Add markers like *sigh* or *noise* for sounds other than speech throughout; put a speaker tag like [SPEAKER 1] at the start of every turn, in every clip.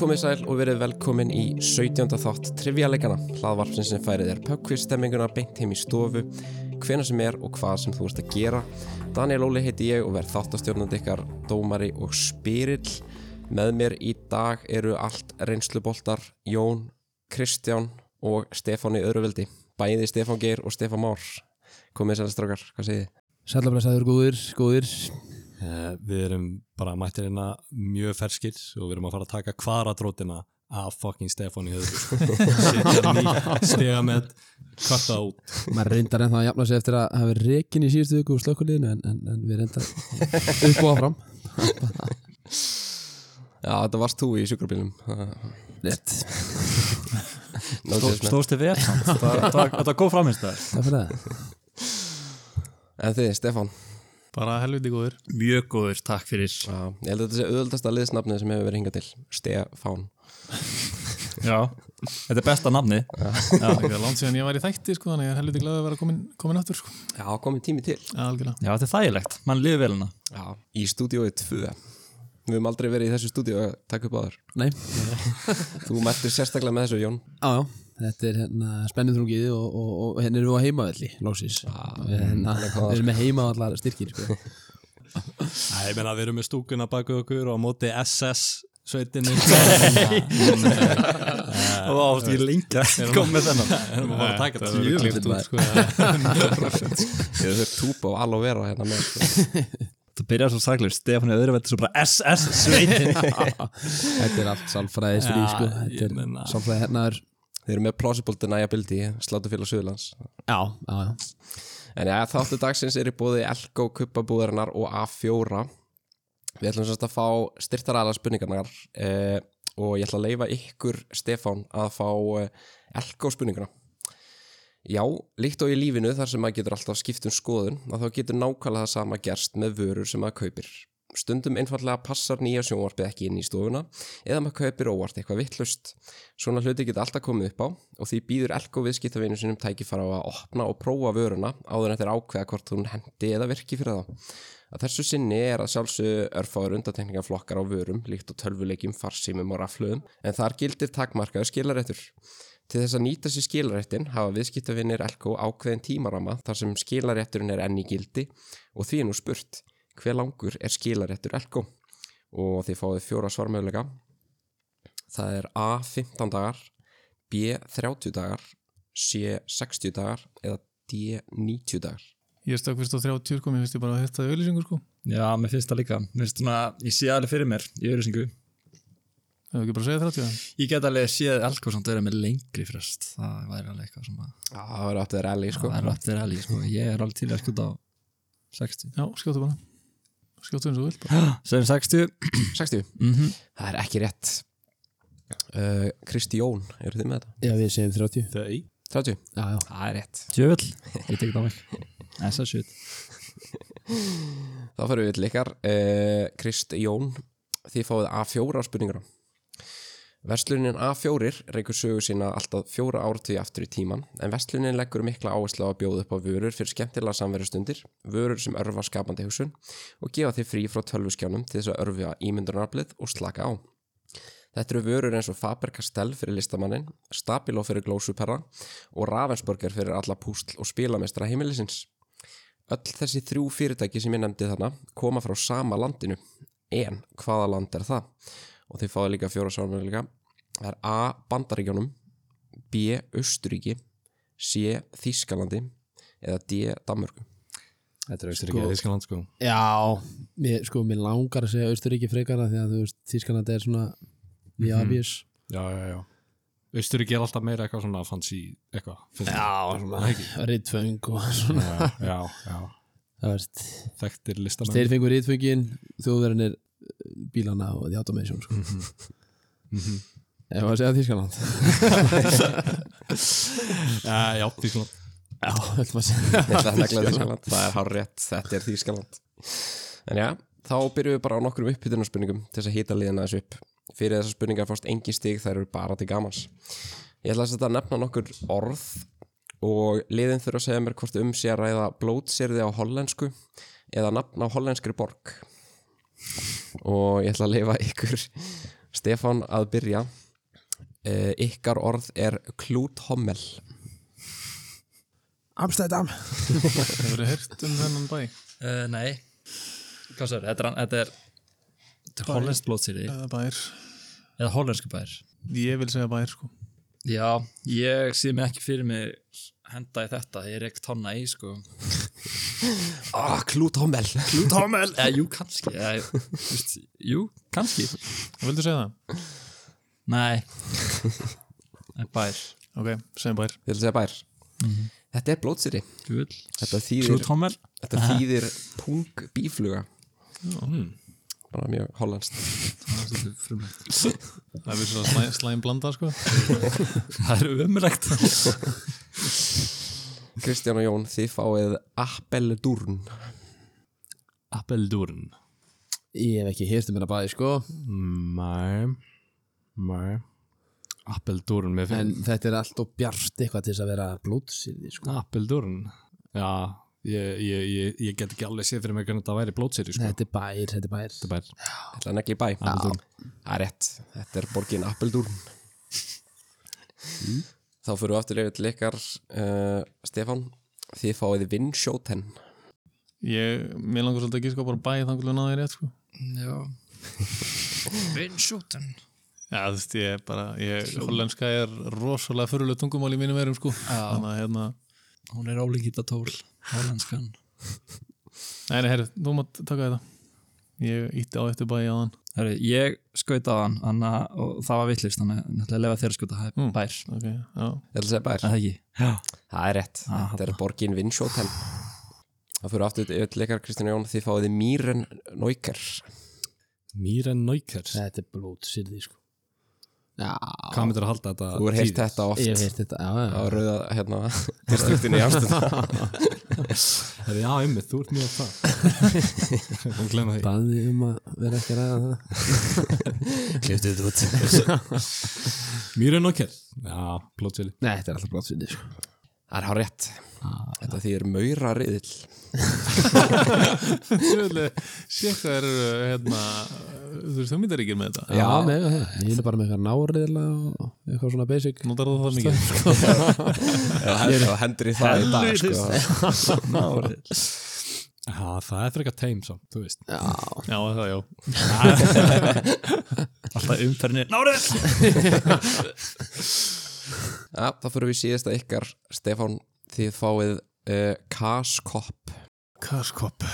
[SPEAKER 1] Komið sæl og verið velkomin í 17. þátt Trivialegana, hlaðvarpsin sem færið er pökkvistemminguna beint heim í stofu, hvena sem er og hvað sem þú ert að gera. Daniel Óli heiti ég og verð þáttastjórnandi ykkar, dómari og spyrill. Með mér í dag eru allt reynsluboltar Jón, Kristján og Stefán í öðruveldi. Bæði Stefán Geir og Stefán Már. Komið sæl strákar, hvað segið þið?
[SPEAKER 2] Sallablasaður góðir, góðir
[SPEAKER 3] Eh, Við erum bara mættir hérna mjög ferskir og við erum að fara að taka kvaradrótina af fucking Stefán í *laughs* höfðu setja hann í stega með kvarta út
[SPEAKER 2] Maður reyndar ennþá að jafna sig eftir að hafa reikin í síðustu viku úr slökkuliðinu en, en, en við reyndar upp og áfram
[SPEAKER 1] *laughs* Já, þetta varst þú í sjúkrabílum.
[SPEAKER 2] Rétt,
[SPEAKER 1] No judgment.
[SPEAKER 4] Stóðstu
[SPEAKER 3] *laughs*
[SPEAKER 4] vel samt. Það- það- Þetta er góð framist það
[SPEAKER 2] það fyrir það
[SPEAKER 1] En þið, Stefán?
[SPEAKER 5] Bara helviti góður.
[SPEAKER 4] Mjög góður, takk fyrir
[SPEAKER 1] Já, ég held að þetta sé auðvöldasta liðsnafnið sem hefur verið hingað til Stefán
[SPEAKER 4] Já, þetta er besta nafni
[SPEAKER 5] Það er langt síðan ég var í þætti, sko, þannig að ég er helviti glaðið að vera komin, komin aftur, sko.
[SPEAKER 1] Já, komið tími til
[SPEAKER 5] Ja, algjörlega.
[SPEAKER 4] Já, þetta er þægilegt, mann liður vel hérna. hana
[SPEAKER 1] Já. Í stúdíói 2 Við höfum aldrei verið í þessu stúdíói að taka upp áður
[SPEAKER 2] Nei,
[SPEAKER 1] Þú mættir sérstaklega með þessu, Jón
[SPEAKER 2] ájá, þetta er hérna spennundrungið og, og, og hérna erum við á heimavelli, lóksins Við hérna, við erum með heimavallar styrkir sko.
[SPEAKER 3] Nei, ég meina við erum með stúkuna baku okkur og á móti SS *laughs* sveitinni Eh,
[SPEAKER 4] Það var ást
[SPEAKER 3] eh,
[SPEAKER 4] ekki lengja Kom með þennan
[SPEAKER 3] erum að fara að taka
[SPEAKER 5] það verður
[SPEAKER 3] þetta
[SPEAKER 5] klift út, sko.
[SPEAKER 1] Ég þurft túpa og alveg vera hérna með sko.
[SPEAKER 4] Þú byrjar svo saglur, Stefán er öðru veit Svo bara SS sveitin
[SPEAKER 2] Þetta er allt sálfræði stríð sko. Þetta er
[SPEAKER 3] meina-
[SPEAKER 2] sálfræði hernaður
[SPEAKER 1] Þeir eru með plausible deniability Slátufélag Suðurlands
[SPEAKER 2] Já, ájá
[SPEAKER 1] En já, þáttu dagsins er í bóði Elko, Kuppabúðarinnar og A4 Við ætlum sérst að fá styrtaræðla spurningarnar eh, og ég ætla að leifa ykkur, Stefán, að fá eh, Elko spurninguna Já, líkt og í lífinu þar sem maður getur alltaf skipt um skoðun að þá getur nákvæmlega það sama gerst með vörur sem maður kaupir Stundum einfallega passar nýja sjónvarpið ekki inn í stofuna eða maður kaupir óvart eitthvað vittlust. Svona hluti geta alltaf komið upp á og því býður Elko viðskiptavinu sinum tækifara á að opna og prófa vöruna áður en þetta er ákveða hvort hún hendi eða virki fyrir þá. Að þessu sinni er að sjálfsögðu örfáður undatekningaflokkar á vörum líkt og tölvuleikjum, farsýmum og rafluðum en þar gildir takmarkaður skilaréttur. Til þess að nýta sér skilaréttin hafa viðskiptavinir Elko ákveðin tímarama þar sem skilarétturinn er enn í gildi og því er nú spurt hver langur er skilaréttur Elko og þið fáið fjóra svarmöðuleika það er A 15 dagar B 30 dagar C 60 dagar eða D 90 dagar
[SPEAKER 5] Ég stökk fyrst á 30, sko, mér finnst ég bara að hérta auðlýsingur, sko.
[SPEAKER 4] Já, mér finnst það líka Mér finnst svona, ég sé alveg fyrir mér í öðrusingu
[SPEAKER 5] Það er ekki bara að segja 30, það.
[SPEAKER 4] Ég get alveg séð alkoð samt vera með lengri frest Það væri alveg eitthvað sem að
[SPEAKER 1] Já, það verður aftur þeirra elli sko
[SPEAKER 4] Það er rátt verið alveg, sko Ég er alveg til að skjóta á 60
[SPEAKER 5] Já, skjóttu bara. Skjóttu eins og þú vilt bara.
[SPEAKER 4] Sem 60
[SPEAKER 1] 60,
[SPEAKER 4] mhm.
[SPEAKER 1] það er ekki rétt uh, Kristi Jón, eru þið með þetta?
[SPEAKER 2] Já, við segjum 30
[SPEAKER 3] Þau,
[SPEAKER 1] 30,
[SPEAKER 2] Já, já,
[SPEAKER 1] það er rétt
[SPEAKER 4] Djöfull, ég tek það á mig SS7
[SPEAKER 1] Þá fyrir við til ykkar uh, Krist Jón Þið fáið A4 spurninguna Vestlunin A4 reykur sögu sína alltaf fjóra áratugi aftur í tíman en vestlunin leggur mikla áherslu á að bjóða upp á vörur fyrir skemmtilega samverjastundir vörur sem örfa skapandi hugsun og gefa þið frí frá tölvuskjánum til þess að örfa ímyndunaraflið og slaka á Þetta eru vörur eins og Faber-Castell fyrir listamannin, Stabilo fyrir glósuperra og Ravensburger fyrir alla púsl og spilamestra heimilisins. Öll þessi þrjú fyrirtæki sem ég nefndi þarna koma frá sama landinu. En hvaða land er það? Og þið fáið líka fjóra sármjöðleika. Það er A. Bandaríkjónum, B. Östuríki, C. Þískalandi eða D. Danmörku.
[SPEAKER 2] þetta er
[SPEAKER 3] Sko, Þískaland sko
[SPEAKER 2] Já, mér, sko, mér langar að segja Austuríki frekar að því að þú veist Þískanandi er svona mjög obvious
[SPEAKER 3] Já, já, já Austuríki er alltaf meira eitthvað svona fancy eitthvað finnst mér.
[SPEAKER 2] Rittföng og svona
[SPEAKER 3] já, já, já
[SPEAKER 2] *laughs* Það veist,
[SPEAKER 3] Þekktir listamenn
[SPEAKER 2] þeir fengur rittföngin þjóðverðin er bílana og the automation sko. Mhm. Ef að segja Þískanand
[SPEAKER 3] Eh, Já, Þískaland
[SPEAKER 2] *laughs* Já, ætlum að segja
[SPEAKER 1] Nei, það er nefnilega Þískaland, það er hár rétt, þetta er Þískaland En já, þá byrjum við bara á nokkrum uppbytunarspurningum til þess að hýta liðina þessu upp Fyrir þessar spurningar fórst engin stig, þær eru bara til gamans Ég ætla að setja að nefna nokkur orð og liðin þurfa að segja mér hvort um sé að ræða blótsýrði á hollensku eða nafn á hollenskri borg og ég ætla að leifa ykkur Stefán að byrja uh, Ykkar orð er klúthommel
[SPEAKER 2] Amstæðdam
[SPEAKER 5] Hefur þið heyrt um þennan bæ?
[SPEAKER 4] Uh, nei, hvað sér, þetta er, þetta er, þetta er
[SPEAKER 5] Bæ.
[SPEAKER 4] hollensk blótsýri
[SPEAKER 5] Eða bær?
[SPEAKER 4] eða hollensku bær.
[SPEAKER 5] Ég vil segja bær, sko.
[SPEAKER 4] Já, ég sé mig ekki fyrir mig henda í þetta, ég er ekki tonna í sko.
[SPEAKER 1] ah, Klúthommel
[SPEAKER 4] Tómel! Eða, jú, kannski, eða, jú, veist, jú, kannski.
[SPEAKER 5] Vildu segja það?
[SPEAKER 4] Nei, en bær.
[SPEAKER 5] Ok, segjum bær.
[SPEAKER 1] Vil segja bær Þetta er blótsýri
[SPEAKER 4] Gull.
[SPEAKER 1] Þetta þýðir,
[SPEAKER 4] Klúthommel?
[SPEAKER 1] þetta þýðir pung bífluga bara mjög hollenskt
[SPEAKER 5] Það er vissulega slæm, slæm blanda, sko.
[SPEAKER 4] Það er umrækt.
[SPEAKER 1] Kristján og Jón, þið fáið appeldurn
[SPEAKER 3] Appeldurn
[SPEAKER 2] Ég hef ekki hýrt um þetta bæði sko
[SPEAKER 3] Mæ Mæ Appeldurn með
[SPEAKER 2] En
[SPEAKER 3] finn
[SPEAKER 2] þetta er allt og bjart eitthvað til þess að vera blótsýrði sko
[SPEAKER 3] Appeldurn Já, ég, ég, ég, ég get ekki alveg séð fyrir mig hvernig þetta væri blótsýri sko.
[SPEAKER 2] Þetta er bær, þetta er bær
[SPEAKER 3] Þetta er bara
[SPEAKER 1] Þetta er negli bæ
[SPEAKER 3] Appeldurn
[SPEAKER 1] Það er rétt, þetta er borgin Appeldurn Þá fyrir við aftur yfir til ykkar uh, Stefán, þið fáið vinsjóten
[SPEAKER 5] Ég, mér langar svolítið ekki, sko, bara bæ þangulega náði rétt, sko.
[SPEAKER 4] Já. Vinsjóten.
[SPEAKER 5] Já, þú veist, ég er bara, ég, hollenska er rosalega fyrirlega tungumál í mínum erum, sko.
[SPEAKER 4] Já.
[SPEAKER 5] Þannig að, hérna,
[SPEAKER 4] Hún er álíkita tól, hollenskan.
[SPEAKER 5] nei, nei, herru, þú mátt taka þetta. Ég ítti á eftir bæ á þann.
[SPEAKER 4] Herru, ég skaut á hann anna, og það var vittlist, þannig að náttúrulega lefa þér að skauta, það er
[SPEAKER 5] Mm.
[SPEAKER 4] bær,
[SPEAKER 5] Ok, já.
[SPEAKER 1] Þetta segja bær,
[SPEAKER 4] er það ekki? Já.
[SPEAKER 1] það er rétt
[SPEAKER 4] Ah,
[SPEAKER 1] Þetta er borgin vinsjóten Þá fyrir við aftur yfir til ykkar Kristján og Jón, þið fáið mýren nóikar
[SPEAKER 3] Mýren Neukers
[SPEAKER 2] Þetta er blótsýrði sko Já,
[SPEAKER 3] Hvað myndir að halda þetta
[SPEAKER 1] Þú er heyrt þetta oft
[SPEAKER 2] ég hef hýrt þetta Já,
[SPEAKER 1] á
[SPEAKER 2] já,
[SPEAKER 1] rauða hérna, distriktinu í Amsterdam
[SPEAKER 3] þetta Já, ymmið, þú ert mjög það Hún glemma því
[SPEAKER 2] baði um að vera ekki að ræða það
[SPEAKER 1] Kliftið þetta út
[SPEAKER 3] Mýren Neukers Já, blótsýri
[SPEAKER 2] *laughs* Nei, þetta er alltaf blótsýrði sko
[SPEAKER 1] Það er hár rétt Þetta þýðir maurariðil
[SPEAKER 5] Sjöðlega, eh, sé hvað eru, hérna, þú veist, þú myndir ekki með þetta.
[SPEAKER 2] Já, með það Ég er bara með eitthvað náriðla og eitthvað svona basic
[SPEAKER 5] Notar þú það mikið?
[SPEAKER 1] Það hendur í það í dag sko.
[SPEAKER 3] Já, það er frekar teim samt, þú veist
[SPEAKER 5] Já, það, já.
[SPEAKER 4] Alltaf umferðinni, nárið!
[SPEAKER 1] ja, Það fyrir við í síðasta ykkar Stefán, þið fáið uh, Kaskopp
[SPEAKER 5] Karskopp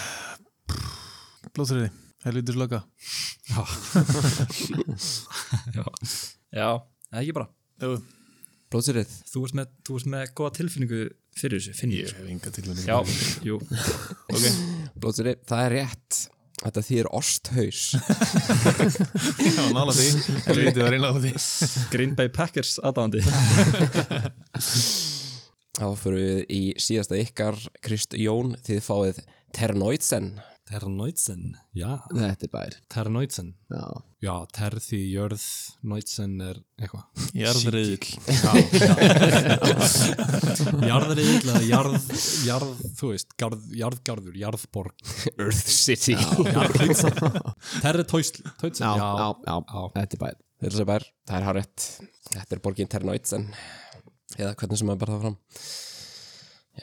[SPEAKER 5] Blóðþriði, helvítur slöka
[SPEAKER 4] Já, það er ekki bara.
[SPEAKER 5] Jú,
[SPEAKER 1] Blótsýrið
[SPEAKER 4] Þú ert með, þú ert með góða tilfinningu fyrir þessu, finn ég.
[SPEAKER 5] ég hef enga tilvæmning
[SPEAKER 4] Já, jú.
[SPEAKER 5] ok
[SPEAKER 1] Blótsýrið, það er rétt Þetta þýðir osthaus
[SPEAKER 5] Já, nála því, helvítið var einlega því
[SPEAKER 4] Green Bay Packers aðdáðandi.
[SPEAKER 1] Þá fyrir við í síðasta ykkar Krist Jón, þið fáið Ternoitsen
[SPEAKER 3] Ternoitsen, já
[SPEAKER 2] Þetta er bær
[SPEAKER 3] Ternoitsen
[SPEAKER 2] Já,
[SPEAKER 3] Já, terði, jörð, Neutsen er eitthvað
[SPEAKER 5] *laughs* Jarðriðill
[SPEAKER 3] Jarðar eða jarð, jarð, þú veist, garð, jarðgarður, jarðborg
[SPEAKER 1] Earth City
[SPEAKER 3] Jarðhauðsen Terri Tóitsen
[SPEAKER 2] já, já, já, þetta er bær
[SPEAKER 1] *laughs* Þetta er, það er hár rétt Þetta er borgin Ternoitsen eða hvernig sem maður bara það fram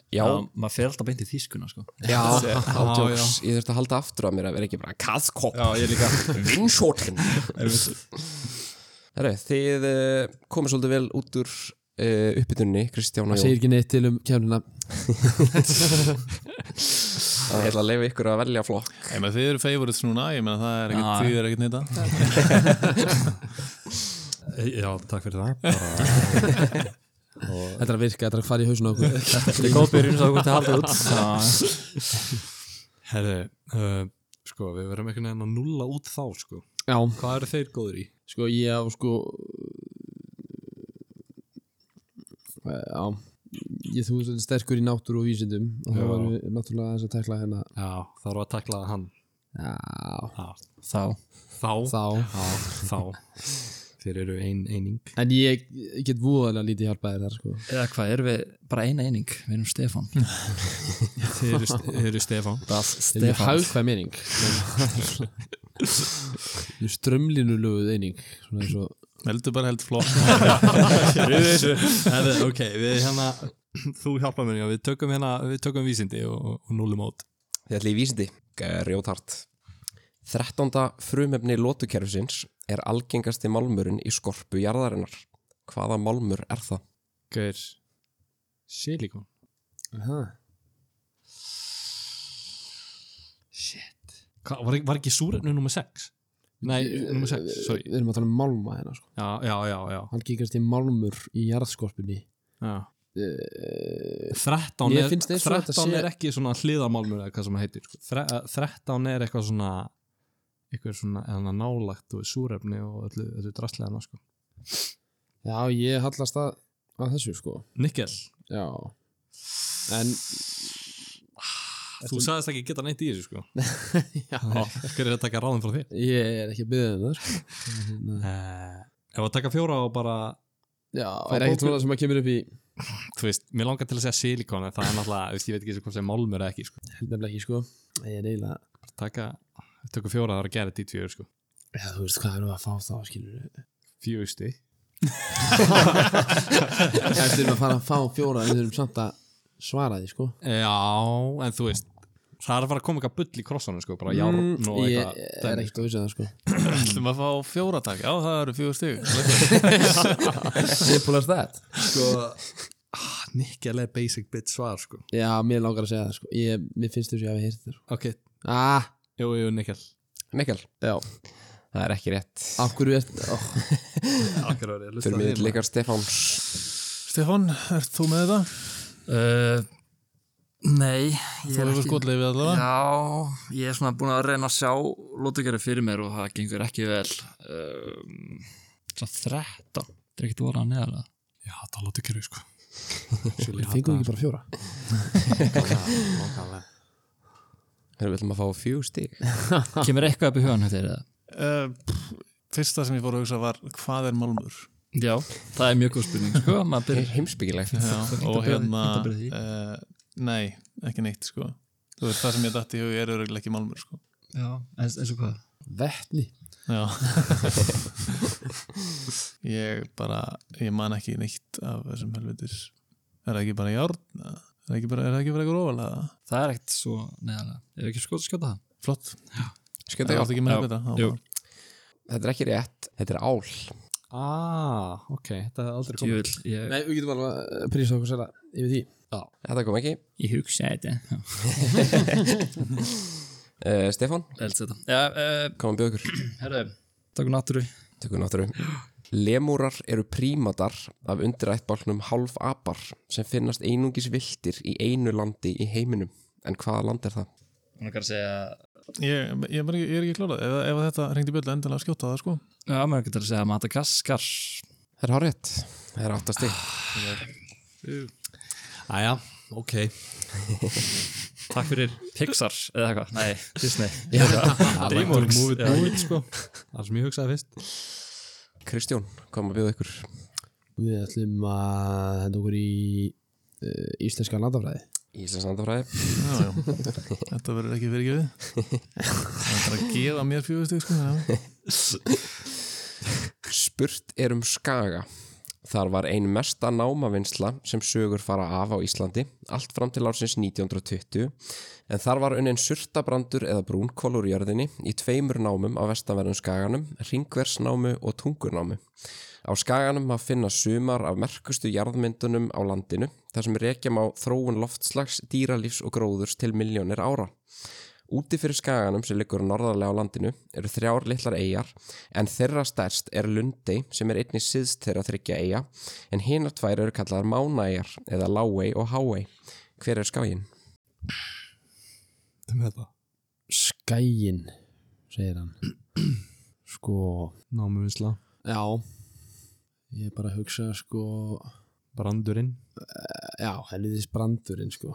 [SPEAKER 1] Já,
[SPEAKER 4] Já, maður fer alltaf beint í þýskuna, sko.
[SPEAKER 1] já, ándjóks Ég þurfti að halda aftur að mér að vera ekki bara Kaskopp
[SPEAKER 4] ég líka.
[SPEAKER 1] Vinshortin *laughs* Herru, þið uh, komið svolítið vel út úr uh, uppbytunni, Kristján og Jón
[SPEAKER 2] Það segir ekki neitt til um kemnina
[SPEAKER 1] Ég ætla að leifa ykkur að velja flokk
[SPEAKER 5] Ég með þið eru favorites núna, ég með það
[SPEAKER 4] Já.
[SPEAKER 5] er ekkert því er ekkert nýta
[SPEAKER 3] eh, Já, takk fyrir það Bara,
[SPEAKER 2] Þetta er að virka, þetta er að fara í hausun á okkur
[SPEAKER 4] Þetta er góð byrjun svo að koma til að halda út.
[SPEAKER 3] Herri, uh, sko, við verðum einhvern veginn að nulla út þá, sko
[SPEAKER 2] Já,
[SPEAKER 3] Hvað eru þeir góður í?
[SPEAKER 2] sko ég á sko eh, Já Ég þú veist sterkur í náttúru og vísindum og
[SPEAKER 3] Já.
[SPEAKER 2] það var við náttúrulega aðeins að tekla hérna
[SPEAKER 3] Já, þá erum við að tekla hann
[SPEAKER 2] Já,
[SPEAKER 3] Já,
[SPEAKER 4] Þá.
[SPEAKER 3] þá
[SPEAKER 2] þá
[SPEAKER 3] Já, þá þeir eru ein eining
[SPEAKER 2] En ég get voðalega lítið hjálpað þér þar sko.
[SPEAKER 4] Eða hvað, erum við bara eina eining? Við erum Stefan.
[SPEAKER 3] þeir eru, þeir eru Stefán
[SPEAKER 4] Das
[SPEAKER 2] Það er mjög hagkvæm eining *laughs* Mjög strömlinuluguð eining Svona eins og
[SPEAKER 5] Veldu bara held flott
[SPEAKER 3] Herðu, ok, við hérna *clears throat* þú hjálpa mér, já, við tökum hérna við tökum vísindi og, og núlum át
[SPEAKER 1] Þið ætli í vísindi, rjóthart. 13. frumefni lótukerfisins er algengasti málmurinn í skorpu jarðarinnar. Hvaða málmur er það?
[SPEAKER 3] Gaur Silikon Shit Hva, var, var ekki súrefnu nummer 6? Nei, nummer 6, sorry
[SPEAKER 2] Við erum að tala um málma hérna sko.
[SPEAKER 3] Já, já, já, já,
[SPEAKER 2] Hann gíkast í málmur í jarðskorpunni
[SPEAKER 3] já.
[SPEAKER 2] Eh,
[SPEAKER 3] 13,
[SPEAKER 2] Mér
[SPEAKER 3] er,
[SPEAKER 2] finnst eins og þetta
[SPEAKER 3] 13
[SPEAKER 2] sé-
[SPEAKER 3] er ekki svona hliðarmálmur eða hvað sem það heitir sko. Þre- eh, 13 er eitthvað svona eitthvað svona eða nálagt og súrefni og öllu, öllu drastlega sko.
[SPEAKER 2] Já, ég hallast að, að þessu sko
[SPEAKER 3] Nikkel,
[SPEAKER 2] Já En
[SPEAKER 3] þú sagðist ekki geta neitt í þessu
[SPEAKER 2] *laughs*
[SPEAKER 3] sko. Já, hver er að taka ráðin frá þér?
[SPEAKER 2] ég er ekki að byggja um það sko. Hérna,
[SPEAKER 3] Uh, ef að taka fjóra og bara
[SPEAKER 2] Já, er ekkert svona sem að kemur upp í
[SPEAKER 3] þú veist, mér langar til að segja silikon en það er náttúrulega, þú veist, ég veit ekki hvað sem málmur eða ekki, sko.
[SPEAKER 2] Nefnilega ekki sko Ég er eiginlega
[SPEAKER 3] Bara taka, tökum fjóra það er að gera þetta í tvíur, sko.
[SPEAKER 2] Já, þú veist hvað erum við að fá þá skilur
[SPEAKER 3] Fjögusti.
[SPEAKER 2] Eftir að fara að fá fjóra en við erum samt að svara því sko
[SPEAKER 3] Já, en þú veist það er að fara að koma eitthvað bull í krossanum, sko, bara járn
[SPEAKER 2] Mm,
[SPEAKER 3] og
[SPEAKER 2] Ég
[SPEAKER 3] eitthvað.
[SPEAKER 2] er ekkert að vissi það sko
[SPEAKER 5] Ætlum að fá fjóra takk Já, það eru fjóra stig
[SPEAKER 2] Simple as that
[SPEAKER 3] Sko, ah, Nikkel er basic bit svar, sko.
[SPEAKER 2] Já, mér langar að segja það sko ég, Mér finnst þessu að við heyrði þetta sko
[SPEAKER 3] Ok,
[SPEAKER 2] Ah,
[SPEAKER 3] jú, jú, Nikkel.
[SPEAKER 1] Mikkel,
[SPEAKER 2] já
[SPEAKER 1] það er ekki rétt.
[SPEAKER 2] Af hverju er *laughs* oh,
[SPEAKER 3] Akkur árið,
[SPEAKER 1] Fyrir mig til ykkar Stefáns.
[SPEAKER 5] Stefan, ert þú með þetta?
[SPEAKER 4] Uh, nei, ég
[SPEAKER 5] Þú
[SPEAKER 4] er
[SPEAKER 5] erum
[SPEAKER 4] ekki...
[SPEAKER 5] skotleif við allavega
[SPEAKER 4] Já, ég er svona búin að reyna að sjá lótugjari fyrir mér og það gengur ekki vel. Um, svo 13, þetta er ekkert voru að neðalega.
[SPEAKER 3] Já, það láti kerfi, sko.
[SPEAKER 2] Fengum við ekki bara fjóra
[SPEAKER 3] bara.
[SPEAKER 1] Þegar við ætlum að fá fjú stík.
[SPEAKER 4] Kemur eitthvað upp í hugan hjá þér eða?
[SPEAKER 5] Uh, pff, Fyrsta sem ég fór að hugsa var hvað er málmur?
[SPEAKER 4] Já, það er mjög góð spurning, sko, maður
[SPEAKER 1] Það
[SPEAKER 4] byrjar
[SPEAKER 1] er heimsbyggilegt.
[SPEAKER 5] *laughs* Já, og
[SPEAKER 4] að byrja-
[SPEAKER 5] hérna
[SPEAKER 4] hægt að byrja því.
[SPEAKER 5] uh, Nei, ekki neitt sko Þú veist, það sem ég dætti í hug er örugglega ekki málmur sko
[SPEAKER 4] Já, eins, eins og hvað?
[SPEAKER 2] Vettni
[SPEAKER 5] Já Ég bara, ég man ekki neitt af þessum helvitir Er það ekki bara járn? eða? Er það ekki bara, er það ekki bara eitthvað ofalega?
[SPEAKER 4] Það er ekkert svo neðalega. Er ekki skot að skjóta það?
[SPEAKER 5] Flott,
[SPEAKER 1] Skjönda
[SPEAKER 5] það
[SPEAKER 1] ég
[SPEAKER 5] er ekki með
[SPEAKER 4] Já.
[SPEAKER 5] þetta Já,
[SPEAKER 4] Jú.
[SPEAKER 5] bara.
[SPEAKER 1] Þetta er ekki rétt. Þetta er ál.
[SPEAKER 3] Ah, ok, þetta er aldrei komið.
[SPEAKER 4] Djúvill, ég,
[SPEAKER 2] Nei, við getum alveg að prísa okkur særa yfir því
[SPEAKER 1] Þetta kom ekki.
[SPEAKER 4] ég hugsa þetta.
[SPEAKER 1] Uh, Stefán,
[SPEAKER 4] Elds þetta. Já, uh,
[SPEAKER 1] komum bjóð ykkur.
[SPEAKER 4] herðu, takk um náttúru.
[SPEAKER 1] Tökum náttúru. Lemúrar eru prímatar af undirættbálknum hálfapar sem finnast einungis viltir í einu landi í heiminum. En hvaða land er það?
[SPEAKER 4] Hún er að segja...
[SPEAKER 5] Ég, ég, er bara ekki, ég er ekki klárað ef, ef þetta ringdi bjöldu endilega að skjóta það sko
[SPEAKER 4] Já, maður er að segja Madagaskar.
[SPEAKER 1] Það er hárétt. Það er áttast ykkur.
[SPEAKER 3] Æja, ok.
[SPEAKER 4] Takk fyrir Pixar eða eitthvað. Nei, *laughs* Disney. *laughs*
[SPEAKER 3] Dreamworks. Move it, move it, sko. Það sem ég hugsaði fyrst.
[SPEAKER 1] Kristjón, komum bjóð ykkur.
[SPEAKER 2] Við ætlum að henda okkur í uh, íslenska landafræði
[SPEAKER 1] Íslands landafræði.
[SPEAKER 5] já, já. Þetta verður ekki fyrirgefið Það er að gefa mér fjögustig sko já.
[SPEAKER 1] Spurt er um Skaga. Þar var ein mesta námavinnsla sem sögur fara af á Íslandi, allt fram til ársins 1920, en þar var unnin surtabrandur eða brúnkól úr jörðinni í tveimur námum á vestanverðum Skaganum, ringversnámu og tungunámu. Á Skaganum má finna sumar af merkustu jarðmyndunum á landinu, þar sem rekja má þróun loftslags, dýralífs og gróðurs til miljónir ára. Úti fyrir skaganum sem liggur norðarlega á landinu eru þrjár litlar eigar en þeirra stærst er Lundey sem er einnig síðst þeirra þryggja eiga en hinar tvær eru kallaðar Mánaeyjar eða Láey og Háey. Hver er skaginn?
[SPEAKER 3] Þetta með þetta.
[SPEAKER 2] Skæin, segir *clears throat* hann Sko
[SPEAKER 3] Námuvinsla.
[SPEAKER 2] Já Ég er bara að hugsa sko
[SPEAKER 3] Brandurinn.
[SPEAKER 2] Já, helviðis brandurinn sko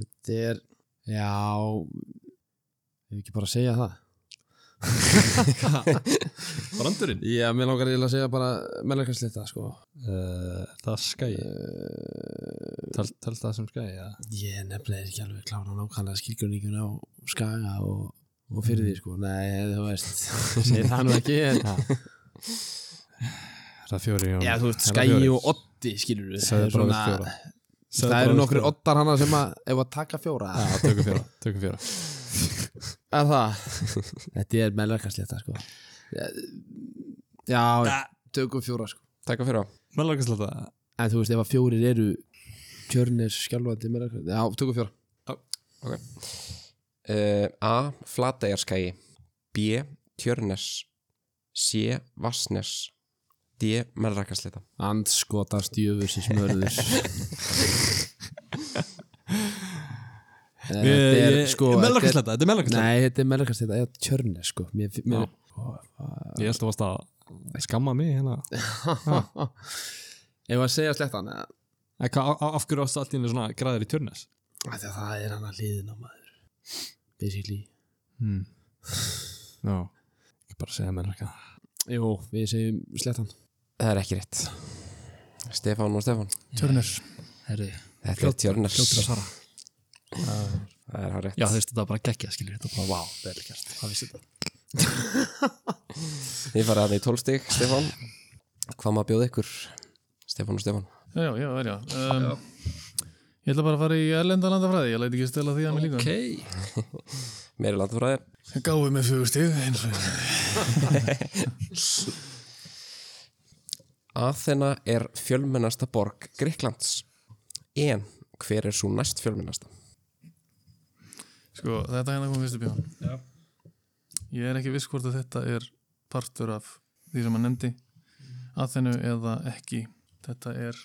[SPEAKER 2] Þetta er Já Ég vil ekki bara að segja það
[SPEAKER 3] Brandurinn?
[SPEAKER 2] Já, mér langar eiginlega að segja bara mellarkastleita, sko.
[SPEAKER 3] Uh, það er skæi Tal, tal það sem skæi, já
[SPEAKER 2] Eh, Ég nefnilega er ekki alveg klána nákvæmlega skilgjörningun á skaga og, og fyrir því, sko. Nei, þú veist, segir það nú ekki. en-
[SPEAKER 3] Það er fjóri,
[SPEAKER 2] Já, þú veist, skagi og oddi, skilur við.
[SPEAKER 3] Segðu bara við fjóra
[SPEAKER 2] það eru nokkur oddar hana sem að, ef að taka fjóra.
[SPEAKER 3] Já, tökum fjóra, tökum fjóra
[SPEAKER 2] Er það? *laughs* Þetta er mellarkastleita, sko. Já, Já, tökum fjóra, sko.
[SPEAKER 1] Takk fyrir það
[SPEAKER 3] Mellarkaslata
[SPEAKER 2] En þú veist, ef að fjórir eru tjörnir, skjálfandi, mellarkastleita, já, tökum fjóra.
[SPEAKER 1] uh, A. Flateyjarskæi B. Tjörnes C. Vassnes D. Melrakaslita
[SPEAKER 2] Andskotast djöfur sem smörður Eh, Þetta er sko þetta er-
[SPEAKER 3] Mellarkaslata, þetta er mellarkaslata
[SPEAKER 2] Nei, þetta er mellarkast þetta er tjörni sko mér, mér,
[SPEAKER 3] Ég held að varst að skamma mig hérna
[SPEAKER 2] Ég var að segja slettan að
[SPEAKER 3] En Eh, hvað, á- á- af hverju varst allt í henni svona græðir í tjörnes?
[SPEAKER 2] af því að það er hann að liðin á maður Basically
[SPEAKER 3] Hmm. Já Ég bara segja mellarka
[SPEAKER 2] Jú, við segjum slettan
[SPEAKER 1] Það er ekki rétt Stefán og Stefán
[SPEAKER 5] Tjörnur
[SPEAKER 4] Herri,
[SPEAKER 1] Þetta er Tjörnes
[SPEAKER 4] fljótur að svara
[SPEAKER 1] Það er hár rétt
[SPEAKER 4] Já, þú veist, þetta var bara geggja, skilur Þetta var bara, wow, vel gert Það vissi þetta
[SPEAKER 1] Þið farið að því tólstig, Stefán Hvað maður bjóð ykkur? Stefán og Stefán
[SPEAKER 5] Já, já, já, já. Um, Ég ætla bara að fara í erlenda landafræði Ég læti ekki stela því að mig líka
[SPEAKER 4] Ok
[SPEAKER 1] Meiri landfræði
[SPEAKER 5] Gáðu með fjögur stig eins og
[SPEAKER 1] Aþena er fjölmennasta borg Greiklands En hver er svo næst fjölmennasta?
[SPEAKER 5] Sko, þetta hérna kom fyrstu bjóðan Ég er ekki viss hvort að þetta er partur af því sem hann nefndi að þennu eða ekki þetta er,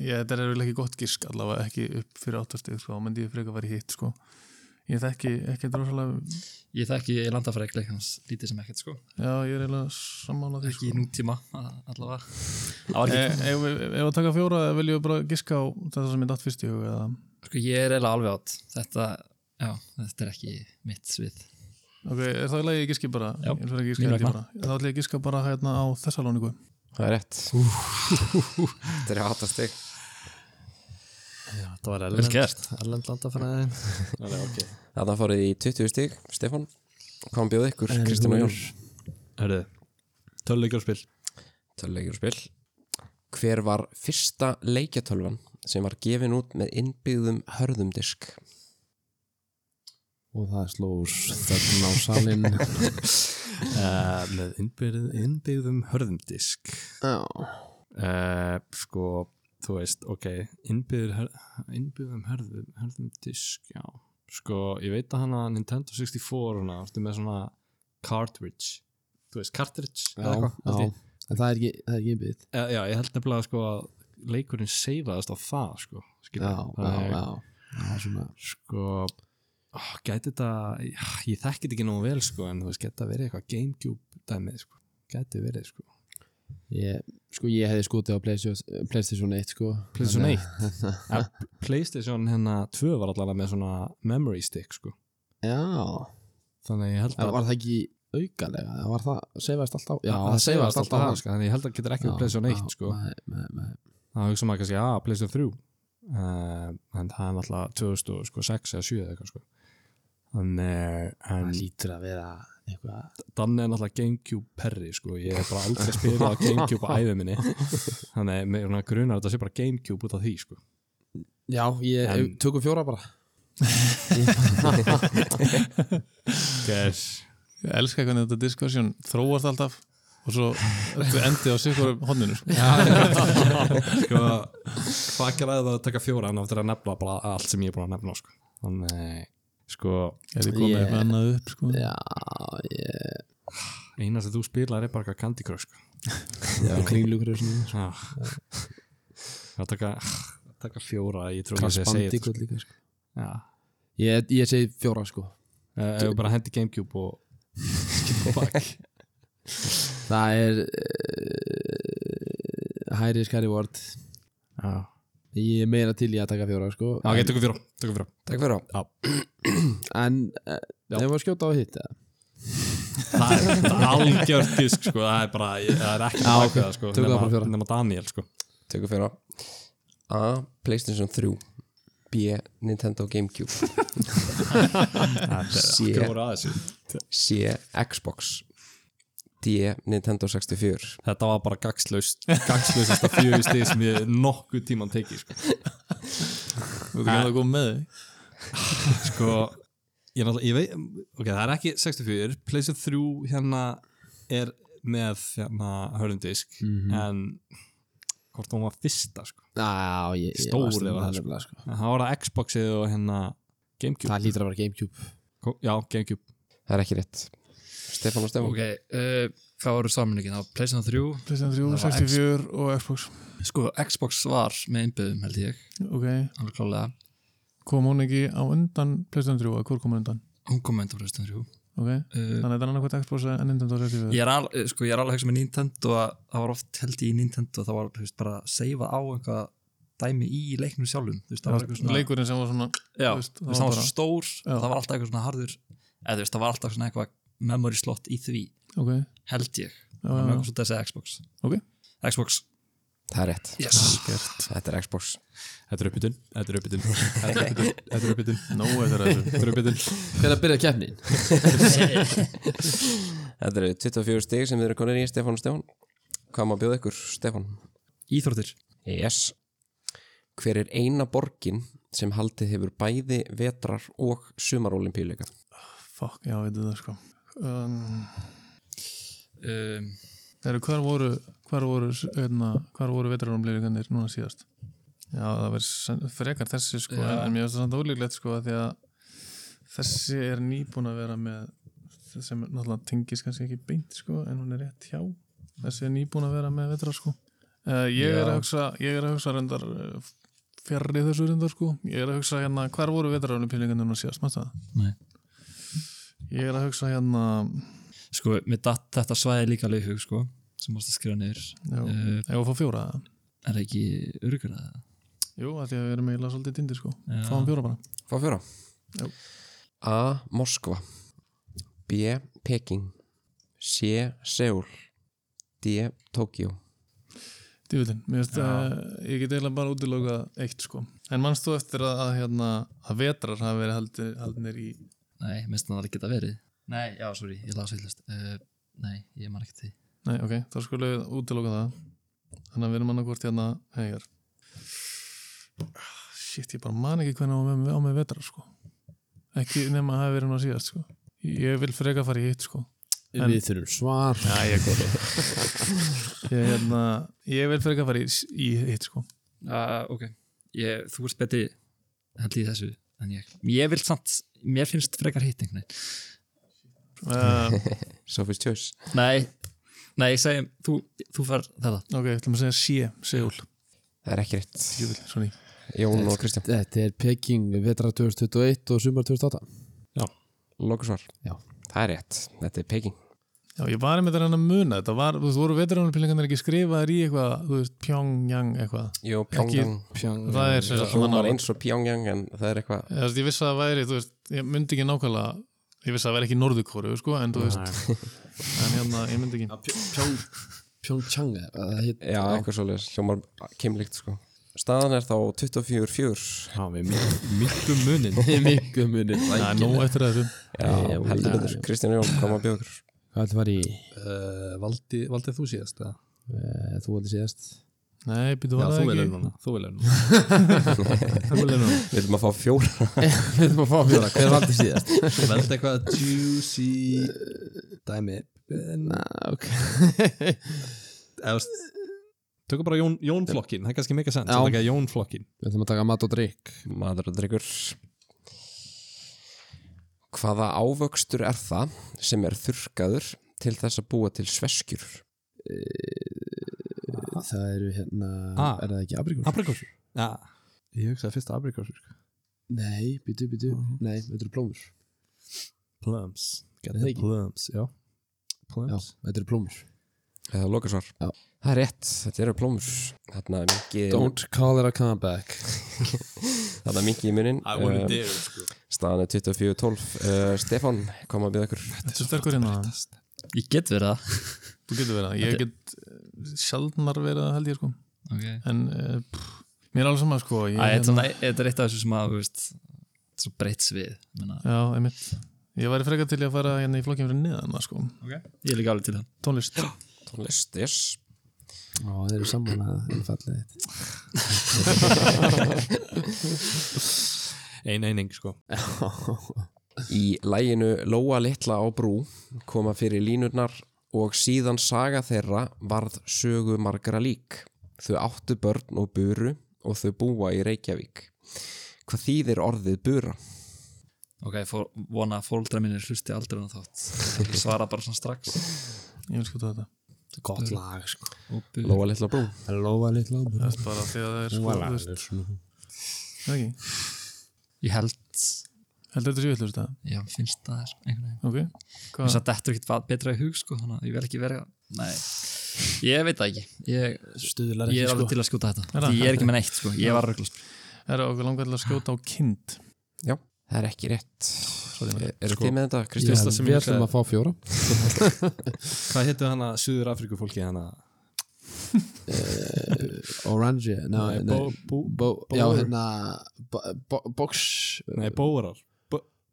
[SPEAKER 5] ég, þetta er vel ekki gott gísk allavega ekki upp fyrir áttastig sko, þá myndi ég freka að vera hitt sko ég þekki ekki rosalega
[SPEAKER 4] Ég þekki landafræk leikans lítið sem ekkert, sko
[SPEAKER 5] já, ég er eiginlega sammála því
[SPEAKER 4] Ekki
[SPEAKER 5] sko
[SPEAKER 4] í nútíma, a- allavega Eh, Það var
[SPEAKER 5] E-
[SPEAKER 4] ekki
[SPEAKER 5] ef við- ef að taka fjóra viljum við bara giska á þetta sem ég datt fyrst í hug eða,
[SPEAKER 4] Sko, ég er eiginlega alveg átt Þetta, já, þetta er ekki mitt svið
[SPEAKER 5] ok, er það í lagi að ég giski bara
[SPEAKER 4] Já,
[SPEAKER 5] ég ætla að
[SPEAKER 4] mín
[SPEAKER 5] giska,
[SPEAKER 4] vegna.
[SPEAKER 5] bara. þá ætla ég að giska bara hérna á Þessalóniku
[SPEAKER 1] Það er rétt Þetta er hattastig
[SPEAKER 3] Þetta var
[SPEAKER 4] Vel gert
[SPEAKER 3] Erlend landafræðin
[SPEAKER 1] Þarna fórið í 20 stig, Stefán Hvað maður bjóð ykkur, Kristján og Jón?
[SPEAKER 3] Hörðu, töluleikjárspil
[SPEAKER 1] Töluleikir og spil Hver var fyrsta leikjatölvan sem var gefin út með innbyggðum hörðum disk?
[SPEAKER 2] Og það slós þarna á
[SPEAKER 3] *laughs*
[SPEAKER 2] salin
[SPEAKER 3] uh, Með innbyggðum, innbyggðum hörðumdisk
[SPEAKER 2] Já
[SPEAKER 3] uh, Sko, þú veist, ok Innbyggður hör, Innbyggðum hörðum, hörðumdisk Já, sko, ég veit að hana Nintendo 64 hana, þú með svona Cartridge Þú veist, cartridge
[SPEAKER 2] Já,
[SPEAKER 3] eða eitthvað, held
[SPEAKER 2] já.
[SPEAKER 3] ég.
[SPEAKER 2] En það er ekki, það er ekki einbyggð
[SPEAKER 3] Eh, já, ég held nefnilega sko að leikurinn seifaðast á það sko, skilur
[SPEAKER 2] Já,
[SPEAKER 3] við.
[SPEAKER 2] já,
[SPEAKER 3] Þannig,
[SPEAKER 2] já Það er svona
[SPEAKER 3] sko oh, gæti þetta, ég þekki þetta ekki nógu vel sko, en þú veist, gæti þetta verið eitthvað Gamecube dæmið sko, gæti verið sko
[SPEAKER 2] Ég, sko ég hefði skotið á Playstation, PlayStation 1 sko
[SPEAKER 3] PlayStation
[SPEAKER 2] Þannig
[SPEAKER 3] 1
[SPEAKER 2] *laughs*
[SPEAKER 3] ja, PlayStation hérna 2 var allavega með svona memory stick sko,
[SPEAKER 2] að- Já
[SPEAKER 3] þannig ég held
[SPEAKER 2] En
[SPEAKER 3] að
[SPEAKER 2] var það ekki aukalega? eða Var það seifast alltaf?
[SPEAKER 3] að það seifaðast alltaf
[SPEAKER 2] á
[SPEAKER 3] það sko, þannig ég held að þetta getur ekki
[SPEAKER 2] Já,
[SPEAKER 3] verið PlayStation 1
[SPEAKER 2] já,
[SPEAKER 3] sko,
[SPEAKER 2] nei, nei, nei.
[SPEAKER 3] það hugsa maður kannski, já, PlayStation 3 uh, en það er náttúrulega 2006 eða 7 eða eitthvað sko Þannig, en
[SPEAKER 2] Það lítur að vera eitthvað
[SPEAKER 3] Danni er náttúrulega Gamecube perri sko. ég hef bara aldrei
[SPEAKER 2] *laughs*
[SPEAKER 3] spilað á Gamecube á æðu minni þannig mig svona grunar að þetta sé bara Gamecube út af því sko.
[SPEAKER 2] Já, ég
[SPEAKER 3] En-
[SPEAKER 2] tökum fjóra bara
[SPEAKER 3] yes.
[SPEAKER 5] Ég elska hvernig þetta diskusjón þróast alltaf og svo þetta endi á sikkur honninu sko.
[SPEAKER 3] sko, hvað græði það að taka fjóra en aftur að nefna bara allt sem ég er búin að nefna sko. þannig sko,
[SPEAKER 5] Er þið komið
[SPEAKER 2] Ég-
[SPEAKER 5] eitthvað annað upp sko?
[SPEAKER 2] Já, ég
[SPEAKER 3] eina sem þú spilar er bara eitthvað Candy Crush sko.
[SPEAKER 2] Já, kringlugur og svona
[SPEAKER 3] Já. að taka, ah. taka fjóra ég trúi að ég segi þetta sko.
[SPEAKER 2] Kaspandíkot líka sko.
[SPEAKER 3] Já.
[SPEAKER 2] Ég, ég segi fjóra sko
[SPEAKER 3] ef við bara hendi Gamecube og, og bakk
[SPEAKER 2] Það er uh, Hæri skari vort
[SPEAKER 3] Já.
[SPEAKER 2] Ég er meira til í að taka fjóra sko
[SPEAKER 3] Já, ok, tökum fjóra, tökum fjóra.
[SPEAKER 1] Takk fyrir það
[SPEAKER 2] En uh,
[SPEAKER 3] Já.
[SPEAKER 2] ef að skjóta á hitt eða?
[SPEAKER 3] það er, það er algjört gísk sko, það er bara, ég- það er ekki
[SPEAKER 2] Já,
[SPEAKER 3] bak
[SPEAKER 2] ok,
[SPEAKER 3] við það sko,
[SPEAKER 2] tökum það bara fjóra.
[SPEAKER 3] nema Daniel sko
[SPEAKER 1] Tökum fyrir á A. Playstation 3 B. Nintendo Gamecube
[SPEAKER 3] það
[SPEAKER 1] Shit.
[SPEAKER 3] er okkur aðeins
[SPEAKER 1] C. Xbox D. Nintendo 64
[SPEAKER 3] þetta var bara gagslaust gagslaustasta fjögur stið sem ég nokkuð tíman tekið sko.
[SPEAKER 5] Þú veit ekki að það góð með þig
[SPEAKER 3] sko ég, náttúrulega- ég veit, ok, það er ekki 64 Playstation 3 hérna er með hérna hörðumdisk en hvort hún var fyrsta sko
[SPEAKER 2] Já, ég, ég
[SPEAKER 3] Stór
[SPEAKER 2] varst að
[SPEAKER 3] eða
[SPEAKER 2] tala
[SPEAKER 3] það,
[SPEAKER 2] um það, sko.
[SPEAKER 3] en það var að Xboxið og hérna Gamecube,
[SPEAKER 2] Það lítur að vera Gamecube
[SPEAKER 3] Ko- já, Gamecube
[SPEAKER 1] Það er ekki rétt Stefán og Stefán
[SPEAKER 4] Ok, uh, hvað voru samanleikin á PlayStation 3?
[SPEAKER 5] PlayStation 3,
[SPEAKER 4] Það var
[SPEAKER 5] 64 og Xbox
[SPEAKER 4] Sko, Xbox var með innbyðum held ég,
[SPEAKER 5] ok,
[SPEAKER 4] alveg klálega
[SPEAKER 5] kom hún ekki á undan PlayStation 3 eða hvor kom hún undan
[SPEAKER 4] Hún kom með á PlayStation 3
[SPEAKER 5] ok,
[SPEAKER 4] uh,
[SPEAKER 5] þannig að það er annarkvæmt Xbox en Nintendo 64
[SPEAKER 4] Ég er, al, eh, sko, ég er alveg hugsa með Nintendo að það var oft held ég í Nintendo að það var þú veist, bara að seifa á einhvað dæmi í leiknum sjálfum þú veist, það var eitthvað svona,
[SPEAKER 5] leikurinn sem var svona
[SPEAKER 4] já,
[SPEAKER 5] þú veist,
[SPEAKER 4] þú veist, það var svo stór
[SPEAKER 5] Já.
[SPEAKER 4] það var alltaf eitthvað svona harður eða þú veist, það var alltaf svona eitthvað memory slot í því
[SPEAKER 5] ok,
[SPEAKER 4] held ég,
[SPEAKER 5] já,
[SPEAKER 4] það er
[SPEAKER 5] já, já.
[SPEAKER 4] eitthvað svona þessi Xbox
[SPEAKER 5] Ok.
[SPEAKER 4] Xbox,
[SPEAKER 1] Það er rétt
[SPEAKER 4] yes
[SPEAKER 1] Þetta er Xbox
[SPEAKER 3] Þetta er uppbytun, þetta er *laughs* uppbytun Þetta er uppbytun, þetta er uppbytun
[SPEAKER 5] nóg eftir að þessu
[SPEAKER 3] Þetta er uppbytun
[SPEAKER 2] Hvernig byrjaði keppnin?
[SPEAKER 1] Þetta eru 24 stig sem þið eru konir í Stefán og Stefán Hvað maður bjóð ykkur, Stefán?
[SPEAKER 4] Íþróttir
[SPEAKER 1] Yes Hver er eina borgin sem haldið hefur bæði vetrar og sumarolimpíuleika?
[SPEAKER 5] fuck, já, veitum það sko um,
[SPEAKER 4] um,
[SPEAKER 5] eru, hvar voru hvar voru, hérna, hvar voru vetrarumleikandir núna síðast já, það verður frekar þessi sko
[SPEAKER 4] Já.
[SPEAKER 5] en, en mér finnst það samt ólíklegt sko af því að þessi er nýbúin að vera með sem náttúrulega tengis kannski ekki beint sko, en hún er rétt hjá þessi er nýbúin að vera með vetrar sko uh, ég, er
[SPEAKER 4] Já.
[SPEAKER 5] að hugsa, ég er að hugsa reyndar eh, fjarri þessu reyndar sko ég er að hugsa hérna, hvar voru vetrarumleikandir núna síðast, maður það?
[SPEAKER 4] Nei.
[SPEAKER 5] ég er að hugsa hérna
[SPEAKER 4] sko, mér datt þetta svæði líka alveg í hug, sko, sem mást að skrifa niður
[SPEAKER 5] já,
[SPEAKER 4] Eh,
[SPEAKER 5] ég var að fá fjóra það
[SPEAKER 4] er það ekki örgur að það?
[SPEAKER 5] Jú, af því að við erum eiginlega svolítið dindir sko
[SPEAKER 4] Já.
[SPEAKER 5] Fáum fjóra bara
[SPEAKER 1] Fá fjóra
[SPEAKER 5] Já.
[SPEAKER 1] A. Moskva B. Peking C. Seúl D. Tókjó
[SPEAKER 5] Dýfutin, mér finnst að ég get eiginlega bara útilókað eitt sko En manst þú eftir að, að, hérna, að vetrar hafi verið haldin, haldinir í
[SPEAKER 4] Nei, minnst það alveg geta verið Nei, já, sorry, ég las villast uh, Nei, ég man ekki til
[SPEAKER 5] Nei, ok, þá skulum við útilóka það Þannig að við erum annað hvort hérna Hegjar Shit, ég bara man ekki hvernig á með, á með vetrar sko Ekki nema að hafi verið hún að síðast sko Ég vil freka fara í hitt sko En-
[SPEAKER 2] Við þurfum svar
[SPEAKER 5] Já, ég góð Ég, hérna, ég vil freka fara í, í hitt *laughs* sko
[SPEAKER 4] uh, Ok, ég, þú ert betri held í þessu en ég Ég vil samt, mér finnst frekar hitt einhvern veginn
[SPEAKER 5] uh,
[SPEAKER 1] Sophie's Choice
[SPEAKER 4] Nei, nei, ég segi, þú, þú far þetta
[SPEAKER 5] Ok, ætlum að segja sé, segul
[SPEAKER 1] Það er ekki rétt
[SPEAKER 5] Djúvill, sorry
[SPEAKER 1] Jón og Kristján
[SPEAKER 2] Þetta er Peking vetra 2021 og sumar 2008
[SPEAKER 1] Lókusvar
[SPEAKER 2] Já.
[SPEAKER 1] Það er rétt, þetta er Peking
[SPEAKER 5] Já, ég var einmitt að reyna að muna þetta var, þú veist, voru veturánarpillingarnir ekki skrifaðir í eitthvað, þú veist, Pyongyang eitthvað
[SPEAKER 1] Jó,
[SPEAKER 5] Pyongyang.
[SPEAKER 1] Pyongyang
[SPEAKER 5] Það er sem sagt
[SPEAKER 1] Hljómar
[SPEAKER 5] annað-
[SPEAKER 1] eins og Pyongyang en það er eitthvað
[SPEAKER 5] Eða, þú veist, Ég vissi að það væri, þú veist, ég myndi ekki nákvæmlega ég vissi að það væri ekki norðukóru, sko en þú veist, en hérna, ég myndi ekki
[SPEAKER 2] Pjong Pjongchang eða það heit-
[SPEAKER 1] Já, eitthvað svoleiðis, hljómar kemlikt sko Staðan er þá 24-4
[SPEAKER 3] Já, við myndum munin
[SPEAKER 2] Ég er miklu munir
[SPEAKER 5] Það er nóg eftir að þessu
[SPEAKER 1] Já,
[SPEAKER 2] Já,
[SPEAKER 1] heldur
[SPEAKER 2] já,
[SPEAKER 1] betur, Kristján Jón, hvað maður bjóður
[SPEAKER 2] Hvað ætlum var í?
[SPEAKER 3] uh, valdi, Valdið þú síðast það?
[SPEAKER 2] Eh, Þú ætlum síðast
[SPEAKER 5] Nei,
[SPEAKER 3] Já,
[SPEAKER 5] býtu
[SPEAKER 3] þú
[SPEAKER 5] var það
[SPEAKER 3] velur
[SPEAKER 5] ekki
[SPEAKER 3] núna Þú velur núna Þú velur núna
[SPEAKER 1] *laughs* Við viljum að fá fjóra
[SPEAKER 2] Við þurfum að fá fjóra, hver valdi síðast?
[SPEAKER 3] Veldi eitthvað juicy dæmi
[SPEAKER 2] Na, ok
[SPEAKER 3] Eðast Tökum bara Jón, Jónflokkin, það er kannski mega sent
[SPEAKER 2] Já.
[SPEAKER 3] Það er Jónflokkin
[SPEAKER 2] Við ætlum að taka mat og drikk
[SPEAKER 1] Maður og drikkur Hvaða ávöxtur er það sem er þurrkaður til þess að búa til sveskjur?
[SPEAKER 2] Það eru hérna,
[SPEAKER 3] Ah.
[SPEAKER 2] er það ekki abrikur?
[SPEAKER 3] Aprikósur Já Ég hugsaði fyrst aprikósur
[SPEAKER 2] Nei, býtu, býtu, nei, þetta eru plómur
[SPEAKER 3] Plums
[SPEAKER 2] Er það ekki?
[SPEAKER 3] Plums, já
[SPEAKER 2] Já,
[SPEAKER 3] Plums
[SPEAKER 2] þetta eru plómur
[SPEAKER 1] eða lokasvar
[SPEAKER 2] Já.
[SPEAKER 1] það er rétt, þetta eru plómur þarna er mikið,
[SPEAKER 2] Don't call it a comeback
[SPEAKER 1] þarna er mikið í munin uh,
[SPEAKER 3] dare sko.
[SPEAKER 1] staðan er 24-12 uh, Stefan, koma að byrja okkur
[SPEAKER 5] Þetta er sterkur hérna
[SPEAKER 4] Ég get verið það
[SPEAKER 5] Þú getur verið það, ég get eh, sjaldnar verið það held ég sko
[SPEAKER 4] okay.
[SPEAKER 5] En uh, pff, mér er alveg sama sko ég,
[SPEAKER 4] Æ, þetta er hérna. svona- þetta er eitt af þessu sem að þú veist, þetta er svo breytt svið ég meina.
[SPEAKER 5] Já, einmitt Ég væri frekar til í að fara hérna í flokkinn fyrir neðan það, sko
[SPEAKER 4] Ég er líka alveg til það
[SPEAKER 5] Tónlist
[SPEAKER 1] tónlist, yes
[SPEAKER 2] Já, þeir eru samanlega einfallið
[SPEAKER 3] ein eining sko
[SPEAKER 1] Í læginu Lóa litla á brú koma fyrir línurnar og síðan saga þeirra varð sögu margra lík. Þau áttu börn og buru og þau búa í Reykjavík. Hvað þýðir orðið bura?
[SPEAKER 4] Ok, ég fór, vona að fóldra mínir hlusti aldrei en þátt Ég svara bara svona strax
[SPEAKER 5] Ég vil sko þetta
[SPEAKER 2] Gott lag sko
[SPEAKER 4] Opið
[SPEAKER 1] Lóa litla á brú.
[SPEAKER 2] Lóa litla
[SPEAKER 5] Það er bara því að það er sko þú veist, er það ekki?
[SPEAKER 4] Ég held,
[SPEAKER 5] Heldur þetta séu villur þetta?
[SPEAKER 4] já, finnst það er einhvern veginn
[SPEAKER 5] Ok
[SPEAKER 4] Mér
[SPEAKER 5] Hvað?
[SPEAKER 4] satt eftir ekkert va- betra í hug sko, þannig að ég vil ekki vera Nei, ég veit það ekki Ég,
[SPEAKER 2] Stuðlar
[SPEAKER 4] ég er sko. alveg
[SPEAKER 2] ekki
[SPEAKER 4] til að skjóta þetta
[SPEAKER 5] Er það?
[SPEAKER 4] Því ég er ekki með neitt, sko, ég var röglast
[SPEAKER 5] Er það okkur langar til að skjóta á kind?
[SPEAKER 1] Já, það er ekki rétt.
[SPEAKER 5] maður.
[SPEAKER 1] Eru
[SPEAKER 3] Sko,
[SPEAKER 1] þið með þetta,
[SPEAKER 2] sko
[SPEAKER 1] Kristján?
[SPEAKER 3] Fyrsta sem
[SPEAKER 2] Ég- Við
[SPEAKER 3] ég
[SPEAKER 2] ætlum
[SPEAKER 3] hugsaði.
[SPEAKER 2] að fá fjóra
[SPEAKER 3] hvað héttu hana Suður Afríku fólki hana
[SPEAKER 2] Orange
[SPEAKER 3] Nei, bó- bú-
[SPEAKER 2] Já,
[SPEAKER 3] bóður.
[SPEAKER 2] hérna bo- bo- Box
[SPEAKER 3] nei bórar,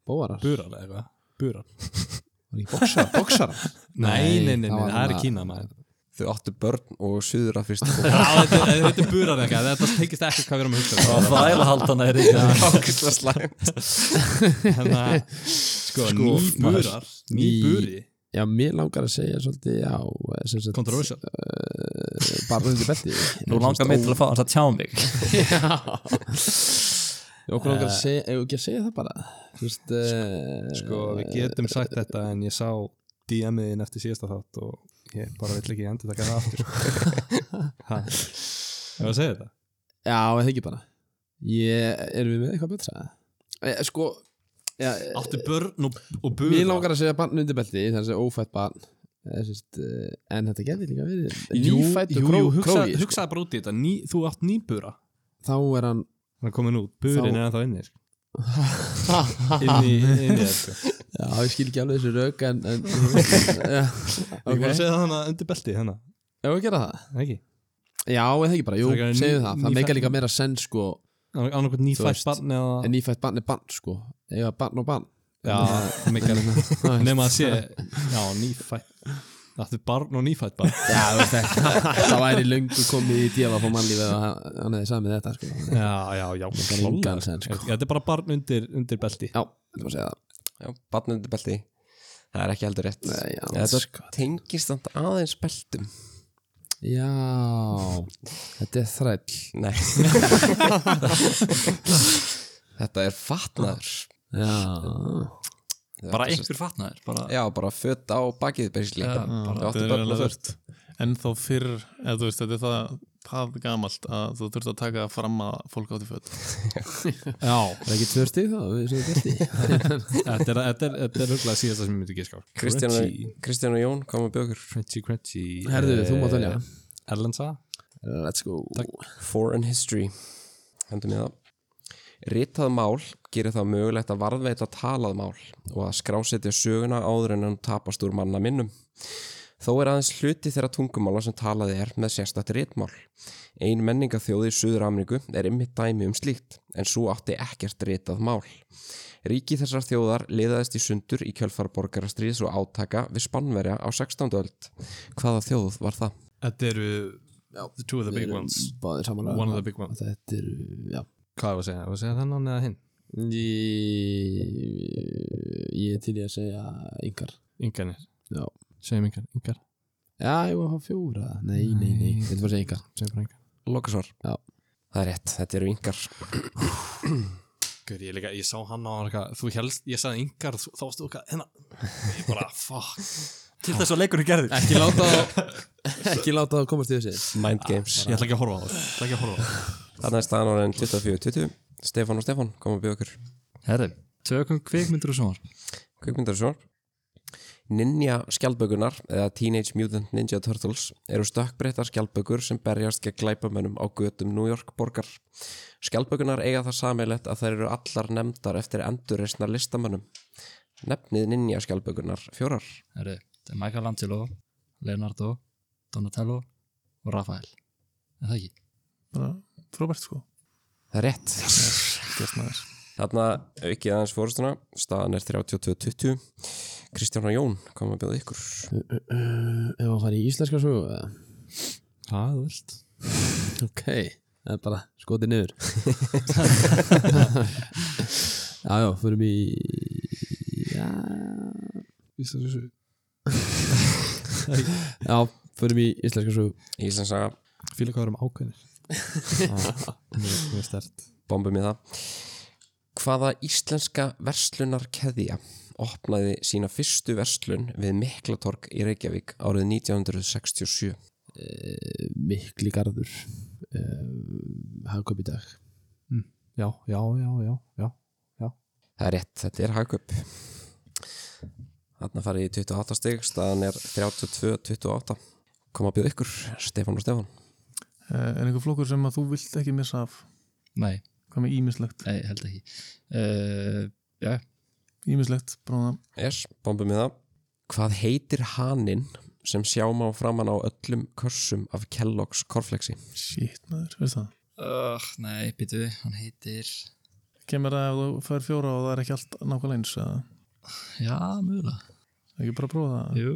[SPEAKER 2] Bóarar
[SPEAKER 3] burar eða eitthvað burar
[SPEAKER 2] Boxar Boxar
[SPEAKER 3] nei, nei, nei, nei,
[SPEAKER 2] það var
[SPEAKER 3] það er
[SPEAKER 2] svona-
[SPEAKER 3] Kína maður
[SPEAKER 1] Þau áttu börn og suður að fyrst.
[SPEAKER 3] Já, þetta þetta er burar eitthvað þetta tekist ekki hvað við erum að hugsa um.
[SPEAKER 4] Það er að halda hana er eitthvað
[SPEAKER 1] Ákvæmst að slæm.
[SPEAKER 3] hérna, sko,
[SPEAKER 2] Sko,
[SPEAKER 3] ný
[SPEAKER 2] maður-
[SPEAKER 3] burar ný
[SPEAKER 2] ný-
[SPEAKER 3] buri,
[SPEAKER 2] Já, mér langar að segja svolítið Já, sem sagt eh,
[SPEAKER 3] kontroversial
[SPEAKER 2] Bara undir
[SPEAKER 3] *laughs*
[SPEAKER 2] belti
[SPEAKER 4] Nú langar mig til að fá hans að tjá mig
[SPEAKER 2] Okkur
[SPEAKER 3] Eh.
[SPEAKER 2] langar að segja Ef ekki að segja það bara Þú veist eh,
[SPEAKER 3] sko, við getum sagt þetta en ég sá DM-iðin eftir síðasta þátt og ég bara vill ekki endur taka það aftur sko. *laughs* Ha, ef að segja þetta
[SPEAKER 2] Já, eða ekki bara Ég, erum við með eitthvað betra? Eh, Sko, já, eh,
[SPEAKER 3] áttu börn og, og burar
[SPEAKER 2] mér langar að segja barn undir belti Það er þessi ófætt barn eh, sem sagt, eh, En þetta getur líka verið
[SPEAKER 3] Jú,
[SPEAKER 2] nýfæddur
[SPEAKER 3] jú, jú,
[SPEAKER 2] kró-
[SPEAKER 3] hugsa,
[SPEAKER 2] krói, sko.
[SPEAKER 3] hugsaði bara út í þetta ný, þú átt nýbura
[SPEAKER 2] Þá er
[SPEAKER 3] *laughs*
[SPEAKER 2] hann
[SPEAKER 3] hann er komin út, burin
[SPEAKER 2] Þá-
[SPEAKER 3] er það inni sko. inn í, inn í það sko.
[SPEAKER 2] Já, ég skil ekki alveg þessu rauk En,
[SPEAKER 3] *laughs*
[SPEAKER 2] en já,
[SPEAKER 3] ég
[SPEAKER 2] Ok,
[SPEAKER 3] var að segja það hana undir belti hana.
[SPEAKER 2] ef við gera það
[SPEAKER 3] ekki,
[SPEAKER 2] Já, eða ekki bara, jú,
[SPEAKER 3] Frekar en
[SPEAKER 2] segjum
[SPEAKER 3] ný-
[SPEAKER 2] það Það
[SPEAKER 3] nýfætt-
[SPEAKER 2] meika líka meira senn, sko
[SPEAKER 3] annarkot
[SPEAKER 2] Þú
[SPEAKER 3] nýfætt
[SPEAKER 2] veist.
[SPEAKER 3] barn
[SPEAKER 2] En
[SPEAKER 3] eða
[SPEAKER 2] nýfætt barn er barn, sko Eða barn og barn
[SPEAKER 3] já,
[SPEAKER 2] *laughs*
[SPEAKER 3] mikil nema að sé, já, nýfætt áttu barn og nýfætt barn
[SPEAKER 2] Já, þú veist það Það væri löngu komið í djöfa Fá mannlífið og hann hann hefði samið þetta, sko
[SPEAKER 3] *laughs* já, já, já,
[SPEAKER 2] er
[SPEAKER 3] klárlega.
[SPEAKER 2] engan sens, sko.
[SPEAKER 3] þetta er bara barn undir, undir belti
[SPEAKER 2] Já, þetta var að segja það
[SPEAKER 1] Já, barnundi belti. Það er ekki heldur rétt.
[SPEAKER 2] Nei, já, sko.
[SPEAKER 1] Þetta tengist samt aðeins beltum.
[SPEAKER 2] Já, þetta er þræll
[SPEAKER 1] Nei *laughs* Þetta er fatnaður
[SPEAKER 2] Já,
[SPEAKER 4] Bara einhver fatnaður bara,
[SPEAKER 1] Já, bara fött á bakið basically.
[SPEAKER 4] Já,
[SPEAKER 1] Bara-
[SPEAKER 4] bara-
[SPEAKER 1] Ég átti
[SPEAKER 5] Þetta er
[SPEAKER 1] börn og
[SPEAKER 5] alveg
[SPEAKER 1] fött
[SPEAKER 5] þurft En þá fyrr, eða þú veist, þetta er það það gamalt að þú þurft að taka fram að fólk átti föt
[SPEAKER 3] já,
[SPEAKER 2] það er ekki tvö stíð þá, við séum besti
[SPEAKER 3] *laughs* þetta er þetta er- þetta er huglega síðasta sem ég myndi giska á.
[SPEAKER 1] Kristján,
[SPEAKER 3] Crunchy,
[SPEAKER 1] Kristján og Jón koma bjögur
[SPEAKER 3] crunchy, crunchy eh,
[SPEAKER 2] Herðu, þú mátt velja.
[SPEAKER 3] Erlensa
[SPEAKER 2] Let's go
[SPEAKER 1] Foreign History Hendur mér það Ritað mál gerir það mögulegt að varðveita talað mál og að skrásetja söguna áður en hann tapast úr manna minnum. Þó er aðeins hluti þeirra tungumála sem talaði er með sérstætt ritmál. Ein menningaþjóð í Suður-Ameríku er ymmið dæmi um slíkt, en svo átti ekkert ritað mál. Ríki þessar þjóðar liðaðist í sundur í kjölfarborgarastriðs og átaka við Spannverja á 16. öld. Hvaða þjóð var það?
[SPEAKER 3] þetta eru the two of the big ones
[SPEAKER 2] Báðir samanlega
[SPEAKER 3] One of the big ones.
[SPEAKER 2] Þetta er, já
[SPEAKER 3] hvað er að segja, að segja þennan eða hinn
[SPEAKER 2] Ég, ég er til í að segja yngar
[SPEAKER 3] yngarnir,
[SPEAKER 2] Já,
[SPEAKER 3] segjum yngar, yngar
[SPEAKER 2] já ég var að fá fjóra Nei, nei, nei, þetta var að segja yngar
[SPEAKER 3] segjum bara yngar
[SPEAKER 1] Lokasvar.
[SPEAKER 2] Já.
[SPEAKER 1] Það er rétt, þetta eru yngar.
[SPEAKER 3] Gör, ég, líka, ég sá hann á hann eitthvað, þú helst, ég sagði yngar þú- þá varstu þú eitthvað, hérna ég bara, fuck,
[SPEAKER 4] Til þess að leikurinn gerði
[SPEAKER 2] Ekki láta það *laughs* Ekki láta það komast í þessi
[SPEAKER 1] Mind Games.
[SPEAKER 3] Ah, ég ætla ekki að horfa á það ég ætla ekki að horfa á það
[SPEAKER 1] Þarna er staðan orðin 24-20. Stefán og Stefán koma að byggja okkur.
[SPEAKER 4] Herðu, tökum kvikmyndur og sjónvarp
[SPEAKER 1] Kvikmyndar og sjónvarp. Ninja skjaldbökunar eða Teenage Mutant Ninja Turtles eru stökkbreyttar skjaldbökur sem berjast gegn glæpamönnum á götum New York borgar. Skjaldbökunar eiga það samilegt að þær eru allar nefndar eftir endurreisnar listamönnum. Nefnið Ninja skjaldbökunar fjórar.
[SPEAKER 4] Herri, þetta er Michelangelo, Leonardo, Donatello og Rafael. Er það ekki?
[SPEAKER 5] bara frábært sko
[SPEAKER 1] Það er rétt.
[SPEAKER 5] gert maður
[SPEAKER 1] Þarna aukið aðeins fórustuna, staðan er 32-20. Kristján og Jón, hvað maður bjóða ykkur?
[SPEAKER 2] Uh, ef að fara í íslenska sögu eða?
[SPEAKER 3] Það er vilt
[SPEAKER 2] Ok, það er bara skotið *laughs* niður Já, já, förum í Já
[SPEAKER 3] Íslands þessu
[SPEAKER 2] Já, förum í íslenska sögu
[SPEAKER 1] Íslandsaga,
[SPEAKER 3] Fýla hvað erum ákveðnir *laughs* Mjög mjög stert
[SPEAKER 1] bombum í það. Hvaða íslenska verslunarkeðja opnaði sína fyrstu verslun við Miklatorg í Reykjavík árið 1967?
[SPEAKER 2] uh, Mikli garður uh, Hagkaup í dag
[SPEAKER 3] Mm. Já, já, já, já, já
[SPEAKER 1] Það er rétt, þetta er hagkaup. Þarna farið í 28 stig, staðan er 32-28. Hvað maður bjóða ykkur, Stefán og Stefán?
[SPEAKER 5] Eh, er einhver flokkur sem að þú vilt ekki missa af
[SPEAKER 4] Nei,
[SPEAKER 5] hvað með ímislegt
[SPEAKER 4] nei, held ekki. Uh, já,
[SPEAKER 5] ímislegt bráðan
[SPEAKER 1] Yes, bombum í það. Hvað heitir haninn sem sjá má framann á öllum körsum af Kellogg's korflexi?
[SPEAKER 5] shit maður veist það
[SPEAKER 4] uh, nei, býtu, hann heitir...
[SPEAKER 5] kemur það ef þú fær fjóra og það er ekki allt nákvæmlega eins eða
[SPEAKER 4] Já, mögulega.
[SPEAKER 5] ekki bara að prófa það
[SPEAKER 4] Jú.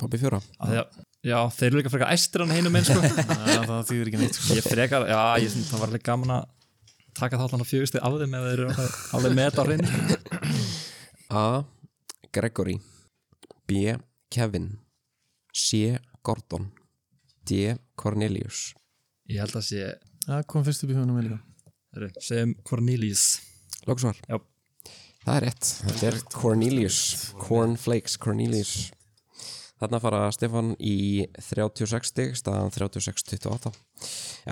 [SPEAKER 1] Bombi fjóra.
[SPEAKER 4] Já, já, þeir eru líka frekar æstir hann heinum einn, *laughs* sko.
[SPEAKER 5] Nei, það þýðir ekki neitt sko.
[SPEAKER 4] Ég frekar, já, ég, það var alveg gaman að taka þá allan á fjögusti af þeim ef þeir eru alveg- alveg með þetta á hreinu.
[SPEAKER 1] A. Gregory B. Kevin C. Gordon D. Cornelius
[SPEAKER 4] Ég held að sé,
[SPEAKER 5] það kom fyrst upp í hugunum líka
[SPEAKER 4] herru, segjum Cornelius.
[SPEAKER 1] Lóksvar.
[SPEAKER 4] Já.
[SPEAKER 1] Það er rétt. Þetta er Cornelius. Cornflakes, Cornelius. Þarna fara Stefan í 36 stig, staðan 36-28.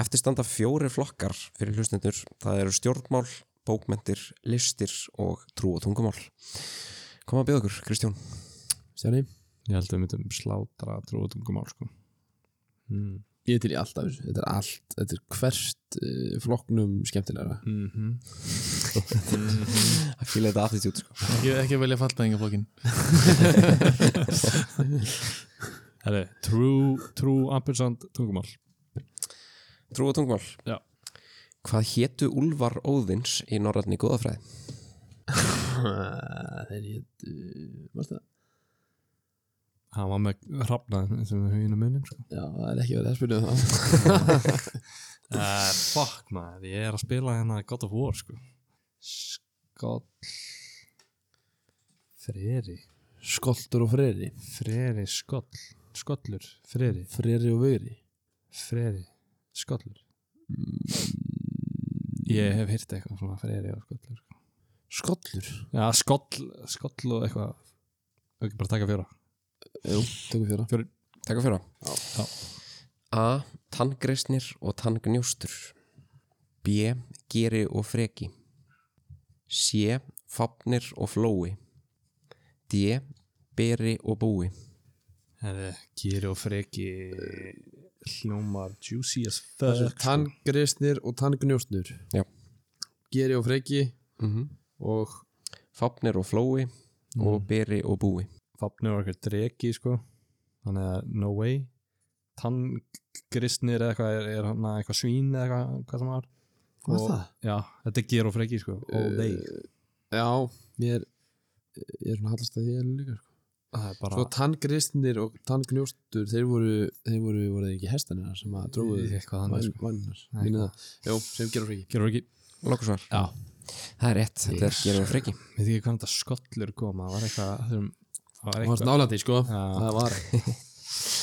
[SPEAKER 1] Eftir standa fjóri flokkar fyrir hlustendur. Það eru stjórnmál, bókmentir, listir og trú og tungumál. Koma að byggja okkur, Kristján.
[SPEAKER 2] Stjáni,
[SPEAKER 3] Ég held að við myndum slátra trúatungumál sko mm.
[SPEAKER 2] ég er til í allt af þessu Þetta er allt, þetta er hvert uh, flokknum skemmtilegra
[SPEAKER 3] mm -hmm.
[SPEAKER 1] Að fíla þetta attitút, sko.
[SPEAKER 5] ekki, ekki að velja fallbæðingaflokkin
[SPEAKER 3] Herri, trú, trú, ampersand, tungumál
[SPEAKER 1] Trú og tungumál.
[SPEAKER 3] Já.
[SPEAKER 1] Hvað hétu Úlfar Óðins í norrætni góðafræði?
[SPEAKER 2] Þeir hétt uh, það?
[SPEAKER 3] Hann var með hrafnaðin sem við höfum munum sko
[SPEAKER 2] Já, það er ekki verið að spyrja um
[SPEAKER 3] *laughs*
[SPEAKER 2] það
[SPEAKER 3] uh, Fuck maður, ég er að spila hérna God of War sko Skoll Freri
[SPEAKER 2] Skoltur og freri
[SPEAKER 3] Freri, skoll Skollur, freri,
[SPEAKER 2] Freri og veri
[SPEAKER 3] freri Skollur
[SPEAKER 2] Mm.
[SPEAKER 3] Ég hef hýrt eitthvað svona freri og skollur sko.
[SPEAKER 2] Skollur
[SPEAKER 3] Já, skoll, skoll og eitthvað Ekki bara taka fjóra
[SPEAKER 2] Jú, tökum fjóra
[SPEAKER 1] Takk fyrir
[SPEAKER 3] Já.
[SPEAKER 1] það. A. Tanngreisnir og tanngnjóstur. B. Geri og freki. C. Fafnir og flói. D. Beri og búi.
[SPEAKER 3] Herri, Giri og freki Hljómar juicy as
[SPEAKER 2] Það
[SPEAKER 3] fuck
[SPEAKER 2] er tanngreisnir og tanngnjóstnur
[SPEAKER 1] Já.
[SPEAKER 2] Geri og freki
[SPEAKER 1] Mm -hmm.
[SPEAKER 2] og
[SPEAKER 1] Fafnir og flói og beri og búi.
[SPEAKER 3] Fafnir var eitthvað dregi sko þannig að no way tanngrisnir eða eitthvað er, er hann eitthvað svín eða eitthvað hvað það var
[SPEAKER 2] Hvað
[SPEAKER 3] Og-
[SPEAKER 2] er það?
[SPEAKER 3] já, þetta er ger og freki sko all day
[SPEAKER 2] Eh, Já, mér ég er svona hallast að því er líka sko.
[SPEAKER 3] það er bara
[SPEAKER 2] Svo tanngristnir og tanngnjóstur þeir voru, þeir voru, voru þeir ekki hestanina sem að dróðu
[SPEAKER 3] eitthvað þannig sko
[SPEAKER 2] vannar Mínu það, jú, sem gerur friki
[SPEAKER 3] ger og freki
[SPEAKER 1] Lókusvar.
[SPEAKER 2] Já,
[SPEAKER 1] Það er rétt, þetta er geri og freki.
[SPEAKER 3] veit ekki hvað þetta skollur koma það var eitthvað það var- það var
[SPEAKER 2] það var
[SPEAKER 3] eitthvað
[SPEAKER 2] snálandi sko
[SPEAKER 3] Já.
[SPEAKER 2] Það var,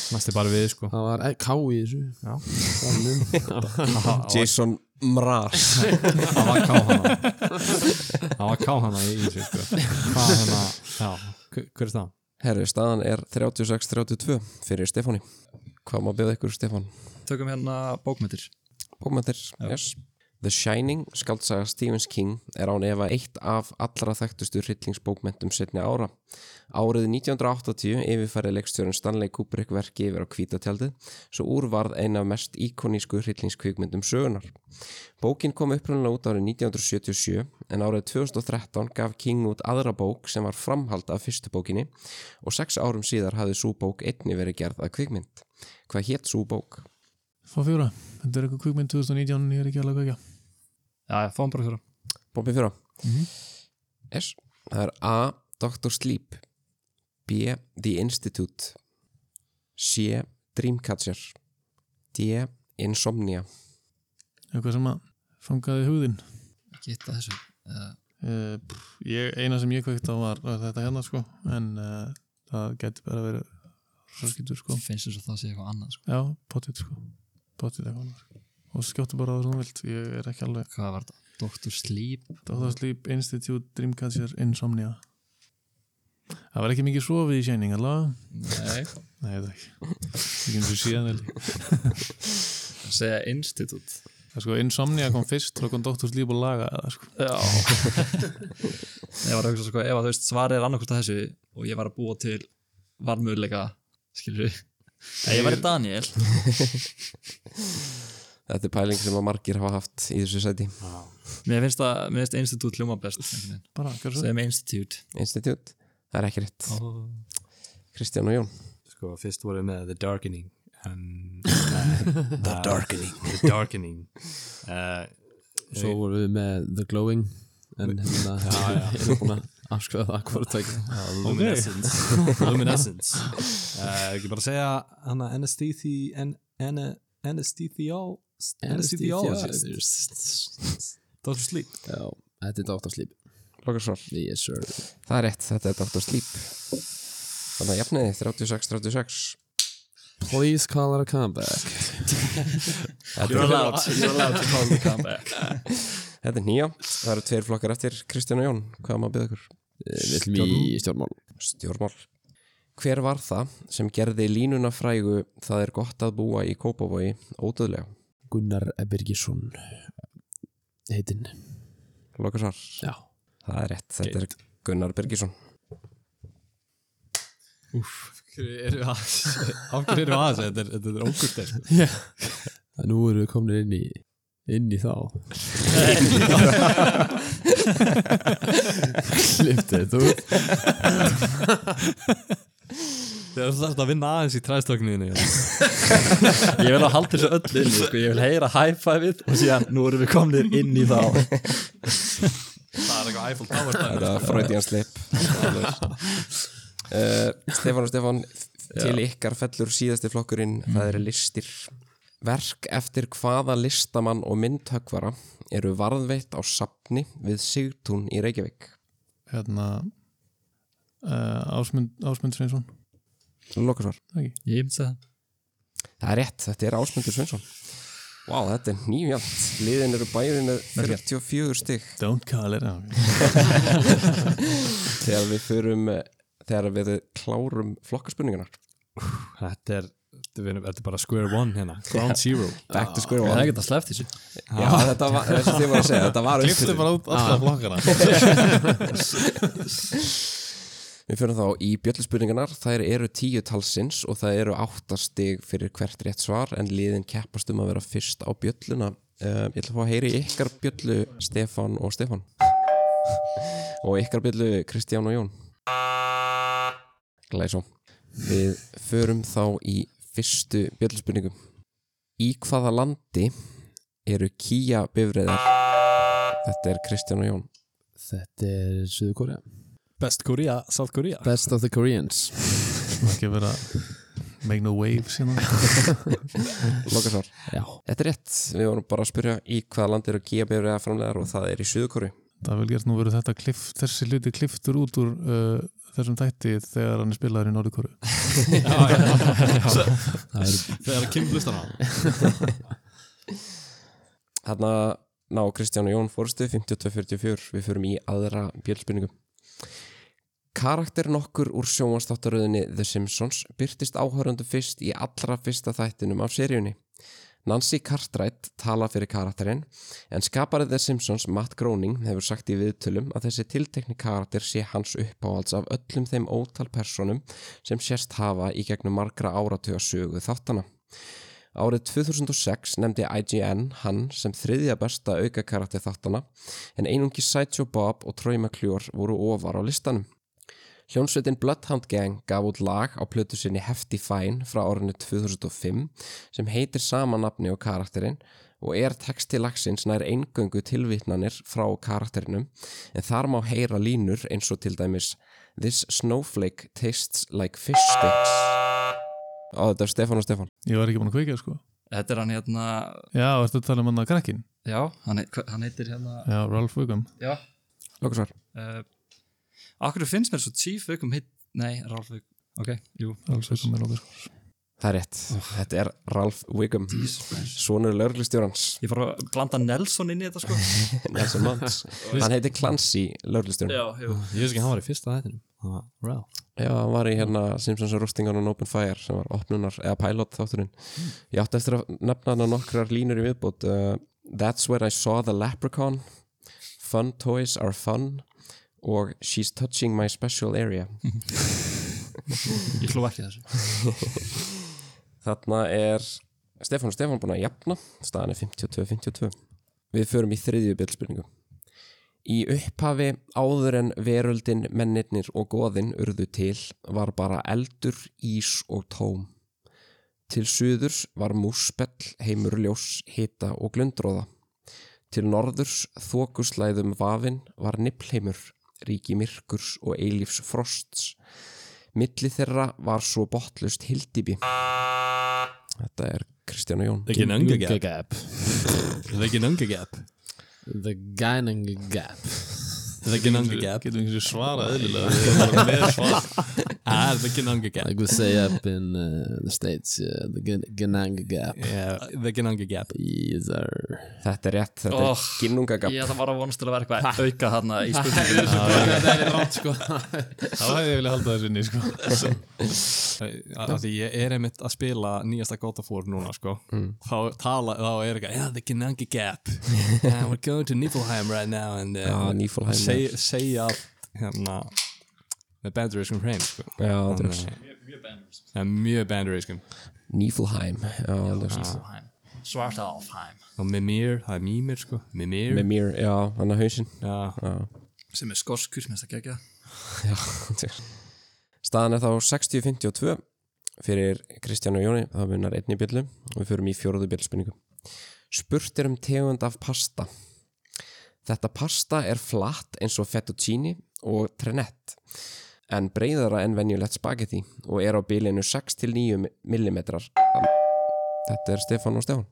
[SPEAKER 3] næstu bara við sko
[SPEAKER 2] það var ká í þessu
[SPEAKER 3] Já. *laughs*
[SPEAKER 2] Þannig.
[SPEAKER 1] Jason Mraz.
[SPEAKER 3] það var ká hana það var ká hana í þessu sko hvað hana já hver hver er það
[SPEAKER 1] Herru, staðan er 36-32 fyrir Stefáni. Hvað má bjóða ykkur, Stefán?
[SPEAKER 4] Tökum hérna bókmyndir.
[SPEAKER 1] Bókmyndir, yes. The Shining, skaldsaga Stephen King, er án efa eitt af allra þekktustu hryllingsbókmentum setni ára. Árið 1980 yfirfærið leikstjórun Stanley Kubrick verki yfir á kvítatjaldið, svo úr varð eina af mest íkonísku hryllingskvikmyndum sögunar. Bókin kom upprunnilega út árið 1977 en árið 2013 gaf King út aðra bók sem var framhald af fyrstu bókinni og sex árum síðar hafði svo bók einni verið gerð að kvikmynd. Hvað hétt svo bók?
[SPEAKER 5] Fá fjóra, þetta er eitthvað kvikmynd 2019 ég er ekki alveg að kveika
[SPEAKER 4] Já, já, fáum bara fjóra
[SPEAKER 1] Bómpi fjóra. Yes. Það er A. Dr. Sleep B. The Institute C. Dreamcatcher D. Insomnia
[SPEAKER 5] eitthvað sem að fangaði hugðin
[SPEAKER 4] Gitta þessu uh,
[SPEAKER 5] uh, pff, ég, eina sem ég kveikt á var var þetta hérna sko en uh, það geti bara verið roskildur sko
[SPEAKER 4] Finnst þess að það sé eitthvað annað sko.
[SPEAKER 5] já, potið sko potið eitthvað annað, sko. og skjóttu bara á það sem þú vilt ég er ekki alveg
[SPEAKER 4] Hvað var þetta? Dr. Sleep
[SPEAKER 5] Dr. Sleep Institute Dreamcatcher Insomnia það var ekki mikið sofið í sjæning allavega
[SPEAKER 4] Nei
[SPEAKER 5] nei, þetta ekki ekki eins og síðan held ég.
[SPEAKER 4] Það segja Institute
[SPEAKER 5] Það er sko, Insomnia kom fyrst og kom Dr. Sleep og lagaði það sko
[SPEAKER 4] *laughs* Já Ég var að hugsa sko ef að þú veist svarið er annarkvort að þessu og ég var að búa til varmöðuleika skilur við Ég var í Daniel
[SPEAKER 1] Þetta er pæling sem að margir hafa haft í þessu sæti
[SPEAKER 4] Mér finnst það, mér finnst Institute hljóma best einhvern veginn.
[SPEAKER 5] bara, gerðu svo
[SPEAKER 4] Segjum Institute
[SPEAKER 1] Institute Það er ekki rétt
[SPEAKER 4] oh.
[SPEAKER 1] Kristján og Jón
[SPEAKER 3] sko, fyrst voru með The Darkening *laughs* en, The Darkening The Darkening uh,
[SPEAKER 2] Svo vorum við með The Glowing En hérna *laughs* Erum búin að afskrifa það hvort *laughs* tækja
[SPEAKER 3] Luminescence *laughs* Luminescence uh, Ekki bara að segja hana anestheti en, en, anesthetiol anesthetiologist Dr. Sleep
[SPEAKER 2] Já, þetta er Dr. Sleep
[SPEAKER 1] Lokarsvar
[SPEAKER 2] Yes sir
[SPEAKER 1] Það er rétt, þetta er Dr. Sleep Þannig að jafniði 36-36
[SPEAKER 2] Please call it a *laughs* comeback
[SPEAKER 4] You're allowed, you're allowed to call the comeback
[SPEAKER 1] Þetta er nýja, það eru tveir flokkar eftir Kristján og Jón, hvað má að byggja ykkur?
[SPEAKER 2] Eh, Við ætlum í stjórnmál
[SPEAKER 1] Stjórnmál Hver var það sem gerði línuna frægu Það er gott að búa í Kópavogi ódöðlega?
[SPEAKER 2] Gunnar Birgisson Heitinn
[SPEAKER 1] Lokarsvar
[SPEAKER 2] Já
[SPEAKER 1] Það er rétt, þetta er Gunnar Birgisson
[SPEAKER 3] Erum við aðeins Af hverju erum við aðeins Þetta er- þetta er ógurtið sko.
[SPEAKER 2] Nú erum við komin inn í inn í þá *laughs* Klippti þetta út
[SPEAKER 3] Þegar þú þarfst að vinna aðeins í træstöknuðinu
[SPEAKER 4] Ég vil að halda þessu öll inn sko. Ég vil heyra high-five-ið og síðan nú erum við komnir inn í þá
[SPEAKER 3] Það er eitthvað Eiffel Tower dæmi.
[SPEAKER 1] Þetta er Freudian slip uh, Stefán og Stefán Til ykkar fellur síðasti flokkurinn Það eru listir Verk eftir hvaða listamann og myndhöggvara eru varðveitt á sapni við Sigtún í Reykjavík
[SPEAKER 5] hérna uh, Ásmund, Ásmund Sveinsson
[SPEAKER 1] Lokarsvar
[SPEAKER 5] ekki
[SPEAKER 4] Ég myndi það
[SPEAKER 1] Það er rétt, þetta er Ásmundur Sveinsson Vá, þetta er nýjant Liðin eru bærin með 44 stygg
[SPEAKER 5] Don't call it out
[SPEAKER 1] þegar við förum eh, þegar við klárum flokkaspunningunar
[SPEAKER 3] Þetta er Þetta er- þetta er bara square one *laughs* hérna Ground zero
[SPEAKER 1] back to square
[SPEAKER 4] Það
[SPEAKER 1] one
[SPEAKER 4] er ekki að sleppt þessu
[SPEAKER 1] já, þetta var, *laughs* þessi þið var að segja, þetta var uppfyllun.
[SPEAKER 5] bara út alltaf flokkana
[SPEAKER 1] við förum þá í bjölluspunningunar þær eru tíu talsins og það eru áttastig fyrir hvert rétt svar en liðin keppast um að vera fyrst á bjölluna um, ég ætla að fá að heyri ykkar bjöllu Stefan og Stefan *laughs* og ykkar bjöllu Kristján og Jón Glæsó Við förum þá í fyrstu bjöllspurningum Í hvaða landi eru kýja bifreiðar? Þetta er Kristján og Jón
[SPEAKER 2] Þetta er Suður Korea
[SPEAKER 3] Best Korea, South Korea
[SPEAKER 2] Best of the Koreans
[SPEAKER 5] ekki vera make no waves hérna
[SPEAKER 1] Lokasvar
[SPEAKER 2] Já
[SPEAKER 1] Þetta er rétt, við vorum bara að spyrja í hvaða landi eru E kýja bifreiðar framlegar og það er í Suðukóri
[SPEAKER 5] það er vel gert nú verið þetta klift, þessi hluti kliftur út úr uh, þessum tætti þegar hann er spilaður í Norðurkóru
[SPEAKER 4] *laughs*
[SPEAKER 3] Þegar Kim hlustar á hann.
[SPEAKER 1] Þarna ná Kristján og Jón fórstu 52-44, við förum í aðra bjöllspurningum Karakter nokkur úr sjónvastáttaröðinni The Simpsons byrtist áhörundu fyrst í allra fyrsta þættinum af seríunni. Nancy Cartwright talar fyrir karakterinn en skaparið The Simpsons Matt Groening hefur sagt í viðtölum að þessi tiltekni karakter sé hans uppáhalds af öllum þeim ótal personum sem sérst hafa í gegnum margra áratuga sögu þáttana. Árið 2006 nefndi IGN hann sem þriðja besta auka karakter þáttana en einungi Sideshow Bob og Troy McClure voru ofar á listanum. Hljónsveitin Bloodhound Gang gaf út lag á plötu sinni Hefty Fine frá árinu 2005 sem heitir sama nafni og karakterinn og er texti lagsins nær eingöngu tilvitnanir frá karakterinum en þar má heyra línur eins og til dæmis This snowflake tastes like fish sticks Ó, þetta er Stefán og Stefán
[SPEAKER 5] Ég var ekki búin að kveika sko
[SPEAKER 4] Þetta er hann hérna,
[SPEAKER 5] Já, ertu að tala um hann að krakkin?
[SPEAKER 4] já, hann, he- hva- hann heitir hérna,
[SPEAKER 5] Já, Ralph Wiggum
[SPEAKER 4] já.
[SPEAKER 1] Lókusvar
[SPEAKER 4] Uh, akkur finnst mér svo Chief Vikum hitt, nei, Ralf Vik, ok, jú.
[SPEAKER 5] Ralph Wiggum er lókið sko
[SPEAKER 1] Það er rétt,
[SPEAKER 4] Oh.
[SPEAKER 1] þetta er Ralph Wiggum Svonur
[SPEAKER 4] *laughs*
[SPEAKER 1] lörglistjórans
[SPEAKER 4] Ég fór að blanda Nelson inn í þetta sko.
[SPEAKER 1] Nelson Mons Hann heitir Clancy lörglistjórn
[SPEAKER 4] *laughs* já, jú.
[SPEAKER 3] Ég veist ekki að hann var í fyrsta þættinum Það var Ralph
[SPEAKER 1] Já, hann var í hérna Simpsons og Rústingan og Open Fire sem var opnunar, eða pilot þátturinn
[SPEAKER 4] Hmm.
[SPEAKER 1] Ég átti eftir að nefna hann á nokkrar línur í viðbútt uh, That's where I saw the leprechaun Fun toys are fun og She's touching my special area
[SPEAKER 4] *laughs* Ég hló ekki að þessu.
[SPEAKER 1] *laughs* Þarna er Stefán og Stefán búin að jafna staðan er 52-52 Við förum í þriðju bjöldspurningu Í upphafi áður en veröldin, mennirnir og goðin urðu til var bara eldur, ís og tóm. Til suðurs var múspell, heimurljós, hita og glundróða. Til norðurs þokuslæðum vafin var nippheimur, ríki myrkurs og eilífs frosts. Milli þeirra var svo botlust hildýbi. Þetta er Kristján og Jón.
[SPEAKER 3] Ekki Nunga Gap
[SPEAKER 2] Gap
[SPEAKER 3] Það er ekki Nunga Gap
[SPEAKER 2] The Gynunga Gap
[SPEAKER 3] Það er ekki Nunga Gap
[SPEAKER 5] Getum við ekki svara eðlilega *laughs* Við erum bara með svar.
[SPEAKER 3] Það er ekki Nunga Gap *laughs*
[SPEAKER 2] Like we say up in uh, the States uh, The Gyn- Gynunga Gap
[SPEAKER 3] Það er ekki Nunga Gap *laughs*
[SPEAKER 2] Yes sir
[SPEAKER 1] Þetta er rétt, þetta
[SPEAKER 4] Oh,
[SPEAKER 1] er ginnungagap.
[SPEAKER 4] Ég það var að vonast til að vera eitthvað auka þarna í spurningu.
[SPEAKER 2] Það er rátt *laughs* sko
[SPEAKER 5] Þá hefði ég vilja halda þessu inni sko *laughs*
[SPEAKER 3] Af Því ég er einmitt að spila nýjasta God of War núna sko þá, tala, þá er eitthvað yeah, the Genangi *laughs* Gap uh, we're going to Niflheim right now and uh,
[SPEAKER 1] Já, Niflheim,
[SPEAKER 3] seg, segja allt hérna með bandurískum hreim sko.
[SPEAKER 1] Já, þetta er
[SPEAKER 3] ja, mjög bandurískum
[SPEAKER 1] Niflheim já, já.
[SPEAKER 4] Svart álfheim.
[SPEAKER 3] og Mimir, það er Mimir sko Mimir,
[SPEAKER 1] með mér, já, hann að hausinn
[SPEAKER 3] já,
[SPEAKER 4] Sem er skoskur, mér finnst það gegja.
[SPEAKER 1] Já, þetta er- staðan er þá 60-52 fyrir Kristján og Jóni það munar einni bjöllu og við förum í fjóruðu bjöllspinningu spurt er um tegund af pasta þetta pasta er flatt eins og fettuccini og trenett en breyðara en venjulegt spagetti og er á bilinu 6-9 mm þetta er Stefán og Stefán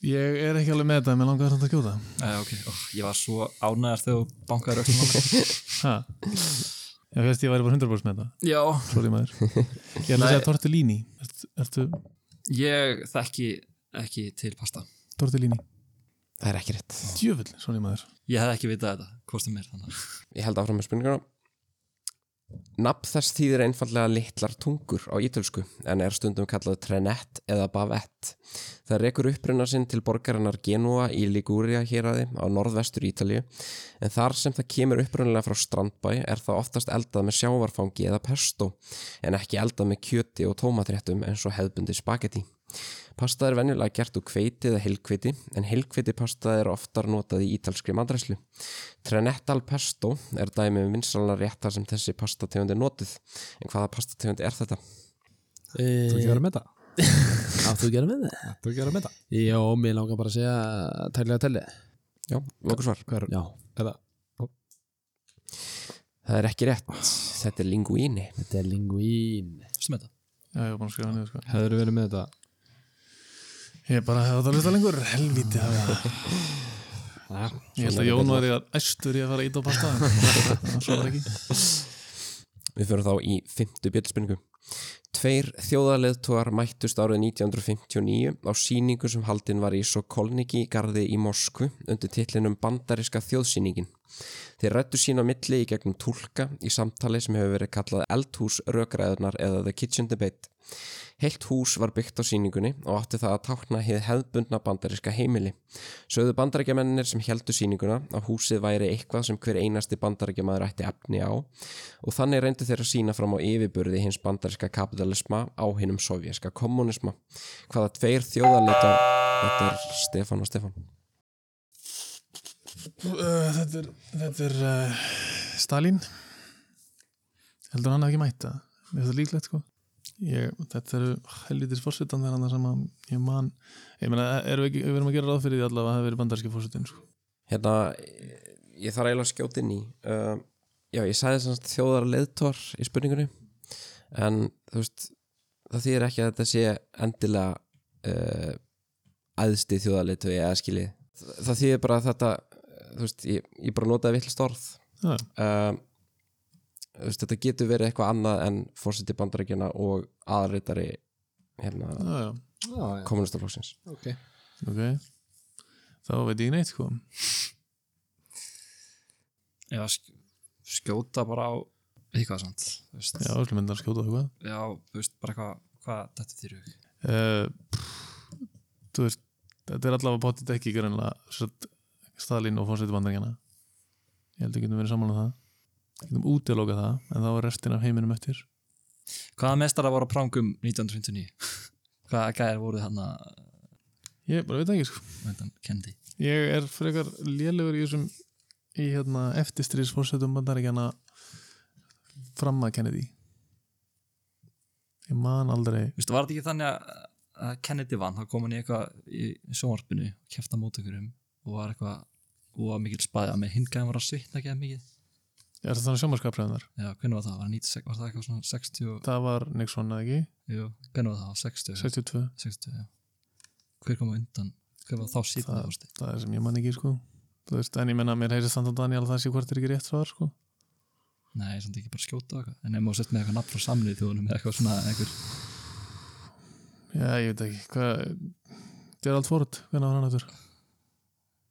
[SPEAKER 5] Ég er ekki alveg með þetta, mér langar þetta að gjóta
[SPEAKER 4] Uh, ok, Ó, ég var svo ánæðar þegar þú bankaði röktum.
[SPEAKER 5] Ha? Já, hérst ég væri bara 100% með þetta
[SPEAKER 4] já,
[SPEAKER 5] Sorry *laughs* maður Ég ætla að segja tortellini Ert, Ertu
[SPEAKER 4] ég þekki ekki til pasta.
[SPEAKER 5] tortellini?
[SPEAKER 1] það er ekki rétt
[SPEAKER 5] Djöfull, sorry maður
[SPEAKER 4] Ég hef ekki vitað þetta, hvort sem er þannig.
[SPEAKER 1] ég held áfram með spurninguna Nafn þess þýðir einfallega litlar tungur á ítölsku en er stundum kallað trenett eða bavett. Það rekur uppruna sinn til borgarinnar Genua í Liguria héraði á norðvestur Ítalíu en þar sem það kemur upprunalega frá strandbæ er það oftast eldað með sjávarfangi eða pesto en ekki eldað með kjöti og tómatréttum eins og hefðbundi spagetti. Pasta er venjulega gert úr hveiti eða heilhveiti en heilhveiti pasta er oftar notað í ítalskri mandræslu. Trenett al pesto er dæmi um vinsalna réttar sem þessi pastategund er notuð en hvaða pastategund er þetta?
[SPEAKER 3] þú ekki verið með það
[SPEAKER 2] Áttu að gera með það?
[SPEAKER 3] þú ekki verið með það
[SPEAKER 2] Já, mér langar bara að segja Tælega telli
[SPEAKER 1] Já, lókusvar.
[SPEAKER 3] Hver,
[SPEAKER 2] Já
[SPEAKER 3] eða,
[SPEAKER 1] Það er ekki rétt. Þetta er linguini.
[SPEAKER 2] Þetta er linguín
[SPEAKER 4] Sem þetta?
[SPEAKER 5] Já, ég var búin að skrifa niður sko
[SPEAKER 3] hefur verið með þetta
[SPEAKER 5] Ég bara hefði þetta að lusta lengur, helvítið hafi það Ég held að Jón var í að æstur í að *laughs* fara að íta á pasta en Svo var ekki
[SPEAKER 1] Við fyrir þá í fymtu bjöldspinningu. Tveir þjóðarleðtúar mættust árið 1959 á síningu sem haldin var í Sokolniki garði í Moskvu undir titlinum Bandariska þjóðsýningin. Þeir rættu sín á milli í gegnum tólka í samtali sem hefur verið kallað eldhús rökræðunar eða The Kitchen Debate. Heilt hús var byggt á síningunni og átti það að tákna hið hefðbundna bandariska heimili. Sögðu bandarækjamennir sem heldu síninguna að húsið væri eitthvað sem hver einasti bandarækjamaður ætti efni á og þannig reyndu þeir að sína fram á yfirburði hins bandariska kapitalisma á hinnum sovjerska kommunisma. Hvaða tveir þjóðarleita... Þetta er Stefán og Stefán.
[SPEAKER 5] Uh, þetta er, þetta er uh, Stalin heldur hann hafi ekki mæta er það líklegt sko ég, þetta eru helvitis fórsetan þegar hann sem að ég man ég meina, erum við, ekki, við erum að gera ráð fyrir því allavega að það hefur verið bandarski fórsetin sko.
[SPEAKER 1] Hérna, ég, ég þarf eiginlega að skjóta inn í uh, Já, ég sagði semst þjóðar leðtvar í spurningunni en þú veist það þýðir ekki að þetta sé endilega uh, æðsti þjóðar leðtvi eða skilji það, það þýðir bara að þetta þú veist, ég, ég bara notaði vittlust orð
[SPEAKER 5] Já.
[SPEAKER 1] uh, þú veist, þetta getur verið eitthvað annað en fórseti bandarækjana og aðritari hérna,
[SPEAKER 5] já, já,
[SPEAKER 3] Ah, Já,
[SPEAKER 1] kommunistaflóksins
[SPEAKER 3] ok
[SPEAKER 5] ok þá veit ég neitt sko
[SPEAKER 4] Já, sk- skjóta bara á eitthvað samt, þú veist
[SPEAKER 5] já, við slum enda að skjóta á eitthvað
[SPEAKER 4] Já, þú veist, bara hvað, hvað þetta þýr hug
[SPEAKER 5] uh, pff, þú veist þetta er allavega potið ekki greinlega satt, Stalin og fórseti bandaríkjana ég held að við getum verið saman um það getum útiloka það en þá er restin af heiminum eftir
[SPEAKER 4] Hvaða mestara voru á prangum 1929? *laughs* Hvaða gæðir voru hann að
[SPEAKER 5] ég bara veit það ekki sko
[SPEAKER 4] væntan kendi?
[SPEAKER 5] Ég er frekar lélugur í þessum í hérna eftirstrís fórsetum bandaríkjana fram að Kennedy Ég man aldrei
[SPEAKER 4] Þú veist, var þetta ekki þannig að- að Kennedy vann, þá kom hann í eitthvað í sjónvarpinu, kefta mótökurum um og var eitthvað, og var mikil spaðið að með hingæðin var að svitna ekki að mikið
[SPEAKER 5] Er það þannig sjómarskapræðunar?
[SPEAKER 4] Já, hvernig var það? Var, 96, var það eitthvað svona 60 og-
[SPEAKER 5] Það var Nixon eða ekki?
[SPEAKER 4] Jú, hvernig var það? 60?
[SPEAKER 5] 62
[SPEAKER 4] 60, já Hver kom á undan? Hver var þá síðan
[SPEAKER 5] Það-
[SPEAKER 4] það fórsti?
[SPEAKER 5] Það er sem ég man ekki sko Þú veist, en ég menna mér heyrðist þannig að Daniel það sé hvort er ekki rétt svar sko
[SPEAKER 4] Nei, samt ekki bara skjóta og eitthvað En ef maður sett með eitthvað nafn frá samlið þjóðunum eða eitthvað svona einhver
[SPEAKER 5] Já, ég veit ekki Hvað Gerald Ford, hvernig var hann aftur?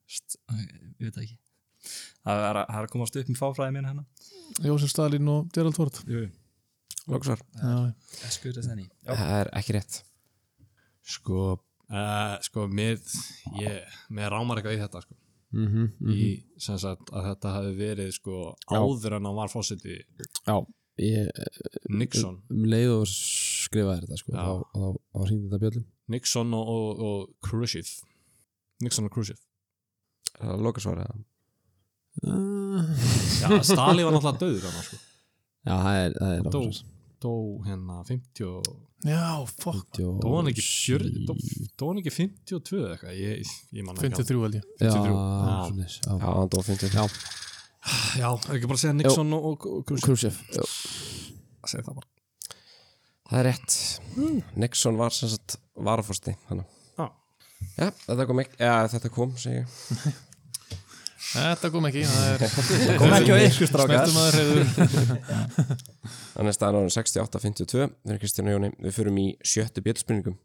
[SPEAKER 4] st- æ, ég veit það ekki Það er, að- það er að komast upp með fáfræði mín hérna
[SPEAKER 5] Jósef Stalin og Gerald Ford
[SPEAKER 4] Jú,
[SPEAKER 1] Lóksar,
[SPEAKER 5] Já,
[SPEAKER 4] skur þess enni
[SPEAKER 1] það er ekki rétt
[SPEAKER 3] sko, uh, sko mér, ég, mér rámar eitthvað í þetta sko.
[SPEAKER 2] Mhm, mhm.
[SPEAKER 3] í sem sagt að þetta hafi verið sko áður en hann var fósiti
[SPEAKER 2] Já, ég
[SPEAKER 3] Nixon,
[SPEAKER 2] um leið og skrifaði þetta sko,
[SPEAKER 3] Já.
[SPEAKER 2] þá, þá, þá hringdi þetta bjöllum
[SPEAKER 3] Nixon og, og, og Khrushchev Nixon og Khrushchev
[SPEAKER 1] Lókasvar eða
[SPEAKER 2] Ah.
[SPEAKER 3] Já, Stalin var náttúrulega döður hann sko.
[SPEAKER 2] Já, það er, það er
[SPEAKER 3] dó,
[SPEAKER 2] lóksins.
[SPEAKER 3] dó hérna 50 og,
[SPEAKER 5] já fuck
[SPEAKER 2] 57.
[SPEAKER 3] dó hann ekki 40 dó, dó hann ekki 52 eða eitthvað ég, ég man ekki
[SPEAKER 5] 53 held ég
[SPEAKER 2] Já,
[SPEAKER 3] 53. Já.
[SPEAKER 2] svoleiðis,
[SPEAKER 1] Já,
[SPEAKER 2] já.
[SPEAKER 1] hann dó 50
[SPEAKER 2] Já.
[SPEAKER 3] Já, ekki bara að segja Nixon og, og, og Khrushchev
[SPEAKER 2] Khrushchev já.
[SPEAKER 3] segja það bara
[SPEAKER 1] Það er rétt Nixon var sem sagt varafórsti Já,
[SPEAKER 3] Hmm. Já.
[SPEAKER 1] þetta kom ekki Já, þetta kom, segi ég
[SPEAKER 5] Þetta kom ekki, það
[SPEAKER 1] *laughs*
[SPEAKER 5] er
[SPEAKER 1] Kom ekki á ykkur
[SPEAKER 5] Snertum að
[SPEAKER 1] Þannig að staðan árið 68-52 Þeir eru Kristján og Jóni Við förum í sjöttu bjöldspurningum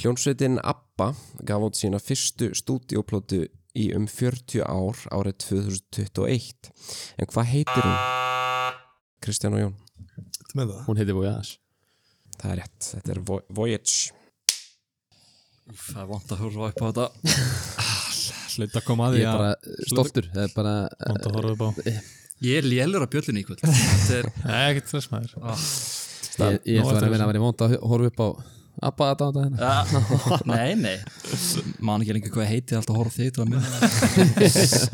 [SPEAKER 1] Hljónsveitin ABBA gaf út sína fyrstu stúdíóplótu í um 40 ár árið 2021 En hvað heitir hún? Kristján og Jón
[SPEAKER 2] Hún heiti Voyage
[SPEAKER 1] Það er rétt, þetta er Vo- Voyage
[SPEAKER 4] Það er vant að horfa upp á þetta
[SPEAKER 3] Hlut að koma að því
[SPEAKER 2] Ég er
[SPEAKER 3] að
[SPEAKER 2] bara stoltur Það er bara
[SPEAKER 5] Vont að horfa upp á
[SPEAKER 4] Ég er lélur að bjöllinu í kvöld Þetta *laughs* er
[SPEAKER 5] Nei, ekkert stress maður
[SPEAKER 2] Ég, ég
[SPEAKER 5] Nú
[SPEAKER 2] ætla að
[SPEAKER 5] ertu
[SPEAKER 2] vera að vera í vond að horfa upp á Abba að dáta hérna
[SPEAKER 4] Ah, Nei, nei Man ekki lengur hvað heiti alltaf horf þig til að minna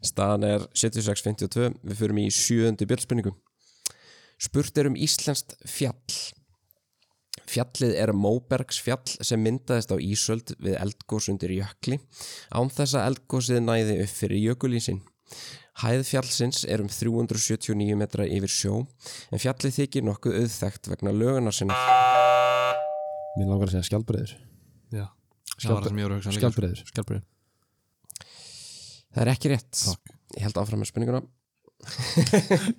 [SPEAKER 1] Staðan er 76.52, við förum í sjöundu bjöldspurningu. Spurt er um Íslenskt fjall. Fjallið er Móbergsfjall sem myndaðist á Ísöld við eldgós undir jökli, án þess að eldgósið næði upp fyrir jökulísin. Hæð fjallsins er um 379 metra yfir sjó, en fjallið þykir nokkuð auðþekkt vegna lögunar sinna.
[SPEAKER 2] Mér langar að segja skjálbreiður
[SPEAKER 3] Já, það var það sem ég voru að hugsa líka, sko.
[SPEAKER 2] Skjálbreiður
[SPEAKER 3] Skjálbreiður
[SPEAKER 1] Það er ekki rétt.
[SPEAKER 3] Takk.
[SPEAKER 1] Ég held áfram með spurninguna.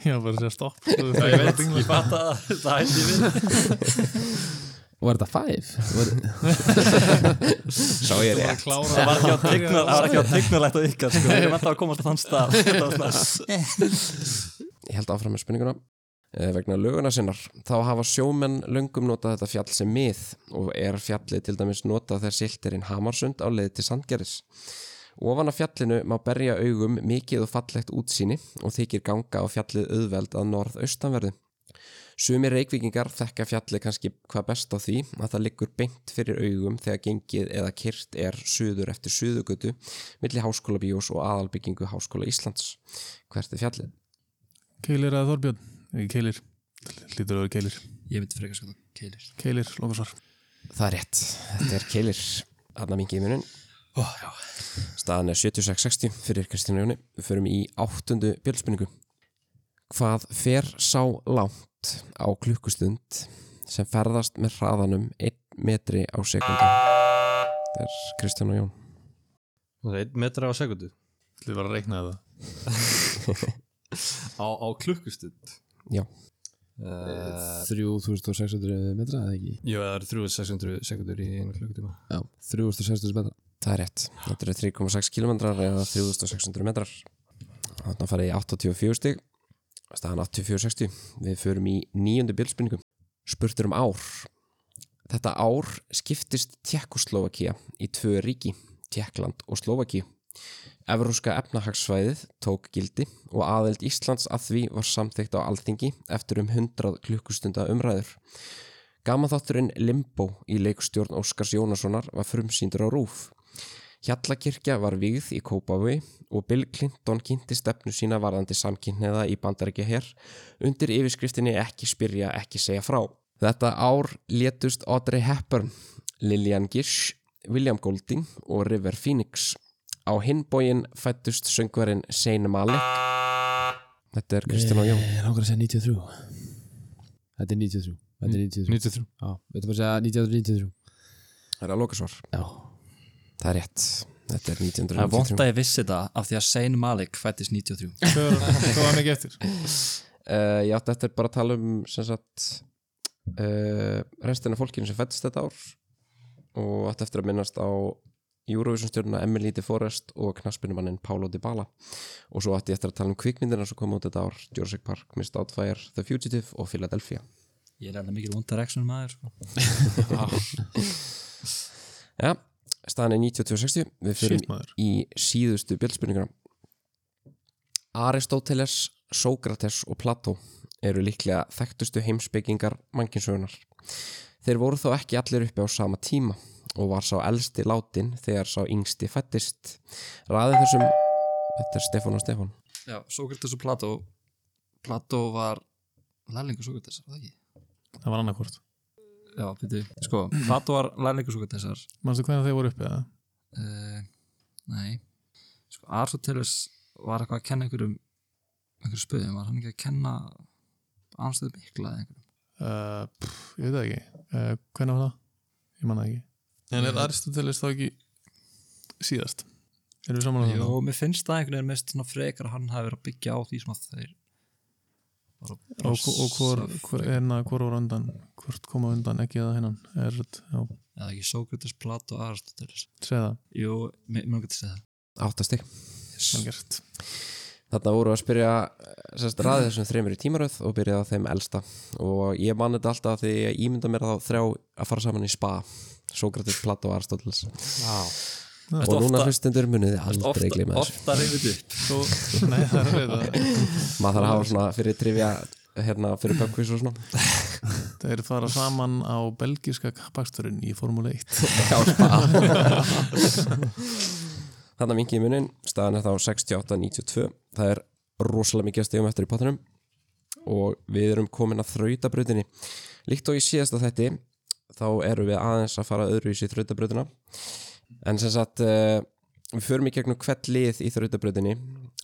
[SPEAKER 5] Já, bara að segja stopp sko,
[SPEAKER 4] Ég
[SPEAKER 5] þegar
[SPEAKER 4] veit,
[SPEAKER 5] dingla.
[SPEAKER 4] ég fatt að það hætti við
[SPEAKER 2] Var þetta five? Var,
[SPEAKER 1] *laughs* Sá ég
[SPEAKER 3] Bara
[SPEAKER 1] rétt
[SPEAKER 3] klára
[SPEAKER 4] Það var ekki á teiknal- það var ekki á tegnulegt á ykkar sko. Við erum alltaf að komast á þann stað Þetta var svona
[SPEAKER 1] Ég held áfram með spurninguna Eh, vegna löguna sinnar, þá hafa sjómenn löngum notað þetta fjall sem mið og er fjallið til dæmis notað þegar silt er inn Hamarsund á leið til Sandgerðis Ofan af fjallinu má berja augum mikið og fallegt útsýni og þykir ganga á fjallið auðveld að norðaustanverðu Sumir reykvíkingar þekka fjallið kannski hvað best á því að það liggur beint fyrir augum þegar gengið eða kyrt er suður eftir suðugötu milli háskóla bíós og aðalbyggingu háskóla Íslands Hvert er fjallið?
[SPEAKER 5] Keilir eða Þorbjörn? Ekki Keilir Lítur að vera Keilir
[SPEAKER 4] Ég myndi frekar sko Keilir
[SPEAKER 5] Keilir, lokasvar
[SPEAKER 1] Það er rétt, þetta er Keilir Anna mingi í munun
[SPEAKER 4] Ó, já
[SPEAKER 1] Staðan er 7660 fyrir Kristínu Jóni Við förum í áttundu bjöldspinningu Hvað fer sá langt á klukkustund sem ferðast með hraðanum 1 metri á sekundu Þetta er Kristján og Jón
[SPEAKER 3] Það er 1 metra á sekundu
[SPEAKER 5] Þið var að reikna það
[SPEAKER 3] *laughs* Á, á klukkustund
[SPEAKER 1] Já.
[SPEAKER 2] Eh,
[SPEAKER 3] uh,
[SPEAKER 2] 3600 metra eða ekki?
[SPEAKER 3] Jú, það eru 3600 sekundur í einu klukkutíma
[SPEAKER 2] Já, 3600 metra
[SPEAKER 1] Það er rétt, þetta eru 3,6 km eða 3600 metrar Þannig að fara í 84 stig staðan 84-60 Við förum í nýjöndu bjöldspinningu Spurtur um ár Þetta ár skiptist Tjekkoslovakia í tvö ríki Tjekkland og Slovakia Evróska efnahagssvæðið tók gildi og aðild Íslands að því var samþykkt á alþingi eftir um 100 klukkustunda umræður Gamaþátturinn Limbo í leikstjórn Óskars Jónassonar var frumsýndur á Rúf Hjallakirkja var vígð í Kópavogi og Bill Clinton kynnti stefnu sína varðandi samkynniða í bandarækja herr undir yfirskriftinni ekki spyrja, ekki segja frá. Þetta ár létust Audrey Hepburn, Lillian Gish, William Golding og River Phoenix. Á hinbógin fættust söngvarinn Sein Malik. Þetta er Kristján og Jón.
[SPEAKER 2] Ég langar að segja 93 Þetta er 93 Þetta er 93
[SPEAKER 3] 93
[SPEAKER 2] Já, við ætlum bara að segja 1993
[SPEAKER 1] Það er að loka svar.
[SPEAKER 2] Já
[SPEAKER 1] Það er rétt. Þetta er
[SPEAKER 4] Það er
[SPEAKER 1] 1993.
[SPEAKER 4] vont að ég vissi þetta af því að Sein Malik fættist 93
[SPEAKER 5] Hvað var hann ekki eftir?
[SPEAKER 1] Uh, ég átti eftir bara að tala um sem sagt uh, restina af fólkinu sem fættist þetta ár og átti eftir að minnast á Eurovision stjórnuna Emily de Forest og knaspinumannin Paulo Dybala og svo átti ég eftir að tala um kvikmyndina sem kom út þetta ár Jurassic Park, Mist Outfire, The Fugitive og Philadelphia
[SPEAKER 4] Ég er enda mikil vondar reksum maður sko.
[SPEAKER 1] Já, staðan er 92.60 Við fyrir
[SPEAKER 5] Shit maður
[SPEAKER 1] í síðustu bjöldspurninguna Aristóteles, Sókrates og Plató eru líklega þekktustu heimsbyggingar mannkinsögunar. Þeir voru þó ekki allir uppi á sama tíma og var sá elsti látin þegar sá yngsti fættist. Ræði þessum Þetta er Stefán og Stefán.
[SPEAKER 4] Já, Sókrates og Plató Plató var lærlingur Sókrates, var það ekki?
[SPEAKER 5] Það var annarkvort
[SPEAKER 4] Já, byrju, sko, Plató var lærlingur Sókratesar
[SPEAKER 5] Manstu hvernig þeir voru uppið það?
[SPEAKER 4] uh, Nei Sko, Aristoteles var eitthvað að kenna einhverjum einhverjum spöðum, var hann ekki að kenna anstöðu mikla eða einhverjum
[SPEAKER 5] Uh, pff, ég veit það ekki uh, Hvernig var það? Ég manna ekki En er Aristoteles þá ekki síðast? Erum við saman á það?
[SPEAKER 4] Jó, mér finnst það einhvern veginn mest svona frekar að hann hafi verið að byggja á því sem að þeir bara,
[SPEAKER 5] Og, hvo- og hvor, hvor, hérna, hvor voru undan? Hvort koma undan ekki eða hennan? Er, já,
[SPEAKER 4] eða ekki Sókrates, Plato og Aristoteles
[SPEAKER 5] segð það,
[SPEAKER 4] Jú, mér mér langar til að segja
[SPEAKER 1] Áttastig.
[SPEAKER 4] það
[SPEAKER 5] vel gert
[SPEAKER 1] Þarna voru að spyrja eh, sérst, ræði þessum þreymur í tímaröð og byrjaði á þeim elsta og ég man þetta alltaf því ég ímynda mér þá þrjá að fara saman í spa Sókrates, Plató og Aristóteles og núna hlustendur muniði aldrei gleyma þessu
[SPEAKER 4] Ofta reyfið upp
[SPEAKER 5] Svo, *laughs* nei, það er við það
[SPEAKER 1] maður þarf að hafa svona fyrir trivja hérna fyrir pubquiz og svona
[SPEAKER 5] Þeir fara saman á belgiska kappaksturinn í Formule 1
[SPEAKER 1] þannig að mingi í munin, staðan er þá 68-92, það er rosalega mikið að stegum eftir í pottinum og við erum komin að þrautabrautinni líkt og í síðasta þætti þá erum við aðeins að fara öðruvísi í þrautabrautina en sem sagt eh, við förum í gegnum hvert lið í þrautabrautinni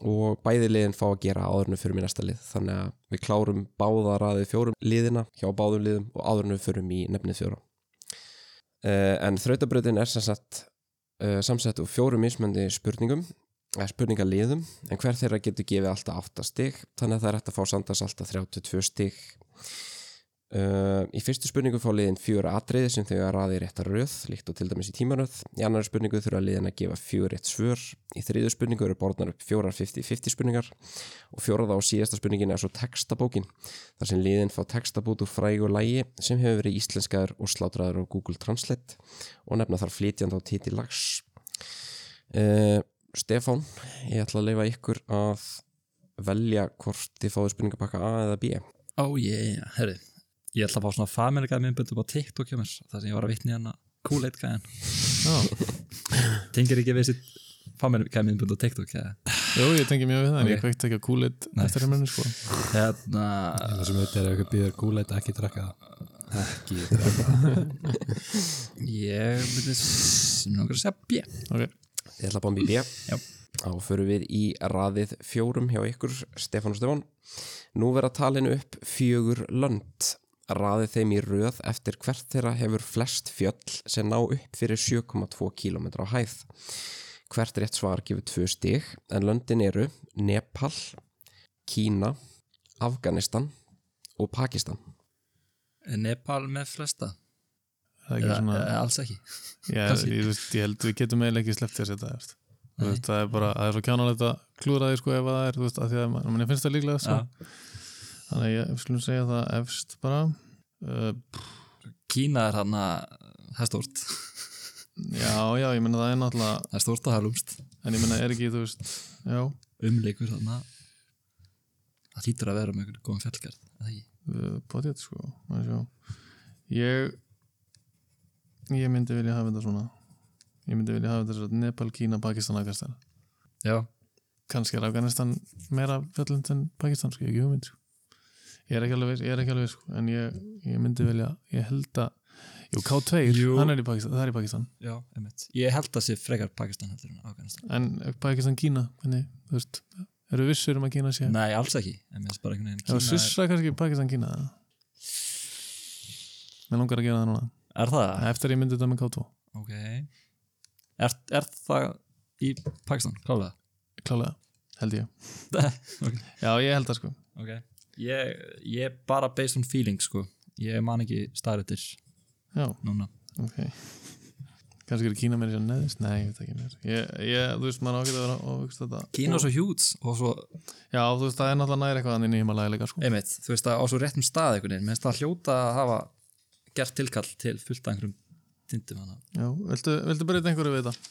[SPEAKER 1] og bæði liðin fá að gera áðurnu fyrir í næsta lið þannig að við klárum báða raðið fjórum liðina hjá báðum liðum og áðurnu fyrir í nefnið fjóra Eh, en þrautabrautin er sem sagt uh, samsett úr fjórum mismöndi spurningum eh, spurningaliðum en hver þeirra getur gefið alltaf 8 stig þannig að það er hægt að fá samtals alltaf 32 stig Uh, í fyrstu spurningu fá liðin fjöra atriði sem þau að raði í réttar röð líkt og til dæmis í tímaröð í annari spurningu þurfa liðin að gefa fjögur rétt svör í þriðu spurningu eru borðnar upp fjórar 50-50 spurningar og fjóraða og síðasta spurningin er svo textabókin þar sem liðin fá textabót úr frægu lægi sem hefur verið íslenskaður og slátraður á Google Translate og nefna þar flytjandi á titi lags uh, Stefán ég ætla að leifa ykkur að velja hvort þið fáðu spurningapakka A eða B
[SPEAKER 4] Ó ég, herri Ég ætla að fá svona familgæð myndböndum á TikTok hjá mér þar sem ég var að vitna í hana Kool-Aid gæðan Tengir ekki við þessi familgæð myndbönd á TikTok ja.
[SPEAKER 5] Jú, ég tengi mjög við það en ég
[SPEAKER 4] Ok.
[SPEAKER 5] kveikt ekki að kúlit
[SPEAKER 4] Nei.
[SPEAKER 5] E eftir heimurinn sko
[SPEAKER 4] Hérna
[SPEAKER 3] Það sem þetta er eitthvað býður gúleit ekki drakka það Ekki
[SPEAKER 4] Ég myndi sem nokkur að segja B
[SPEAKER 5] okay.
[SPEAKER 1] Ég ætla að báum í B
[SPEAKER 4] Já.
[SPEAKER 1] Þá förum við í raðið fjórum hjá ykkur, Stefán og Stefán Nú verða talinu upp fjögur lönd Raðið þeim í röð eftir hvert þeirra hefur flest fjöll sem ná upp fyrir 7,2 km á hæð Hvert rétt svar gefur tvö stig en löndin eru Nepal, Kína, Afganistan og Pakistan
[SPEAKER 4] Er Nepal með flesta?
[SPEAKER 5] Það er ekki
[SPEAKER 4] Eða,
[SPEAKER 5] svona
[SPEAKER 4] eða alls ekki
[SPEAKER 5] Já,
[SPEAKER 4] Kannski.
[SPEAKER 5] ég, veist, ég held við getum eiginlega ekki sleppt þér þetta veist. Þú veist, það er bara, það er svo kjánalegt að klúra því sko ef það er, þú veist, að því að mann, mann finnst það líklega sko. þannig að ég við skulum segja það efst bara uh,
[SPEAKER 4] Kína er hann að það er stórt
[SPEAKER 5] já, já, ég meina það er náttúrulega
[SPEAKER 4] það er stórt að það er lúmst
[SPEAKER 5] en ég meina er ekki, þú veist, já
[SPEAKER 4] umleikur hann að það þýtur að vera með einhvern góðan fjallgarð er það ekki?
[SPEAKER 5] uh, potið sko maður sjá. ég ég myndi vilja hafa þetta svona ég myndi vilja hafa þetta svona Nepal, Kína, Pakistan, Afganistan
[SPEAKER 4] Já,
[SPEAKER 5] kannski er Afganistan meira fjöllund en Pakistan sko, ég hef ekki hugmynd sko. ég er ekki alveg viss, ég er ekki alveg viss sko, en ég, ég myndi vilja, ég held að Jú, K2,
[SPEAKER 4] Jú.
[SPEAKER 5] hann er í Pakistan, það er í Pakistan
[SPEAKER 4] já, einmitt Ég held að sé frekar Pakistan heldur en Afganistan
[SPEAKER 5] en Pakistan, Kína, hvernig, þú veist eru vissur um að Kína sé
[SPEAKER 4] Nei, alls ekki, en mér finnst bara einhvern veginn
[SPEAKER 5] Já,
[SPEAKER 4] Kína
[SPEAKER 5] Svissa kannski Pakistan Kína Mér langar að gera það núna
[SPEAKER 4] er, er það?
[SPEAKER 5] Eftir að ég myndi þetta með K2
[SPEAKER 4] Ok er, er það í Pakistan? Klálega
[SPEAKER 5] Klálega, held ég
[SPEAKER 4] *laughs* Ok.
[SPEAKER 5] Já, ég held það sko
[SPEAKER 4] Ok Ég, ég er bara based on feeling sko Ég man ekki staðrættir
[SPEAKER 5] Já,
[SPEAKER 4] núna
[SPEAKER 5] ok Kannski eru Kína meira sér neðist Nei, ég veit ekki mér ég, ég, Þú veist, maður ágætt að vera óvíkst þetta
[SPEAKER 4] Kína er svo huge og svo
[SPEAKER 5] Já, þú veist, það er náttúrulega næri eitthvað annir nýjum að laga leika sko
[SPEAKER 4] einmitt, þú veist að á svo réttum stað einhvern veginn, minnst það hljóta að hafa gert tilkall til fullt af einhverjum tindum hana,
[SPEAKER 5] Já, viltu, viltu breyta einhverju við þetta?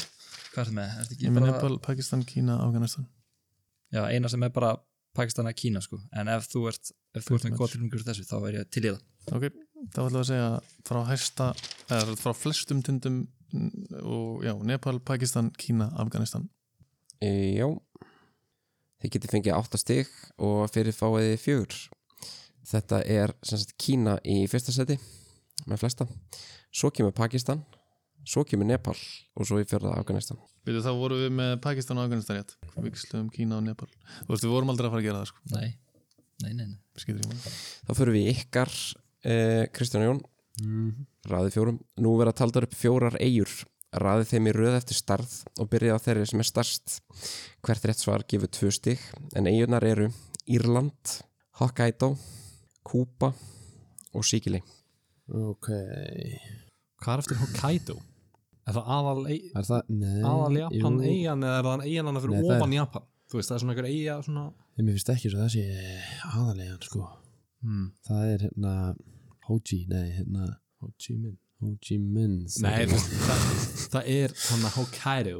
[SPEAKER 4] hvað er það með? Er þetta
[SPEAKER 5] Ég
[SPEAKER 4] ekki
[SPEAKER 5] með
[SPEAKER 4] bara,
[SPEAKER 5] Nepal, Pakistan, Kína, Afganistan
[SPEAKER 4] já, eina sem er bara Pakistan að Kína sko, en ef þú ert ef þú ert með gott tilhengur þessu, þá er ég til í það
[SPEAKER 5] Ok, það var alltaf að segja frá hæsta, eða frá flestum tindum n- og já, Nepal, Pakistan, Kína, Afganistan
[SPEAKER 1] E, já, þið getið fengið 8 stig og fyrir fáiði fjögur. Þetta er sem sagt Kína í fyrsta seti með flesta. Svo kemur Pakistan, svo kemur Nepal og svo í fjörða Afganistan.
[SPEAKER 5] Við þá vorum við með Pakistan og Afganistan rétt Viksluðum Kína og Nepal Þú veist, við vorum aldrei að fara að gera það sko
[SPEAKER 4] nei, nei, nei, nei.
[SPEAKER 5] Skýtur í máli
[SPEAKER 1] Þá fyrir við í ykkar eh, Kristján Jón, raðið fjórum. Nú verða taldar upp fjórar eigur. Raðið þeim í röð eftir starð og byrjið á þeirri sem er starst. Hvert rétt svar gefur tvö stig en eigunar eru Írland, Hokkaido, Kúpa og Sikili.
[SPEAKER 2] Ok
[SPEAKER 3] Hvað er eftir Hokkaido? Er það aðal, ei-
[SPEAKER 2] Er það? Nei
[SPEAKER 3] aðal Japan
[SPEAKER 2] jú.
[SPEAKER 3] eigan eða er það eigan hann
[SPEAKER 2] Nei,
[SPEAKER 3] fyrir
[SPEAKER 2] það er-
[SPEAKER 3] ofan Japan? Þú veist, það er svona einhver eiga svona
[SPEAKER 2] Nei, Mér finnst ekki svo það sé aðalega sko
[SPEAKER 3] hmm.
[SPEAKER 2] Það er hérna Hoji, nei hérna
[SPEAKER 3] Ho Chi Minh
[SPEAKER 2] Hoji Minh
[SPEAKER 3] Nei, þú veist, það, það er hann að Hokkaido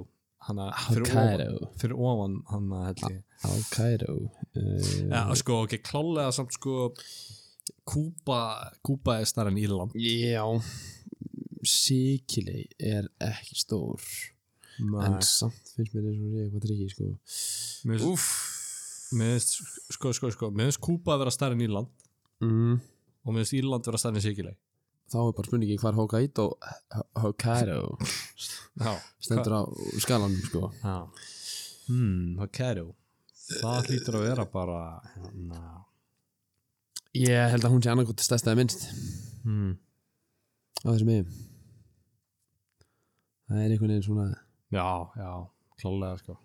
[SPEAKER 3] hann að fyrir ofan
[SPEAKER 2] Hokkaido
[SPEAKER 3] fyrir ofan hann að held ég
[SPEAKER 2] Hokkaido uh,
[SPEAKER 3] Já, sko, ok, klálega samt sko Kúba, Kúba er stærri en Írland
[SPEAKER 2] Já Sikilei er ekki stór en
[SPEAKER 3] en
[SPEAKER 2] samt finnst mér eins og ég eitthvað tryggi sko
[SPEAKER 3] mér finnst- mér finnst, sko, sko, sko mér finnst Kúba að vera stærri en Írland
[SPEAKER 2] mm.
[SPEAKER 3] og mér finnst Írland vera stærri en Sikilei
[SPEAKER 2] þá er bara spurningi hvar Hokkaido Hokkaido
[SPEAKER 3] Já,
[SPEAKER 2] stendur á skalanum sko
[SPEAKER 3] Já Hmm, Hokkaido Það hlýtur að vera bara na,
[SPEAKER 2] ég held að hún sé annarkot stærsta eða minnst
[SPEAKER 3] hmm.
[SPEAKER 2] á þessum eigum það er einhvern veginn svona
[SPEAKER 3] Já, já, klálega sko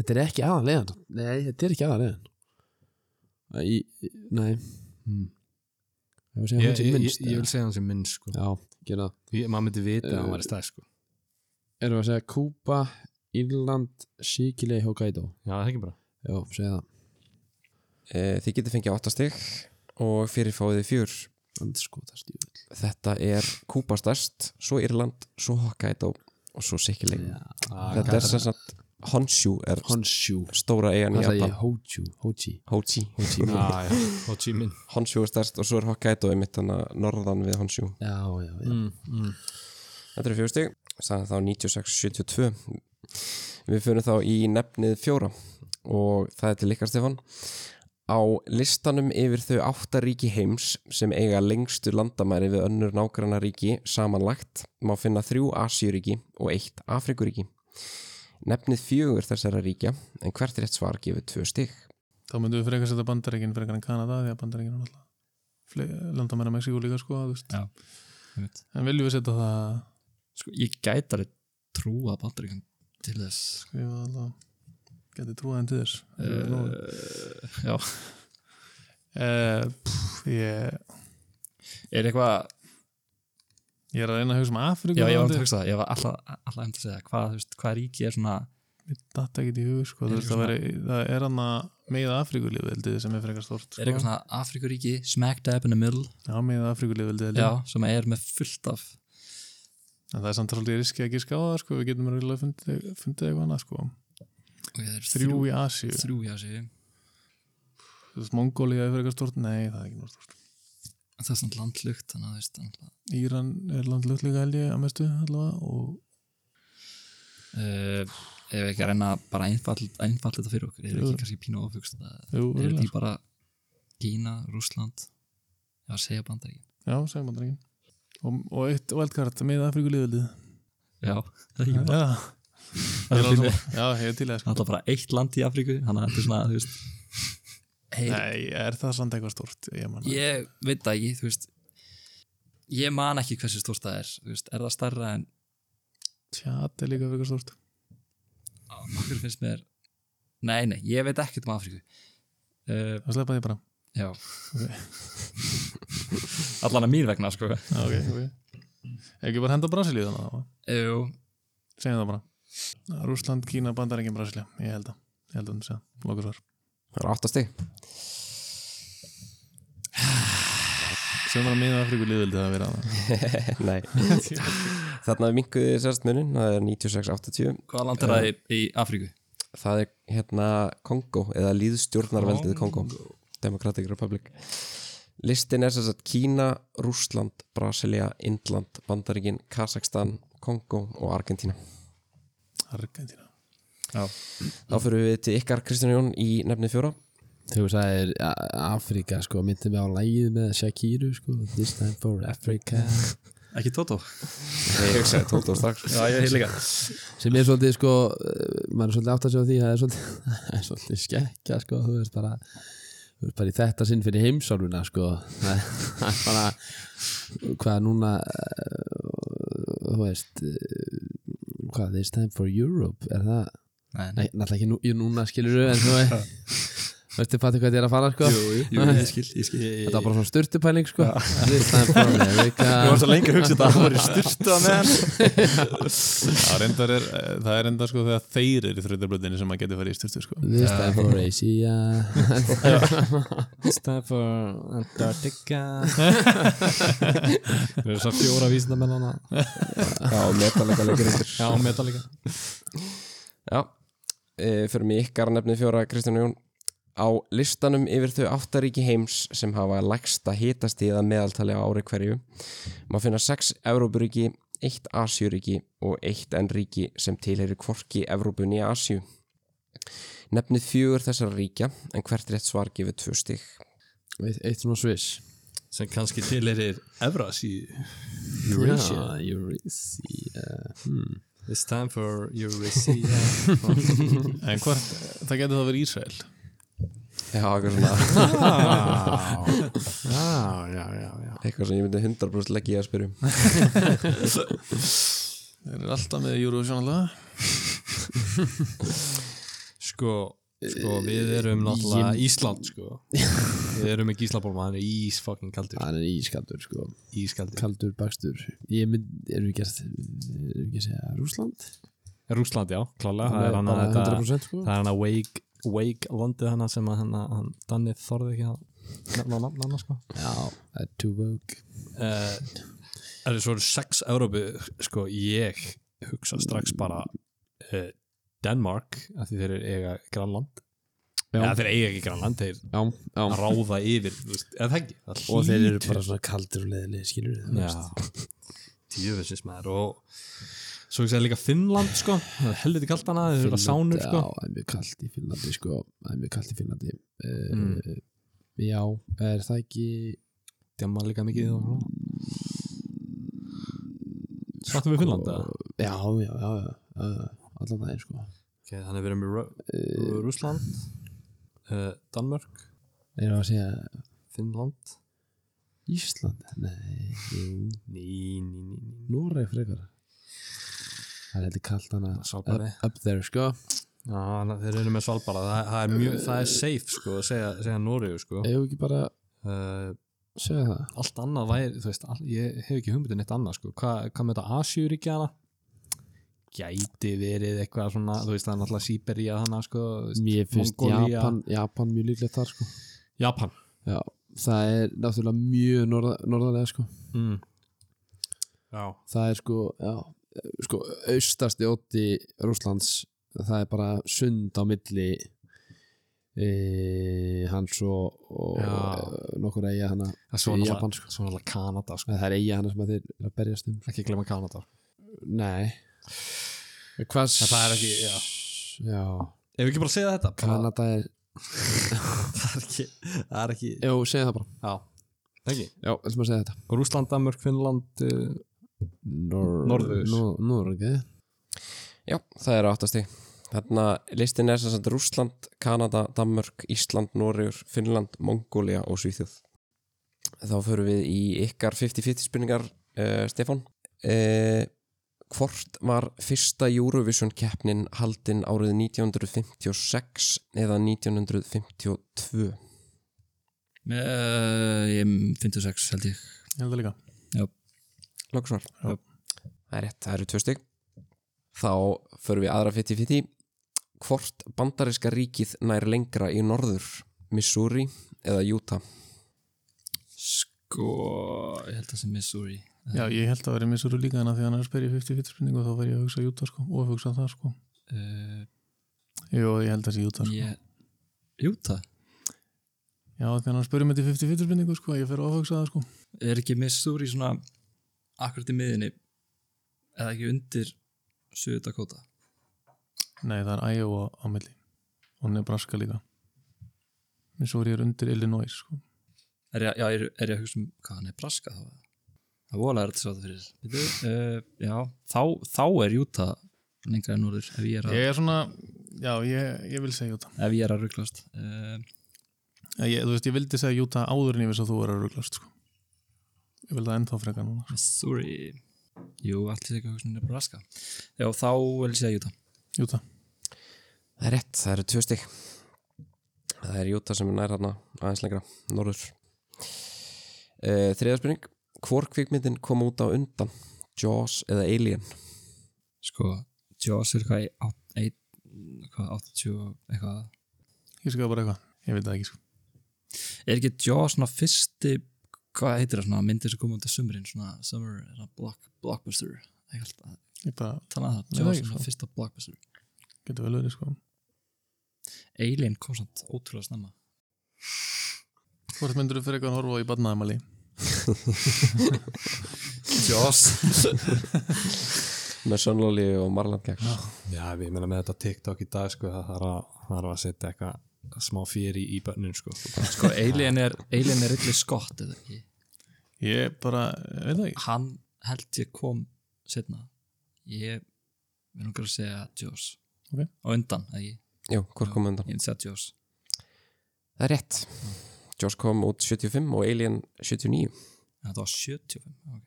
[SPEAKER 2] Þetta er ekki aðalegin Nei, þetta er ekki aðalegin Í, í- nei hmm. Ég vil segja
[SPEAKER 3] ég,
[SPEAKER 2] hann sem
[SPEAKER 3] ég, ég,
[SPEAKER 2] minnst
[SPEAKER 3] ég
[SPEAKER 2] eða?
[SPEAKER 3] vil segja hann sem minnst sko.
[SPEAKER 2] Já, gera það
[SPEAKER 3] ég, maður myndi vita að hann væri stæð sko.
[SPEAKER 2] Erum við að segja Kúba, Írland, Sikilei, Hokkaido
[SPEAKER 3] já, það er ekki bara
[SPEAKER 2] Já, segja það
[SPEAKER 1] Eh, Þið getið fengið 8 stygg og fyrir fáið þið 4
[SPEAKER 2] Andskotast júl
[SPEAKER 1] Þetta er Kúpa stærst, svo Írland, svo Hokkaido og svo Sikilei Þetta er sem sagt Honshu er
[SPEAKER 2] Honshu
[SPEAKER 1] stóra eigan í
[SPEAKER 2] Það er
[SPEAKER 1] Japan
[SPEAKER 2] Hoju, Hoji
[SPEAKER 1] Hochi
[SPEAKER 3] já, já, Ho Chi Minh
[SPEAKER 1] Honshu er stærst og svo er Hokkaido einmitt þannig að norðan við Honshu
[SPEAKER 2] Já, já, já
[SPEAKER 3] mm, mm.
[SPEAKER 1] Þetta er 4 stygg, sagði þá 96-72 Við fyrir þá í nefnið fjóra og það er til ykkar Stefan Á listanum yfir þau átta ríki heims sem eiga lengstu landamæri við önnur nágranna ríki samanlagt má finna þrjú Asjuríki og eitt Afrikuríki. Nefnið fjögur þessara ríkja en hvert rétt svar gefur tvö stygg.
[SPEAKER 5] þá myndum við frekar setja bandaríkin frekar en Kanada því að bandaríkin er náttúrulega landa mér að Mexíku líka sko þú veist.
[SPEAKER 4] Já, einmitt.
[SPEAKER 5] en viljum við setja það
[SPEAKER 4] sko, ég gæti alveg trúa Bandaríkan til þess Eh,
[SPEAKER 5] skrifa það alltaf geti trúið en til þess uh,
[SPEAKER 4] uh, já,
[SPEAKER 5] eh, pff, ég,
[SPEAKER 4] er eitthvað
[SPEAKER 5] ég er að reyna að hugsa um Afríku
[SPEAKER 4] já, ég var að
[SPEAKER 5] landi.
[SPEAKER 4] hugsa það, ég var alltaf, alltaf hefndi að segja hvað, þú veist, hvað ríki er svona
[SPEAKER 5] Mér datt ekki í hug sko,
[SPEAKER 4] Er
[SPEAKER 5] þú veist,
[SPEAKER 4] eitthvað
[SPEAKER 5] það, veri, það er hann að meða Afríkulíðveldið sem er frekar stort
[SPEAKER 4] er eitthvað
[SPEAKER 5] sko.
[SPEAKER 4] svona Afrikuríki, smack dab in the middle
[SPEAKER 5] Já, meða Afríkulíðveldið held ég.
[SPEAKER 4] já, sem er með fullt af
[SPEAKER 5] en það er samt svolítið riski að gíska á það sko. við getum reyla að fundið, fundið eitthvað annað sko.
[SPEAKER 4] ok, það er
[SPEAKER 5] þrjú í Asíu
[SPEAKER 4] þrjú hjá sig
[SPEAKER 5] Þú veist, Mongólia er frekar stort, nei það er ekki nóg stort
[SPEAKER 4] það er svona landlugt þannig að þú veist alltaf,
[SPEAKER 5] Íran er landlögt líka held ég að mestu allavega og
[SPEAKER 4] uh, ef við ekki að reyna bara einfall, einfall þetta fyrir okkur, er
[SPEAKER 5] Jú.
[SPEAKER 4] ekki kannski pínu ofugst er
[SPEAKER 5] jú,
[SPEAKER 4] þetta
[SPEAKER 5] örugglega,
[SPEAKER 4] ekki bara Kína, Rússland ég var að segja Bandaríkin
[SPEAKER 5] sko. já, segjum bandar ekki og, og eitt wildcard með Afrikulíðveldið
[SPEAKER 4] já, *laughs* það er
[SPEAKER 5] já,
[SPEAKER 4] ekki bara
[SPEAKER 5] það
[SPEAKER 4] Það er
[SPEAKER 5] er alveg
[SPEAKER 4] fínu.
[SPEAKER 5] sama. já, ég er til það sko.
[SPEAKER 4] alltaf bara eitt land í Afríku þannig að þetta er svona, þú veist heil,
[SPEAKER 5] nei, er það samt eitthvað stort ég man það.
[SPEAKER 4] ég veit það ekki, þú veist ég man ekki hversu stórt það er þú veist, er það starra en
[SPEAKER 5] Tjad er líka frekar stort
[SPEAKER 4] okkur finnst mér nei, nei, ég veit ekkert um Afríku uh,
[SPEAKER 5] það sleppa því bara
[SPEAKER 4] já allan að mín vegna, sko
[SPEAKER 5] Já, ok, ok ekki bara henda Brasilíu þannig að
[SPEAKER 4] Jú,
[SPEAKER 5] segjum það bara Rússland, Kína, Bandaríkinn, Brasilíu ég held að, ég held að það sé að lokur svar
[SPEAKER 1] Það er átta stygg.
[SPEAKER 5] segjum bara miða Afríku liðvildi að vera það
[SPEAKER 1] Nei. Þarna við minguðið sérst munin, það er 96-80.
[SPEAKER 4] hvaða land er það í, í Afríku?
[SPEAKER 1] Það er hérna Kongo eða líðstjórnarveldið Kongo. Democratic Republic. Listin er sérst Kína, Rússland, Brasilia, Indland, Bandaríkin, Kazakstan, Kongo og Argentína.
[SPEAKER 5] Argentina
[SPEAKER 4] Já.
[SPEAKER 1] Þá fyrir við til ykkar Kristján Jón í nefnið fjóra.
[SPEAKER 2] Þegar þú sagðir A- Afrika sko, myndi mig á lægið með Shakiru sko, This time for Africa
[SPEAKER 4] Ekki Tótó?
[SPEAKER 1] Ég hugsaði Tótó strax.
[SPEAKER 4] Já, ég hef líka
[SPEAKER 2] sem er svolítið sko eh, maður er svolítið átt að sjá því það er svolítið, *laughs* það er svolítið skekja sko þú veist bara þú veist bara í þetta sinn fyrir heimsálfuna sko *laughs* það er- það er bara hvað núna eh, þú veist eh, hvað this time for Europe er það
[SPEAKER 4] Nei,
[SPEAKER 2] nei náttúrulega ekki nú, jú, núna skilur en þú veist
[SPEAKER 3] *laughs*
[SPEAKER 2] veistu fattu hvað þetta er að fara sko
[SPEAKER 4] jú, jú, ég skil, ég skil
[SPEAKER 2] þetta var bara svona styrtupæling sko this time for America
[SPEAKER 4] svo lengi að hugsa þetta að það var í styrtu að meðan
[SPEAKER 5] *laughs* það, reyndar er, það er reyndar sko þegar þeir eru í þrautabröðinni sem maður getur farið í styrtu sko
[SPEAKER 2] this time for Asia
[SPEAKER 3] It's time for
[SPEAKER 2] *laughs*
[SPEAKER 3] Antarctica Við erum svo fjóra vísindamenn hana
[SPEAKER 1] Já, metalega leikur ykkur.
[SPEAKER 3] Já, meta líka
[SPEAKER 1] Já, e, fyrir mig ykkar nefnið fjóra Kristján Jón á listanum yfir þau áttaríki heims sem hafa lægsta hitastíða meðaltali á ári hverju má finna sex Evrópuríki, eitt Asjuríki og eitt ennríki sem tilheyri hvorki Evrópunni í Asju Nefnið fjögur þessara ríkja en hvert rétt svar gefur tvö stig
[SPEAKER 2] eitt eitt svona Swiss
[SPEAKER 3] Sem kannski til er Evrasí
[SPEAKER 2] Eurasia Eurasia hmm.
[SPEAKER 3] It's time for Sko, Eurasia *laughs*
[SPEAKER 5] en hvort, það getur það verið Ísrael
[SPEAKER 1] Já, eitthvað svona,
[SPEAKER 3] *laughs* Já, já, já, já
[SPEAKER 1] eitthvað sem ég myndi 100% leggja í að um. spyrjum
[SPEAKER 5] þeir eru alltaf með Eurovision alltaf
[SPEAKER 3] sko, sko við erum náttúrulega Ísland sko *laughs* við erum ekki Íslabólma, hann er ís fucking kaldur
[SPEAKER 2] hann er ískaldur sko
[SPEAKER 3] ískaldur,
[SPEAKER 2] kaldur bakstur ég mynd, erum við gert erum við ekki að segja Rúsland
[SPEAKER 3] Rúsland já, klálega það er hann að þetta
[SPEAKER 2] 100% sko
[SPEAKER 3] það er hann að Wake, Wake landið hann sem að hann, hann Danni þorði ekki að nefna nafn hann sko
[SPEAKER 2] já, það er too woke
[SPEAKER 3] uh, er það svona sex Európu sko ég hugsa strax bara uh, Danmark af því þeir eru eiga Grænland
[SPEAKER 2] Já.
[SPEAKER 3] eða þeir eiga ekki Grænland, þeir
[SPEAKER 2] já, já
[SPEAKER 3] *laughs* ráða yfir þú veist, eða það ekki, það
[SPEAKER 2] og þeir eru
[SPEAKER 3] hlýtur-
[SPEAKER 2] bara svona kaldur og leðilegir skilur við
[SPEAKER 3] Já, djöfisins maður og svo ekki segja líka Finnland sko, það er helviti kalt hana þeir eru að sánur sko
[SPEAKER 2] já, það er mjög kalt í Finnlandi sko það er mjög kalt í Finnlandi uh,
[SPEAKER 3] Mm.
[SPEAKER 2] já, er það ekki
[SPEAKER 3] djamma líka mikið sko. og Svartum við Finnland eða?
[SPEAKER 2] sko- já, já, já, já, já, já allan það er sko
[SPEAKER 3] Ok, þannig við erum í Rú- Rússland uh, Danmörk,
[SPEAKER 2] er það að segja
[SPEAKER 3] Finnland
[SPEAKER 2] Ísland nei, jú,
[SPEAKER 3] Ný, ný, ný, ný
[SPEAKER 2] Noreg frekar það er heldur kalt hana
[SPEAKER 3] Svalbarði.
[SPEAKER 2] up, up there sko
[SPEAKER 3] Já, þannig að þeir eru með Svalbara það, það, er, mjög, það er safe sko að segja, segja Nóriðu sko
[SPEAKER 2] Ef ekki bara
[SPEAKER 3] uh,
[SPEAKER 2] segja það
[SPEAKER 3] Allt annað væri, þú veist all, ég hef ekki hugmyndin eitt annað sko Hva, hvað með þetta Asjúríkjana gæti verið eitthvað svona þú veist það er náttúrulega Sýbería hana sko þú veist,
[SPEAKER 2] Mér finnst
[SPEAKER 3] Mongólía.
[SPEAKER 2] Japan, Japan mjög líklegt þar sko
[SPEAKER 3] Japan
[SPEAKER 2] Já, það er náttúrulega mjög norða, norðarlega sko
[SPEAKER 3] mm. Já,
[SPEAKER 2] Það er sko, já, sko austasti ótti Rússlands það er bara sund á milli e, hans og, og
[SPEAKER 3] Já.
[SPEAKER 2] e, nokkur eiga hana
[SPEAKER 3] það er svona sko.
[SPEAKER 2] Í Japan,
[SPEAKER 3] náttúrulega- svona náttúrulega Kanada sko
[SPEAKER 2] það er eiga hana sem að þeir eru að berjast um sko.
[SPEAKER 3] ekki glemma Kanada
[SPEAKER 2] Nei Hvað
[SPEAKER 3] En það er ekki- já.
[SPEAKER 2] Já,
[SPEAKER 3] Ef við ekki bara segja þetta bara-
[SPEAKER 2] Kanada er
[SPEAKER 3] *laughs* það er ekki, það er ekki
[SPEAKER 2] Jó, segja það bara
[SPEAKER 3] Já, ekki
[SPEAKER 2] Já, ætlum að segja þetta
[SPEAKER 3] Rúsland, Danmörk, Finnland uh,
[SPEAKER 2] Nor
[SPEAKER 3] Norður.
[SPEAKER 2] Nor- Norge
[SPEAKER 1] Já, það eru áttasti. Þarna listin er sem sagt Rússland, Kanada, Danmörk, Ísland, Noregur, Finnland, Mongólia og Svíþjóð. Þá förum við í ykkar 50-50 spurningar, uh, Stefán. Uh, hvort var fyrsta Eurovision keppnin haldin árið 1956 eða 1952?
[SPEAKER 4] Eh, ég 56 held ég
[SPEAKER 5] Ég held það líka
[SPEAKER 1] Lóksvar
[SPEAKER 5] Já.
[SPEAKER 1] Það er rétt, það eru tvö stygg Þá förum við aðra 50-50 Hvort bandariska ríkið nær lengra í norður Missouri eða Utah
[SPEAKER 4] sko, ég held það sem Missouri
[SPEAKER 5] Já, ég held að verið Missouri líka en að því hann er að spyrja í 50-50 spurningu þá verið ég að hugsa Júta sko og hugsa það sko
[SPEAKER 4] uh,
[SPEAKER 5] Jú, ég held að sé Júta sko
[SPEAKER 4] ég Júta,
[SPEAKER 5] Já, því hann um er að spyrja mig til 50-50 spurningu sko ég fer að hugsa það sko
[SPEAKER 4] er ekki Missouri svona akkurat í miðinni eða ekki undir Suðu Dakota
[SPEAKER 5] Nei, það er Iowa á milli og Nebraska líka Missouri er undir Illinois sko
[SPEAKER 4] er ég, já, er, er ég að hugsa um hvað hann er braska þá það vola er þetta svo það fyrir Bíddu, uh, já, þá, þá er Júta lengra en norður ef ég er að,
[SPEAKER 5] Ég er svona, já, ég, ég vil segja Júta
[SPEAKER 4] ef ég er að rugglast uh,
[SPEAKER 5] ég, Þú veist, ég vildi segja Júta áður en ég viss að þú er að rugglast sko Ég vil það ennþá freka núna
[SPEAKER 4] Missouri jú, allir ekki að hugsa um Nebraska já, þá vil ég segja Júta
[SPEAKER 5] Júta,
[SPEAKER 1] Það er rétt, það eru tvö stygg Það er Utah sem er nær hana aðeins lengra, norður uh, Þriða spurning Hvor kvikmyndin kom út á undan Jaws eða Alien
[SPEAKER 4] sko, Jaws er hvað í átt- eitt- hvað, 80 og eitthvað
[SPEAKER 5] ég skal bara eitthvað Ég veit það ekki sko
[SPEAKER 4] er ekki Jaws svona fyrsti hvað heitir það svona myndir sem kom út á sumrin svona summer svona block, blockbuster ég held að
[SPEAKER 5] Ég bara,
[SPEAKER 4] tala um það
[SPEAKER 5] Nei,
[SPEAKER 4] Jaws
[SPEAKER 5] ekki
[SPEAKER 4] er svona
[SPEAKER 5] svo.
[SPEAKER 4] fyrsta blockbuster
[SPEAKER 5] getur vel verið sko
[SPEAKER 4] Alien kom svona ótrúlega snemma
[SPEAKER 5] Hvort myndur þú fyrir eitthvað að horfa á í badnaðamæli?
[SPEAKER 4] Jaws
[SPEAKER 1] með Sönlóli og Marlan Gax
[SPEAKER 3] Já, við meina með þetta TikTok í dag sko, það þarf að, þarf að setja eitthvað smá fyrir í bönnin sko.
[SPEAKER 4] sko Alien er *laughs* Alien er yllir skott eða ekki
[SPEAKER 5] Ég bara, ég veit það ekki
[SPEAKER 4] hann held ég kom setna ég vil nú að segja Jaws
[SPEAKER 5] Ok.
[SPEAKER 4] á undan eða ekki
[SPEAKER 1] Jú, hvort kom á undan?
[SPEAKER 4] ég vil segja Jaws
[SPEAKER 1] Það er rétt Jaws kom út 75 og Alien 79
[SPEAKER 4] þetta var 75 ok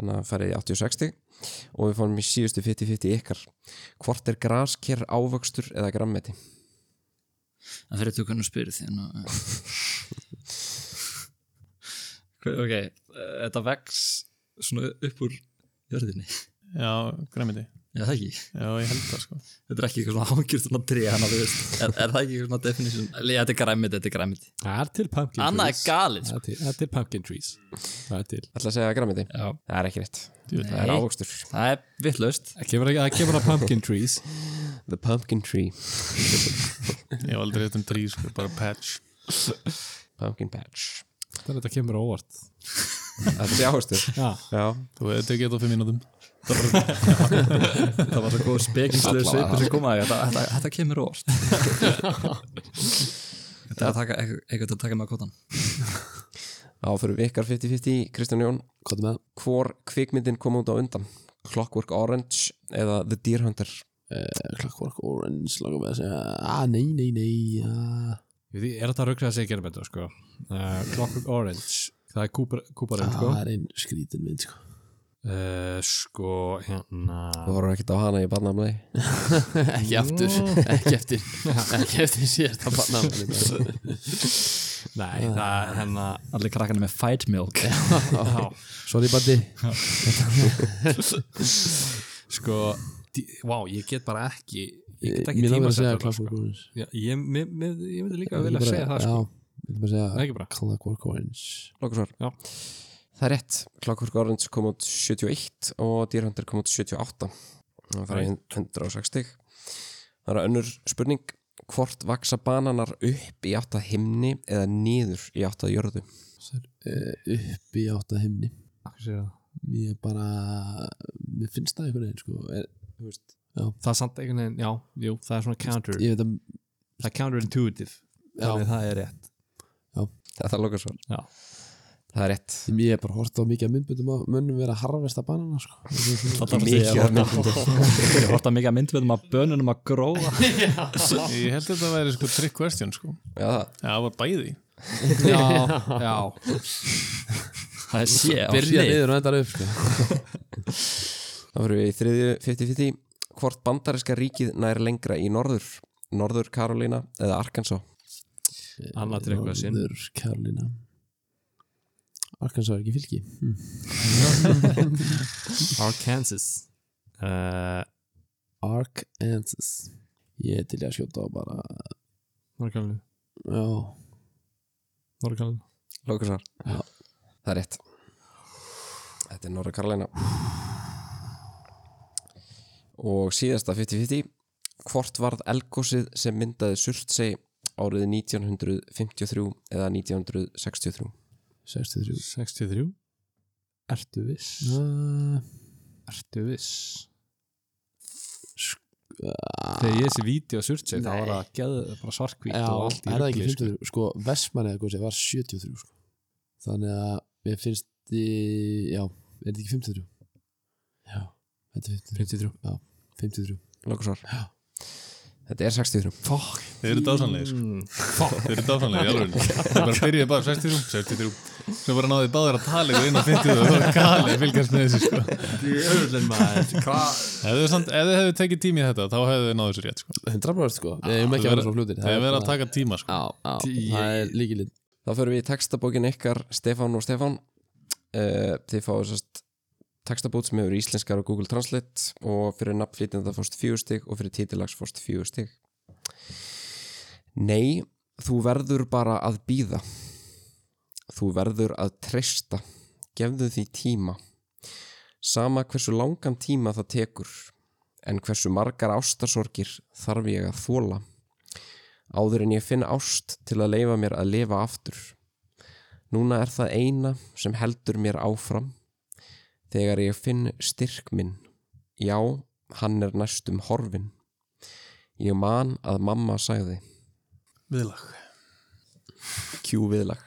[SPEAKER 1] þannig að farið í 80-60 og við fórum í síðustu 50-50 ykkar hvort er grasker ávöxtur eða grammeti
[SPEAKER 4] en fyrir tökunum spyrir því en að ok, eh, þetta vex svona upp úr jörðinni
[SPEAKER 5] já, græmiti
[SPEAKER 4] Já, það ekki.
[SPEAKER 5] já, ég held það sko
[SPEAKER 4] Þetta er ekki eitthvað svona hangir svona tré hann að þú veist. Er, er það ekki eitthvað svona definition? Já, þetta er græmið, þetta er græmið.
[SPEAKER 3] Það er til pumpkin
[SPEAKER 4] Annað er
[SPEAKER 3] trees
[SPEAKER 4] galið.
[SPEAKER 3] Það
[SPEAKER 4] sko.
[SPEAKER 3] er til, það er til pumpkin trees Það er til
[SPEAKER 1] ætla að segja græmiti
[SPEAKER 4] Já.
[SPEAKER 1] það er ekki rétt,
[SPEAKER 5] Djöfull.
[SPEAKER 1] það er
[SPEAKER 4] Nei.
[SPEAKER 1] ávokstur
[SPEAKER 4] Það er vittlaust.
[SPEAKER 3] Það kemur, það kemur að pumpkin trees
[SPEAKER 1] The pumpkin tree,
[SPEAKER 5] ég hef aldrei hitt um trý sko, bara patch
[SPEAKER 1] pumpkin patch
[SPEAKER 3] Það er þetta kemur á óvart
[SPEAKER 1] Þetta sé ávokstur
[SPEAKER 3] Já,
[SPEAKER 1] Já,
[SPEAKER 5] þú hefði tekið þetta á fimm mínútum
[SPEAKER 4] Það var svo góð spekingslu svipur sem komaði. Þetta, þetta, þetta kemur orð. þetta er að taka, eitthvað að taka með kvotan.
[SPEAKER 1] þá fyrir við ykkar 50-50 Kristján Jón,
[SPEAKER 2] Hvað er með það?
[SPEAKER 1] hvor kvikmyndin kom út á undan? Clockwork Orange eða The Deer Hunter
[SPEAKER 2] Clockwork Eh, Orange langar með að segja ah, nei, nei, nei ah.
[SPEAKER 3] Ég veit ekki, er þetta rögglega að segja gera betur sko uh, Clockwork Orange Það er Cooper, Cooper Orange sko
[SPEAKER 2] það er einn skrítin mynd sko.
[SPEAKER 3] uh, Sko, hérna
[SPEAKER 1] Þú horfum ekkert á hana í barnamlegi
[SPEAKER 2] *laughs* ekki aftur, ekki
[SPEAKER 3] *laughs*
[SPEAKER 2] eftir ekki eftir sko. síðast að banna
[SPEAKER 3] Nei, það
[SPEAKER 2] Ah.
[SPEAKER 3] er hérna
[SPEAKER 4] Allir krakkarnir með fight milk.
[SPEAKER 2] sorry Bandi
[SPEAKER 3] Sko, dí, wow, ég get bara ekki Ég get ekki
[SPEAKER 2] Eh, mér langar
[SPEAKER 3] tímasett
[SPEAKER 2] að segja
[SPEAKER 3] þetta,
[SPEAKER 2] Clockwork Orange
[SPEAKER 3] sko. Já, Ég mér- mér- ég myndi líka
[SPEAKER 2] Ég
[SPEAKER 3] að vilja
[SPEAKER 2] bara-
[SPEAKER 3] segja það sko
[SPEAKER 2] já, ég vil bara
[SPEAKER 3] Það er
[SPEAKER 2] segja
[SPEAKER 3] ekki bara
[SPEAKER 2] Clockwork Orange
[SPEAKER 1] Lókusvar
[SPEAKER 3] Já.
[SPEAKER 1] Það er rétt, Clockwork Orange kom út 71 og Deer Hunter kom út 78 Það fara í 106 stig Það er önnur spurning Hvort vaksa bananar upp í átt að himni eða niður í átt að jörðu? *laughs*
[SPEAKER 2] uh, upp í átta himni
[SPEAKER 3] Hvað segir það?
[SPEAKER 2] ég bara, mér finnst það einhvern veginn sko. er,
[SPEAKER 3] Það er samt einhvern veginn, já, jú, það er svona counter
[SPEAKER 2] ég veit að
[SPEAKER 3] Það er counterintuitive
[SPEAKER 2] já,
[SPEAKER 3] Þannig það er rétt
[SPEAKER 1] Þetta er lókusvar
[SPEAKER 3] Já.
[SPEAKER 1] Það er rétt
[SPEAKER 2] ég er bara hort á mikið að myndbundum að mönnum vera að harfesta banana sko.
[SPEAKER 4] Það er
[SPEAKER 1] Mikið af
[SPEAKER 4] að segja. *laughs* Horta mikið að myndveðum að bönunum að gróða.
[SPEAKER 5] ég held þetta væri sko trick question sko
[SPEAKER 1] Já, það
[SPEAKER 5] já, það var bæði
[SPEAKER 3] Já, *laughs* já
[SPEAKER 4] Það er sé á
[SPEAKER 2] byrja
[SPEAKER 4] hlið.
[SPEAKER 2] niður og endar upp sko.
[SPEAKER 1] Það fyrir við í þriðju 50-50 Hvort bandaríska ríkið nær lengra í norður? Norður Karolína eða Arkansas?
[SPEAKER 3] Annað til eitthvað sinn.
[SPEAKER 2] Norður Karolína Arkansas er ekki fylki hm.
[SPEAKER 3] Arkansas
[SPEAKER 2] Eh,
[SPEAKER 3] uh,
[SPEAKER 2] Arkansas ég er til í að skjóta á bara
[SPEAKER 3] Norrkalinu
[SPEAKER 2] já,
[SPEAKER 3] Norrkalinu
[SPEAKER 1] Lókusvar
[SPEAKER 2] Já.
[SPEAKER 1] Það er rétt Þetta er Norra Karolina Og síðasta 50-50 Hvort varð elgósið sem myndaði Surtsey árið 1953 eða 1963
[SPEAKER 2] 63
[SPEAKER 3] 63 Ertu viss?
[SPEAKER 2] uh,
[SPEAKER 3] Ertu viss? Þegar ég sé vídeo að surtsið þá var það geð, bara svarkvít
[SPEAKER 2] Ah. já,
[SPEAKER 3] og
[SPEAKER 2] er
[SPEAKER 3] allt í
[SPEAKER 2] það ekki
[SPEAKER 3] rugli, sko.
[SPEAKER 2] 53 sko, Vestmann eða góðsig var 73 sko. þannig að mér finnst í, já, er þetta ekki 53 já, þetta er 53
[SPEAKER 3] 53
[SPEAKER 2] já, 53
[SPEAKER 1] Lókusvar Þetta er 63
[SPEAKER 3] Fuck
[SPEAKER 5] þeir eru dásanlegir sko.
[SPEAKER 4] Hmm.
[SPEAKER 3] mm.
[SPEAKER 5] þeir eru dásanlegir,
[SPEAKER 4] *laughs*
[SPEAKER 5] alveg þeir bara byrjuði bara 63, 63 svo bara náðu báðir að tala ykkur inn á 50 og það var galið að fylgjast með þessu sko
[SPEAKER 3] Jörlinn maður Hvað?
[SPEAKER 5] ef þið samt- ef þið hefðu tekið tími í þetta þá hefðu þið náðu þessu rétt sko
[SPEAKER 2] 100% sko, við hefum ekki
[SPEAKER 5] þú
[SPEAKER 2] að vera
[SPEAKER 5] verður-
[SPEAKER 2] svo fljótir
[SPEAKER 5] þeir verða að taka tíma sko
[SPEAKER 2] Já, já, það er líkilinn
[SPEAKER 1] Þá förum við í textabókin ykkar Stefán og Stefán uh, Þið fáið sérst textabót sem hefur íslenskar á Google Translate og fyrir nafnflýtinda fórst fjögur stig og fyrir titilags fórst fjögur stig Nei, þú verður bara að býða Þú verður að treysta Gefðu því tíma Sama hversu langan tíma það tekur en hversu margar ástasorgir þarf ég að þóla áður en ég finn ást til að leifa mér að lifa aftur. Núna er það eina sem heldur mér áfram þegar ég finn styrk minn. Já, hann er næstum horfin. Ég man að mamma sagði
[SPEAKER 5] viðlag
[SPEAKER 1] kjúviðlag.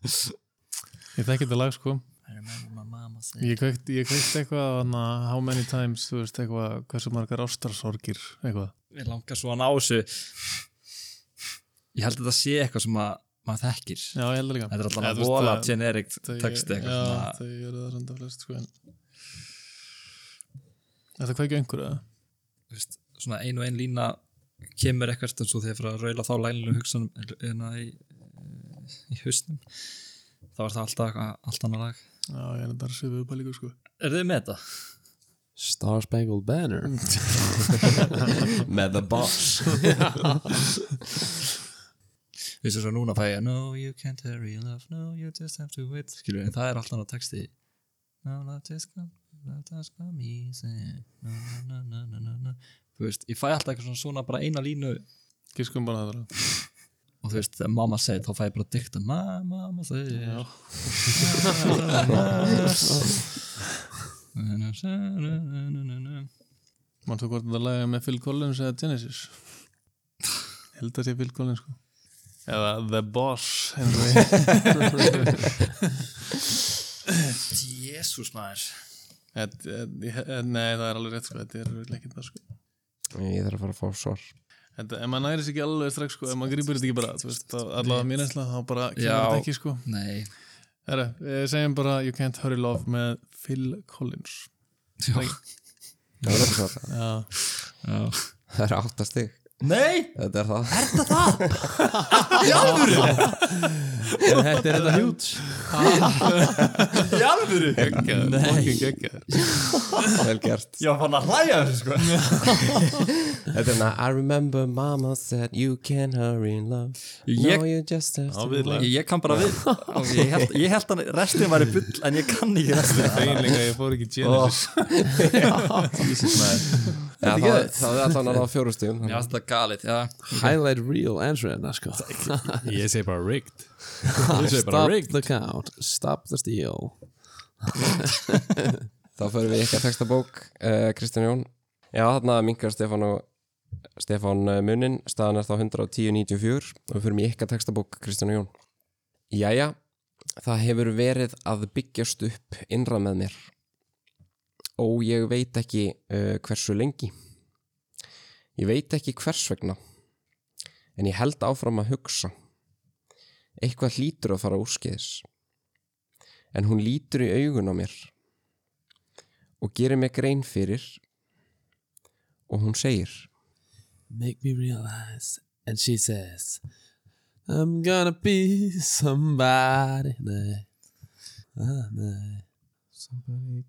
[SPEAKER 5] ég þekki þetta lag sko
[SPEAKER 4] I remember my mama said-
[SPEAKER 5] ég kveikt, ég kveikt eitthvað hana, how many times, þú veist eitthvað hversu margar ástarsorgir eitthvað
[SPEAKER 4] Við langar svo að ná þessu Ég held að þetta sé eitthvað sem að maður þekkir
[SPEAKER 5] já, ég heldur líka
[SPEAKER 4] Þetta er alltaf
[SPEAKER 5] Eða,
[SPEAKER 4] að
[SPEAKER 5] þú veist,
[SPEAKER 4] vola
[SPEAKER 5] það-
[SPEAKER 4] generic
[SPEAKER 5] það-
[SPEAKER 4] texti eitthvað
[SPEAKER 5] já,
[SPEAKER 4] svona
[SPEAKER 5] þau eru það samt að flest sko en Þetta kveikja einhverju eða?
[SPEAKER 4] þú veist, Svona ein og ein lína kemur ekkert eins og þegar fyrir að raula þá lænilegu hugsanum en í, í hausnum þá er það alltaf eitthvað- allt annað lag
[SPEAKER 5] Já, ég er bara svipið upp að líka sko
[SPEAKER 4] Er þið með þetta?
[SPEAKER 2] Star Spangled Banner
[SPEAKER 3] Mm,
[SPEAKER 1] Með the boss
[SPEAKER 4] Við sem svo núna fæ ég No you can't hurry love, no you just have to wait Skilur, en það er alltaf annað texti No love just come, love just come easy No, no, no, no, no, no, no Þú veist, ég fæ alltaf eitthvað svona, svona bara eina línu
[SPEAKER 5] Gískum bara það bara.
[SPEAKER 4] og þú veist, þegar mamma segir, þá fæ ég bara dikta mamma, mamma segir
[SPEAKER 5] Já.
[SPEAKER 4] Ég
[SPEAKER 5] Manstu hvort þetta laga með Phil Collins eða Genesis Ég held að sé Phil Collins sko Eða The Boss eins *laughs* og ég-
[SPEAKER 4] Jésús maður
[SPEAKER 5] Þetta- þetta- ég- eh, Nei, það er alveg rétt sko Þetta er örugglega ekki það sko
[SPEAKER 1] Ég þarf að fara að fá svar
[SPEAKER 5] Þetta, ef maður næris ekki alveg strax sko Ef maður grýpur þetta ekki bara þú veist, þá- Allavega mér einsla, þá bara kemur
[SPEAKER 4] Já.
[SPEAKER 5] þetta ekki sko
[SPEAKER 4] Nei,
[SPEAKER 5] Herra, eh, segjum bara You Can't Hurry Love með Phil Collins
[SPEAKER 4] Já.
[SPEAKER 1] Það er eitthvað svar.
[SPEAKER 5] Já,
[SPEAKER 4] Já.
[SPEAKER 1] Það er áttastig
[SPEAKER 4] Nei,
[SPEAKER 1] Þetta er það *laughs*
[SPEAKER 2] Er þetta er þetta hjút?
[SPEAKER 4] í alvöru
[SPEAKER 5] Nei
[SPEAKER 1] Vel gert
[SPEAKER 4] Ég var fann að hlæja þessu sko
[SPEAKER 1] Þetta er hérna I remember mama said you can hurry in love
[SPEAKER 4] Ég-
[SPEAKER 1] No you just have
[SPEAKER 5] Já,
[SPEAKER 1] to
[SPEAKER 5] við
[SPEAKER 4] Ég, ég kann bara *laughs* við Ég held, ég held að restin væri bull en ég kann ekki restin
[SPEAKER 5] Þeginlega ég fór ekki
[SPEAKER 3] *laughs*
[SPEAKER 5] Genesis
[SPEAKER 1] Já, það, það, er alltaf náða fjórustíum
[SPEAKER 4] Mér finnst þetta galið, já
[SPEAKER 2] Highlight real answer hérna sko
[SPEAKER 3] Ég segi bara rigged Ég segi bara
[SPEAKER 2] Stop
[SPEAKER 3] rigged
[SPEAKER 2] the count Stop the steal
[SPEAKER 1] Þá förum við í ykkar textabók uh, Kristján Jón Já, þarna minkar Stefán og Stefán eh, munin, staðan er þá 110.94 og við förum í ykkar textabók Kristján og Jón Jæja, það hefur verið að byggjast upp innra með mér og ég veit ekki uh, hversu lengi Ég veit ekki hvers vegna en ég held áfram að hugsa Eitthvað hlýtur að fara úrskeiðis en hún lítur í augun á mér og gerir mig grein fyrir og hún segir
[SPEAKER 2] Make me realize And she says I'm gonna be somebody Nei ah, Nei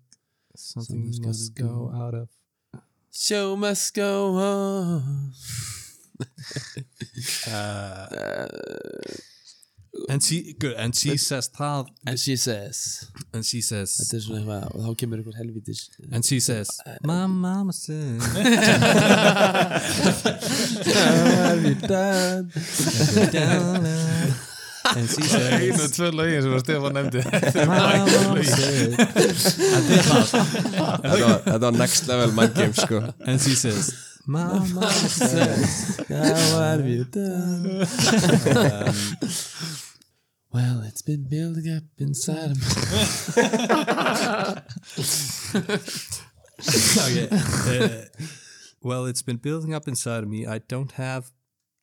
[SPEAKER 2] Something's gonna go
[SPEAKER 3] out of
[SPEAKER 2] Show must go on
[SPEAKER 3] And she, good, and she says það
[SPEAKER 2] And she says
[SPEAKER 3] And she says
[SPEAKER 2] Þetta er svona eitthvað Og þá kemur einhver helvítis
[SPEAKER 3] And she says My mama says
[SPEAKER 2] *laughs* Dad
[SPEAKER 3] And she says
[SPEAKER 5] Einu, tvö lögin sem að Stefán nefndi
[SPEAKER 2] *laughs*
[SPEAKER 3] Mama says
[SPEAKER 1] þetta var, þetta var next level mind game sko
[SPEAKER 3] And she says Mama
[SPEAKER 2] says, How have you done? well, it's been building up inside of me.
[SPEAKER 3] okay. uh, Well, it's been building up inside of me I don't have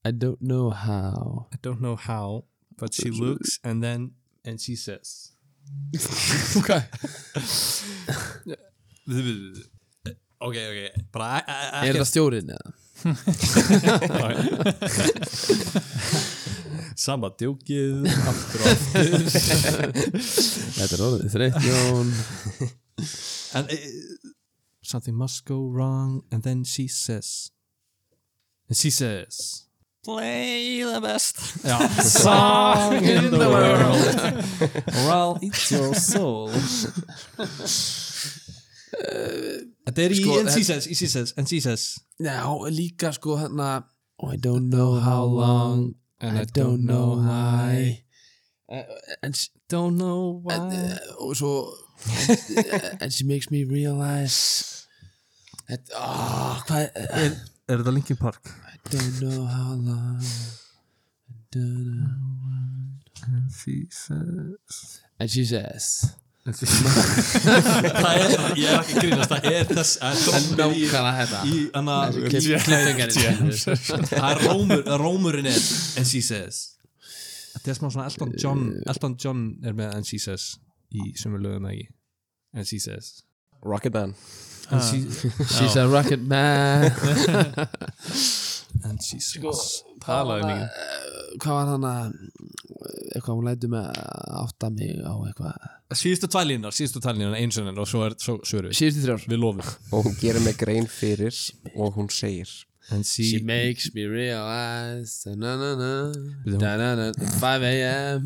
[SPEAKER 2] I don't know how.
[SPEAKER 3] I don't know how, but she looks and then and she says.
[SPEAKER 2] Okay.
[SPEAKER 3] okay, okay, but I, I, I
[SPEAKER 2] Er það stjórinn eða?
[SPEAKER 3] *laughs* sama djókið aftur og aftur
[SPEAKER 2] Þetta er orðið þreytt, Jón.
[SPEAKER 3] and uh, something must go wrong and then she says and she says
[SPEAKER 4] Play the best
[SPEAKER 3] yeah, *laughs* song in the world *laughs* or I'll eat your soul þetta er í
[SPEAKER 2] Sko,
[SPEAKER 3] and she says, she says and she says
[SPEAKER 2] Já, líka sko hérna I don't know how long and I don't know why Uh, and she,
[SPEAKER 3] don't know why
[SPEAKER 2] uh, og svo *laughs* eh, and, and she makes me realize that, oh, hvað er
[SPEAKER 3] er þetta Linkin Park?
[SPEAKER 2] Don't know how long don't know.
[SPEAKER 3] she says
[SPEAKER 2] And she says
[SPEAKER 3] það er, ég er ekki að grínast það er þess *laughs* að dómur í
[SPEAKER 2] Nákvæmlega þetta
[SPEAKER 3] í hana *laughs* það er rómur, það er rómurinn er and she says þetta er smá svona Elton John Elton John er með and she says í sömu lögum eða ekki and she says
[SPEAKER 1] Rocket Man
[SPEAKER 3] and she, *laughs*
[SPEAKER 2] She's a rocket man
[SPEAKER 3] and Jesus
[SPEAKER 2] Sko,
[SPEAKER 5] talaði mikið
[SPEAKER 2] eh, Hvað var hann að eitthvað hún lætur með að átta mig á eitthvað
[SPEAKER 3] síðustu tvælínar, síðustu tvælínar einsunin og svo er, svo svöru við
[SPEAKER 2] Síðustu þrjár
[SPEAKER 3] við lofum
[SPEAKER 1] og hún gerir mig grein fyrir og hún segir
[SPEAKER 3] and
[SPEAKER 2] She
[SPEAKER 3] she,
[SPEAKER 2] makes me realize da na na na da na na 5 a.m.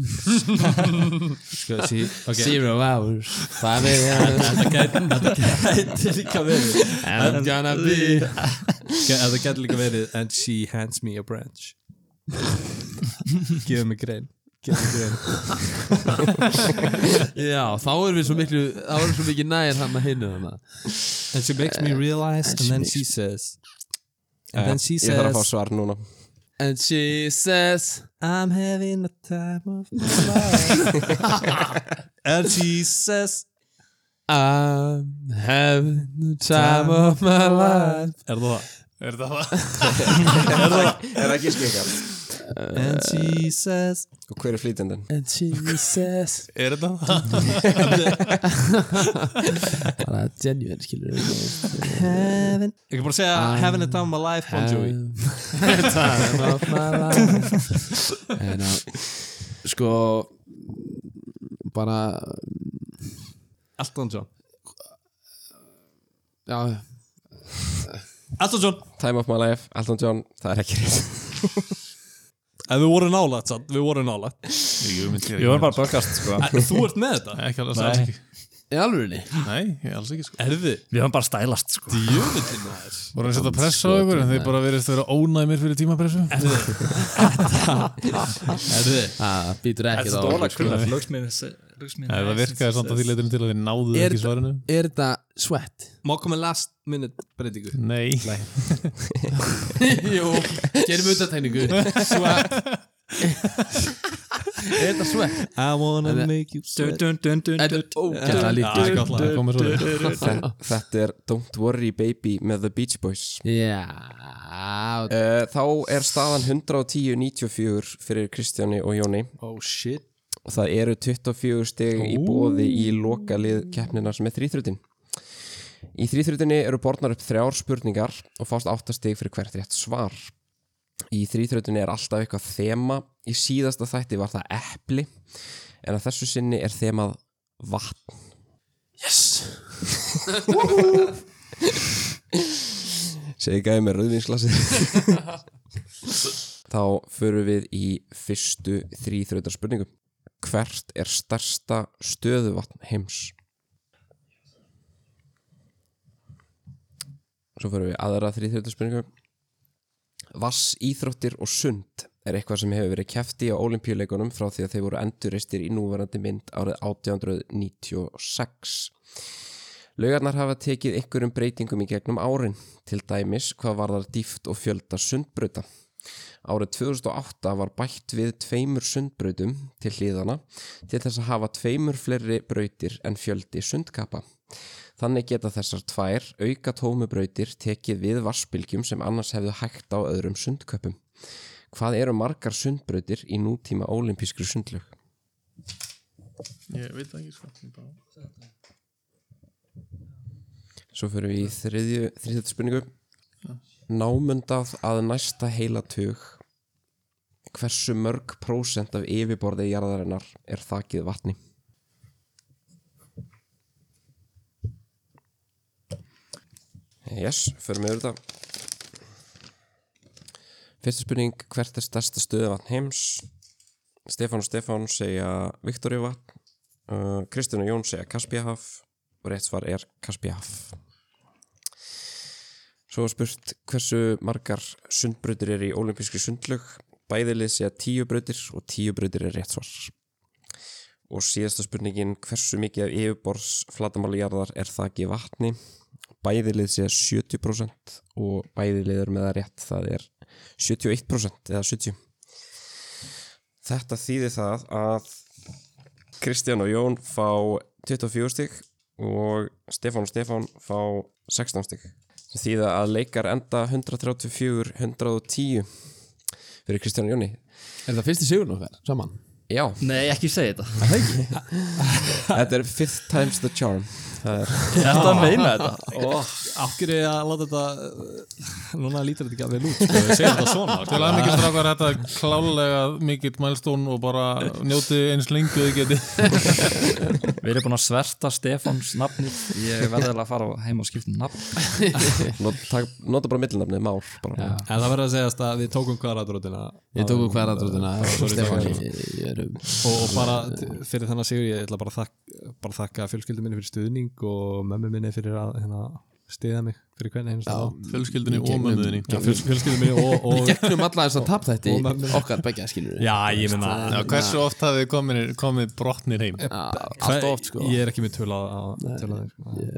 [SPEAKER 3] sko, she okay. *laughs*
[SPEAKER 2] Zero hours 5 a.m. *laughs*
[SPEAKER 3] Þetta er líka verið
[SPEAKER 2] And I'm gonna be *laughs*
[SPEAKER 3] Að það getur líka verið And she hands me a branch Gefur mig grein Gefur mig grein
[SPEAKER 2] *laughs* Já, þá erum við svo miklu þá erum við svo mikið nær hann að hinna hann
[SPEAKER 3] And she makes
[SPEAKER 2] Eh,
[SPEAKER 3] me realize And then she says And then she
[SPEAKER 1] Eh, ég þarf að fá
[SPEAKER 3] says
[SPEAKER 1] svar núna
[SPEAKER 2] And she says
[SPEAKER 3] I'm having a time of my life
[SPEAKER 2] *laughs*
[SPEAKER 3] And she says
[SPEAKER 2] I'm having the time of my life
[SPEAKER 3] Er það það?
[SPEAKER 5] Er það það?
[SPEAKER 1] er það ekki skikar?
[SPEAKER 3] And she says
[SPEAKER 1] og hver er flýtendin?
[SPEAKER 2] And she says
[SPEAKER 5] Er það það?
[SPEAKER 2] *laughs* Bara genuine skilur
[SPEAKER 3] Having Ég kan bara segja Having a time of my life Bon Jovi
[SPEAKER 2] The time of my life En að Sko Bara
[SPEAKER 3] Elton John
[SPEAKER 2] Já
[SPEAKER 3] Elton John
[SPEAKER 1] Time of my life, Elton John, það er ekki
[SPEAKER 3] *laughs*
[SPEAKER 1] rétt
[SPEAKER 3] En við vorum nálægt sann Við vorum nálægt
[SPEAKER 5] Jú, myndi ég
[SPEAKER 6] Ég var
[SPEAKER 5] ekki.
[SPEAKER 6] bara að böggast sko
[SPEAKER 3] En Þú ert með þetta?
[SPEAKER 5] Ekki alveg alls ekki.
[SPEAKER 2] Í alvörinni
[SPEAKER 5] Nei, ég alls ekki sko.
[SPEAKER 3] Erði
[SPEAKER 6] Við varum bara að stælast sko
[SPEAKER 3] Djöfullin maður
[SPEAKER 5] Voru hann að setja pressa á ykkur en þeir bara verið að vera ónæmir fyrir tímapressu?
[SPEAKER 3] Erði
[SPEAKER 2] Það býtur
[SPEAKER 6] Þetta
[SPEAKER 2] ekki þá
[SPEAKER 6] er dóla krull
[SPEAKER 4] Looks me in the- looks me in the
[SPEAKER 5] Það
[SPEAKER 4] eyes
[SPEAKER 5] virkaði
[SPEAKER 4] and
[SPEAKER 5] samt að því
[SPEAKER 4] says-
[SPEAKER 5] leytinu til að þið náðu
[SPEAKER 2] Er
[SPEAKER 5] ekki svarinu.
[SPEAKER 2] Er þetta sweat?
[SPEAKER 3] *laughs* Má koma last minute breytingu
[SPEAKER 5] Nei.
[SPEAKER 2] Jú Gerum *laughs* utatækningu Sweat Er þetta sweat?
[SPEAKER 3] I wanna
[SPEAKER 2] Þetta-
[SPEAKER 3] make you
[SPEAKER 4] Dun,
[SPEAKER 3] sweat
[SPEAKER 4] dun, dun, dun,
[SPEAKER 2] Þetta
[SPEAKER 4] dun.
[SPEAKER 2] er ógæðlega líkt
[SPEAKER 3] Já, gott lag.
[SPEAKER 5] Það komið svo þér.
[SPEAKER 1] Þe- þetta er Don't Worry Baby með The Beach Boys
[SPEAKER 2] Já
[SPEAKER 1] uh, þá er staðan 110-94 fyrir Kristjáni og Jóni
[SPEAKER 3] Oh shit
[SPEAKER 1] og það eru 24 stig í bóði í lokalið keppnina sem er þrýþrutin í þrýþrutinni eru borðnar upp þrjár spurningar og fást 8 stig fyrir hvert rétt svar í þrýþrutinni er alltaf eitthvað þema í síðasta þætti var það epli en að þessu sinni er þemað vatn *laughs* yes segi gæði með rauðvinslasi þá förum við í fyrstu þrýþrautar spurningu hvert er stærsta stöðuvatn heims svo fyrir við aðra þrýþjóðspurningu Vass, íþróttir og sund er eitthvað sem hefur verið kefti á olimpíuleikunum frá því að þeir voru enduristir í núverandi mynd árið 1896 Laugarnar hafa tekið einhverjum breytingum í gegnum árin til dæmis hvað varðar dýft og fjölda sundbrauta Árið 2008 var bætt við tveimur sundbrautum til hlýðana til þess að hafa tveimur fleiri brautir en fjöldi sundkappa. Þannig geta þessar tvær auka tómu brautir tekið við varspilgjum sem annars hefðu hægt á öðrum sundköpum. Hvað eru margar sundbrautir í nútíma ólimpískri sundlög?
[SPEAKER 5] Ég veit það ekki sko. Ég bara-
[SPEAKER 1] Svo fyrir við í þriðju, þriðju spurningu. Námundað að næsta heila tug. Hversu mörg prósent af yfirborði jarðarinnar er þakið vatni? Yes, förum við yfir þetta. Fyrsta spurning, hvert er stærsta stöðuvatn heims? Stefán og Stefán segja Viktoríuvatn, uh, Kristján og Jón segja Kaspíahaf og rétt svar er Kaspíahaf. Svo er spurt hversu margar sundbrautir er í olimpíski sundlög. Bæðilið segja tíu brautir og tíu brautir er rétt svar. Og síðasta spurningin, hversu mikið af yfirborðs flatamálijarðar er það ekki vatni? Bæðilið segja 70% og bæðilið er með það rétt, það er 71% eða 70%. Þetta þýðir það að Kristján og Jón fá 24 stygg og Stefán og Stefán fá 16 stygg sem þýða að leikar enda 134-110 fyrir Kristján og Jóni
[SPEAKER 2] Er það fyrsti sigur nokkar saman?
[SPEAKER 1] Já,
[SPEAKER 6] Nei, ekki segja þetta
[SPEAKER 1] þetta er fifth times the charm Það er
[SPEAKER 6] Þetta meina þetta
[SPEAKER 3] Akkur er ég að láta þetta uh, Núna lítur þetta ekki að við lút sko, Við segjum þetta svona
[SPEAKER 5] Til
[SPEAKER 3] sko.
[SPEAKER 5] að mikið strákar þetta er klálega mikill mælstón og bara njótið eins lengi og þið geti
[SPEAKER 6] Við erum búin að sverta Stefáns nafni Ég verði alveg að fara heim og skipta um nafn
[SPEAKER 1] not, tak, Nota bara millinafni, Már bara.
[SPEAKER 3] En það verður að segjast að við tókum kvaradrótina
[SPEAKER 2] Ég tóku hverjadrótina
[SPEAKER 3] sko. Sorry,
[SPEAKER 2] Stefán
[SPEAKER 3] Stefán.
[SPEAKER 2] Ég er um
[SPEAKER 3] og, og bara t- fyrir þennan sigur ég ætla bara að þakka, bara að þakka fjölskyldum minni fyrir stuðning og mömmu minni fyrir að hérna, stiða mig fyrir hvernig hins
[SPEAKER 5] Fjölskyldinni
[SPEAKER 2] Í
[SPEAKER 5] og
[SPEAKER 2] gegnum-
[SPEAKER 5] mömmuðinni
[SPEAKER 3] fjölskyldum minni og, og
[SPEAKER 2] Gegnum alla þess að tap
[SPEAKER 3] Og
[SPEAKER 2] þetta
[SPEAKER 3] mömmu.
[SPEAKER 2] Okkar begja skilur
[SPEAKER 3] *laughs* Já, ég meina
[SPEAKER 5] Já, hversu oft hafið þið komin, komið brotnir heim?
[SPEAKER 2] Allt oft sko
[SPEAKER 3] Ég er ekki með töl að töl að þeim sko.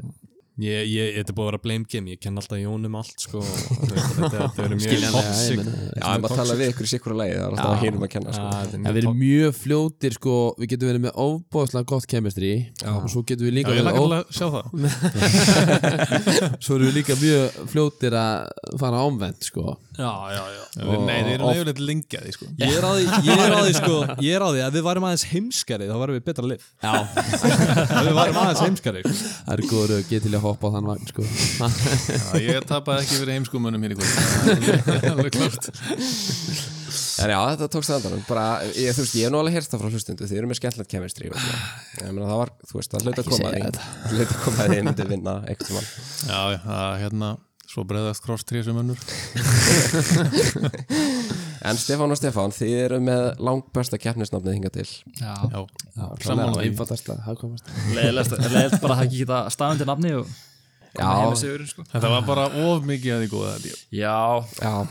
[SPEAKER 3] Ég, ég, þetta er búið að vera blame game, ég ken alltaf Jónum allt sko, *laughs* og þetta, þetta, þetta er mjög
[SPEAKER 2] Skiljanlega, ég
[SPEAKER 3] toxic
[SPEAKER 2] meina,
[SPEAKER 1] Já, ef maður tala við ykkur í sikkura leið Það er alltaf að hinum að kenna sko.
[SPEAKER 2] En við erum mjög fljótir sko Við getum verið með ofbóðslega gott kemestri Og svo getum við
[SPEAKER 5] Já,
[SPEAKER 2] líka
[SPEAKER 5] ég
[SPEAKER 2] verið
[SPEAKER 5] lakar
[SPEAKER 2] ó-
[SPEAKER 5] til að sjá það
[SPEAKER 2] Svo erum við líka mjög fljótir að fara ámvend sko
[SPEAKER 3] Já, já, já
[SPEAKER 5] Nei, þið eru nefnilegt lengjaði sko
[SPEAKER 3] Ég er á því, ég er á því sko, ég er á því að við varum aðeins heimskari, þá varum við betra lið. Já. *laughs* við varum aðeins heimskari. sko.
[SPEAKER 2] Það er góður að geta til að hoppa á þann vagn sko
[SPEAKER 3] *laughs*
[SPEAKER 5] Já, Ég tapaði ekki fyrir heimskumunum hér í kvöld Alveg klart
[SPEAKER 1] En já, þetta tókst að andanum bara, ég, Þú veist, ég hef nú alveg heyrst það frá hlustundu Þið eru með skemmtilegt kemistri Það var, þú veist, það hlut að koma að *laughs* því Hlut að koma að því myndi vinna eitthvað mann
[SPEAKER 5] Já, já, það er hérna Svo bregðast kross tré sem önnur
[SPEAKER 1] En Stefán og Stefán, þið eru með langbesta keppnisnafnið hinga til
[SPEAKER 6] Já
[SPEAKER 5] Já,
[SPEAKER 2] Sammála
[SPEAKER 5] sammála því
[SPEAKER 2] Einfaldast að hagkomast
[SPEAKER 6] Leðilegt bara að ekki geta staðan til nafni og
[SPEAKER 1] Já,
[SPEAKER 6] heim með sigurinn sko
[SPEAKER 5] Þetta var bara of mikið að því góða held ég.
[SPEAKER 6] Já,
[SPEAKER 1] já
[SPEAKER 5] Það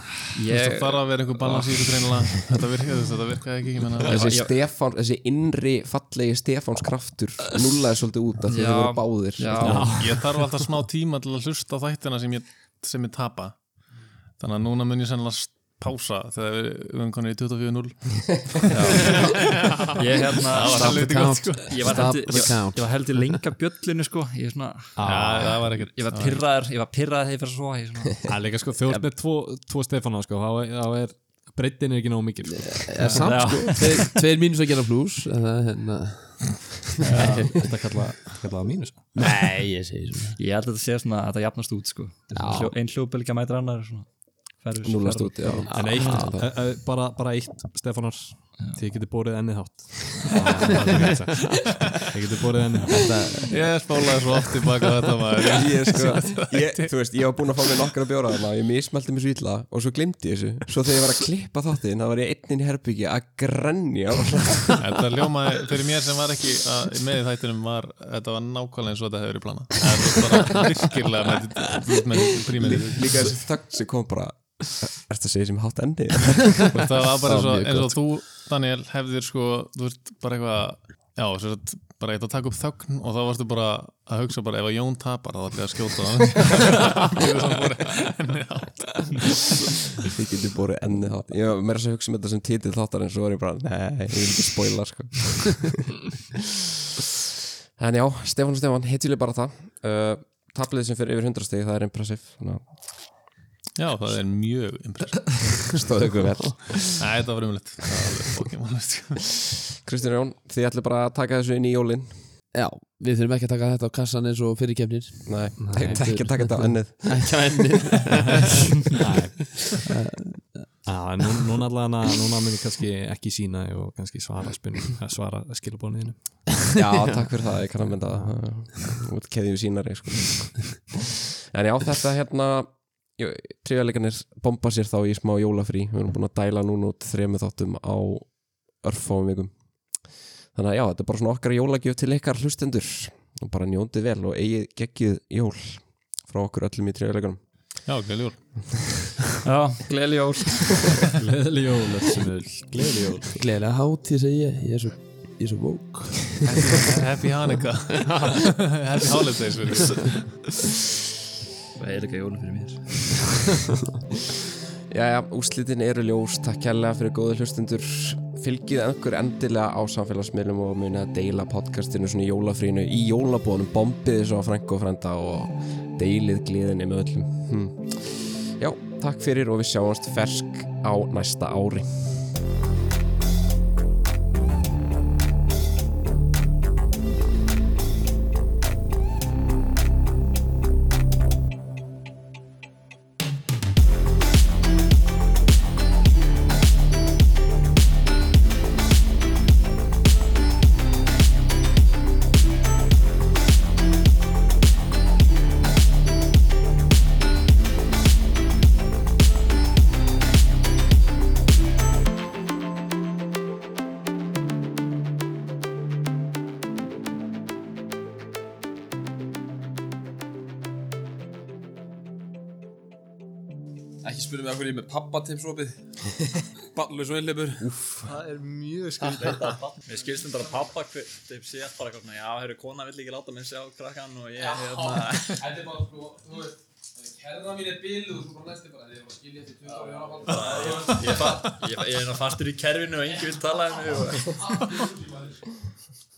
[SPEAKER 6] ég
[SPEAKER 5] þarf að vera einhver balans í þessu greinilega Þetta virkaði þetta virkaði ekki ég meina-
[SPEAKER 1] Þessi, Stefán, þessi innri fallegi Stefáns kraftur nullaði svolítið út af því
[SPEAKER 6] Já.
[SPEAKER 1] þið voru báðir
[SPEAKER 6] Já,
[SPEAKER 5] Ég þarf alltaf smá tíma til að hlusta á þættina sem ég, sem ég tapa Þannig að núna mun ég sennilega s- pása þegar við við höfum konið í 24-0
[SPEAKER 6] ég hérna
[SPEAKER 5] Stop
[SPEAKER 2] the count.
[SPEAKER 6] Ég var
[SPEAKER 2] Stop
[SPEAKER 6] heldur,
[SPEAKER 2] the
[SPEAKER 6] ég,
[SPEAKER 2] count.
[SPEAKER 6] ég var heldur lengi að bjöllinu sko Ég, svona,
[SPEAKER 5] Já, það var ekkert
[SPEAKER 6] ég var pyrraður, ég var pyrraður þegar ég fyrir svo Ég svona,
[SPEAKER 3] Það er líka sko, þú ert með tvo, tvo Stefana sko, þá er, þá er breytin er ekki nógu mikil. Sko.
[SPEAKER 2] Er samt sko Tveir- Tveir mínus að gera plus Það er hérna *laughs*
[SPEAKER 3] Þetta kalla, þetta kalla það mínus.
[SPEAKER 2] Nei, ég segi svona
[SPEAKER 6] *laughs* ég held að þetta sé svona að þetta jafnast út sko
[SPEAKER 2] Já.
[SPEAKER 6] Hljó, Ein hljóðbylgja mætir annar svona, ferður,
[SPEAKER 1] Núllast út, já
[SPEAKER 3] En eitt, e, e, bara, bara eitt Stefanar, þið getur borið ennið hátt. Þið getur borið ennið hátt.
[SPEAKER 5] Ég spólaði svo oft tilbaka þetta maður
[SPEAKER 1] Ég,
[SPEAKER 6] *laughs*
[SPEAKER 1] sko, ég, þú veist, ég var búinn að fá mér nokkra bjóra þarna og ég mismælti mér svo illa og svo glimti þessu svo þegar ég var að klippa þáttinn þá var ég einn inn í herbyggja að grenja
[SPEAKER 5] Þetta ljómaði, fyrir mér sem var ekki að, með í þættinum var, þetta var nákvæmlega eins og þetta hefur verið plana Það var bara virkilega með- þú veist, með prímið
[SPEAKER 1] líka þessi þögn sem kom bara Er þetta að segja sem hátt endi?
[SPEAKER 5] Og það var bara eins
[SPEAKER 2] mjög
[SPEAKER 5] og, eins og þú, Daniel, hefðir sko, þú ert bara eitthvað já, sem sagt, bara eitthvað að taka upp þögn og þá varstu bara að hugsa bara ef að Jón tapar þá ætla ég að skjóta hann
[SPEAKER 1] Þið getur borið enni hátt Ég var meira að segja að hugsa um þetta sem titill þáttar en svo var ég bara Nei, ég vil ekki spoila sko *laughs* En já, Stefán og Stefán, hittileg bara það uh, Tablið sem fyrir yfir 100 stig, það er impressiv Þannig
[SPEAKER 5] Já, það er mjög impressið
[SPEAKER 1] að stóðu ykkur vel
[SPEAKER 5] Nei, þetta var umlegt Það var alveg Pokémon
[SPEAKER 1] Kristján Jón, þið ætlir bara að taka þessu inn í jólin
[SPEAKER 2] Já, við þurfum ekki að taka þetta á kassan eins og fyrir kemnir
[SPEAKER 1] Nei, *laughs* Nei ekki að taka þetta á ennið
[SPEAKER 2] Ekki á enni
[SPEAKER 3] Já, en nú- núna allavega, núna mun ég kannski ekki sína og kannski svara spynni, svara skilabóniðinu.
[SPEAKER 1] Já, takk fyrir það, ég kann að mynda það út keðjum sínari sko. En já, þetta hérna triðarleikanir bomba sér þá í smá jólafrí við erum búin að dæla núna út þremu þáttum á örfáum vikum Þannig að já, þetta er bara svona okkar jólagjöf til ykkar hlustendur og bara njóndið vel og eigið geggið jól frá okkur öllum í triðarleikanum
[SPEAKER 5] Já, gæljúr
[SPEAKER 6] Já, gleðli jól
[SPEAKER 3] Gleðli jól, Össumul, gleðli jól.
[SPEAKER 2] Gleðilega hátíð segi ég Ég er svo, ég er svo vók
[SPEAKER 5] Happy Hanukkah *laughs* Happy Holidays fyrir því.
[SPEAKER 6] Það er líka jólum fyrir mér
[SPEAKER 1] Jæja, úslitin eru ljós, takk kærlega fyrir góðu hlustendur fylgið einhver endilega á samfélagsmiðlum og munið að deila podcastinu svona í jólafrínu í jólabónum, bombið þessu á frængu og frænda og deilið gleðinni með öllum hm. Já, takk fyrir og við sjáumst fersk á næsta ári
[SPEAKER 2] Ekki spyrja mig af hverju ég er með pappatippsopið *laughs* Ballus og illibur
[SPEAKER 7] Það er mjög skrítið
[SPEAKER 4] *laughs* Mér skilst um þetta að pappa þeim sé alltaf bara eitthvað svona, já, heyrðu, kona vill ekki láta mér sjá krakkan og ég,
[SPEAKER 7] *laughs*
[SPEAKER 4] hérna, *laughs*
[SPEAKER 2] Þetta er bara sko, þú veist Herra mín er biluð og svo bara næstu bara Þið er bara skilja eftir 20 ára ára ballus
[SPEAKER 4] ég, fa- ég, ég er nú fastur í kerfinu og engi vil tala um mig og...
[SPEAKER 2] Það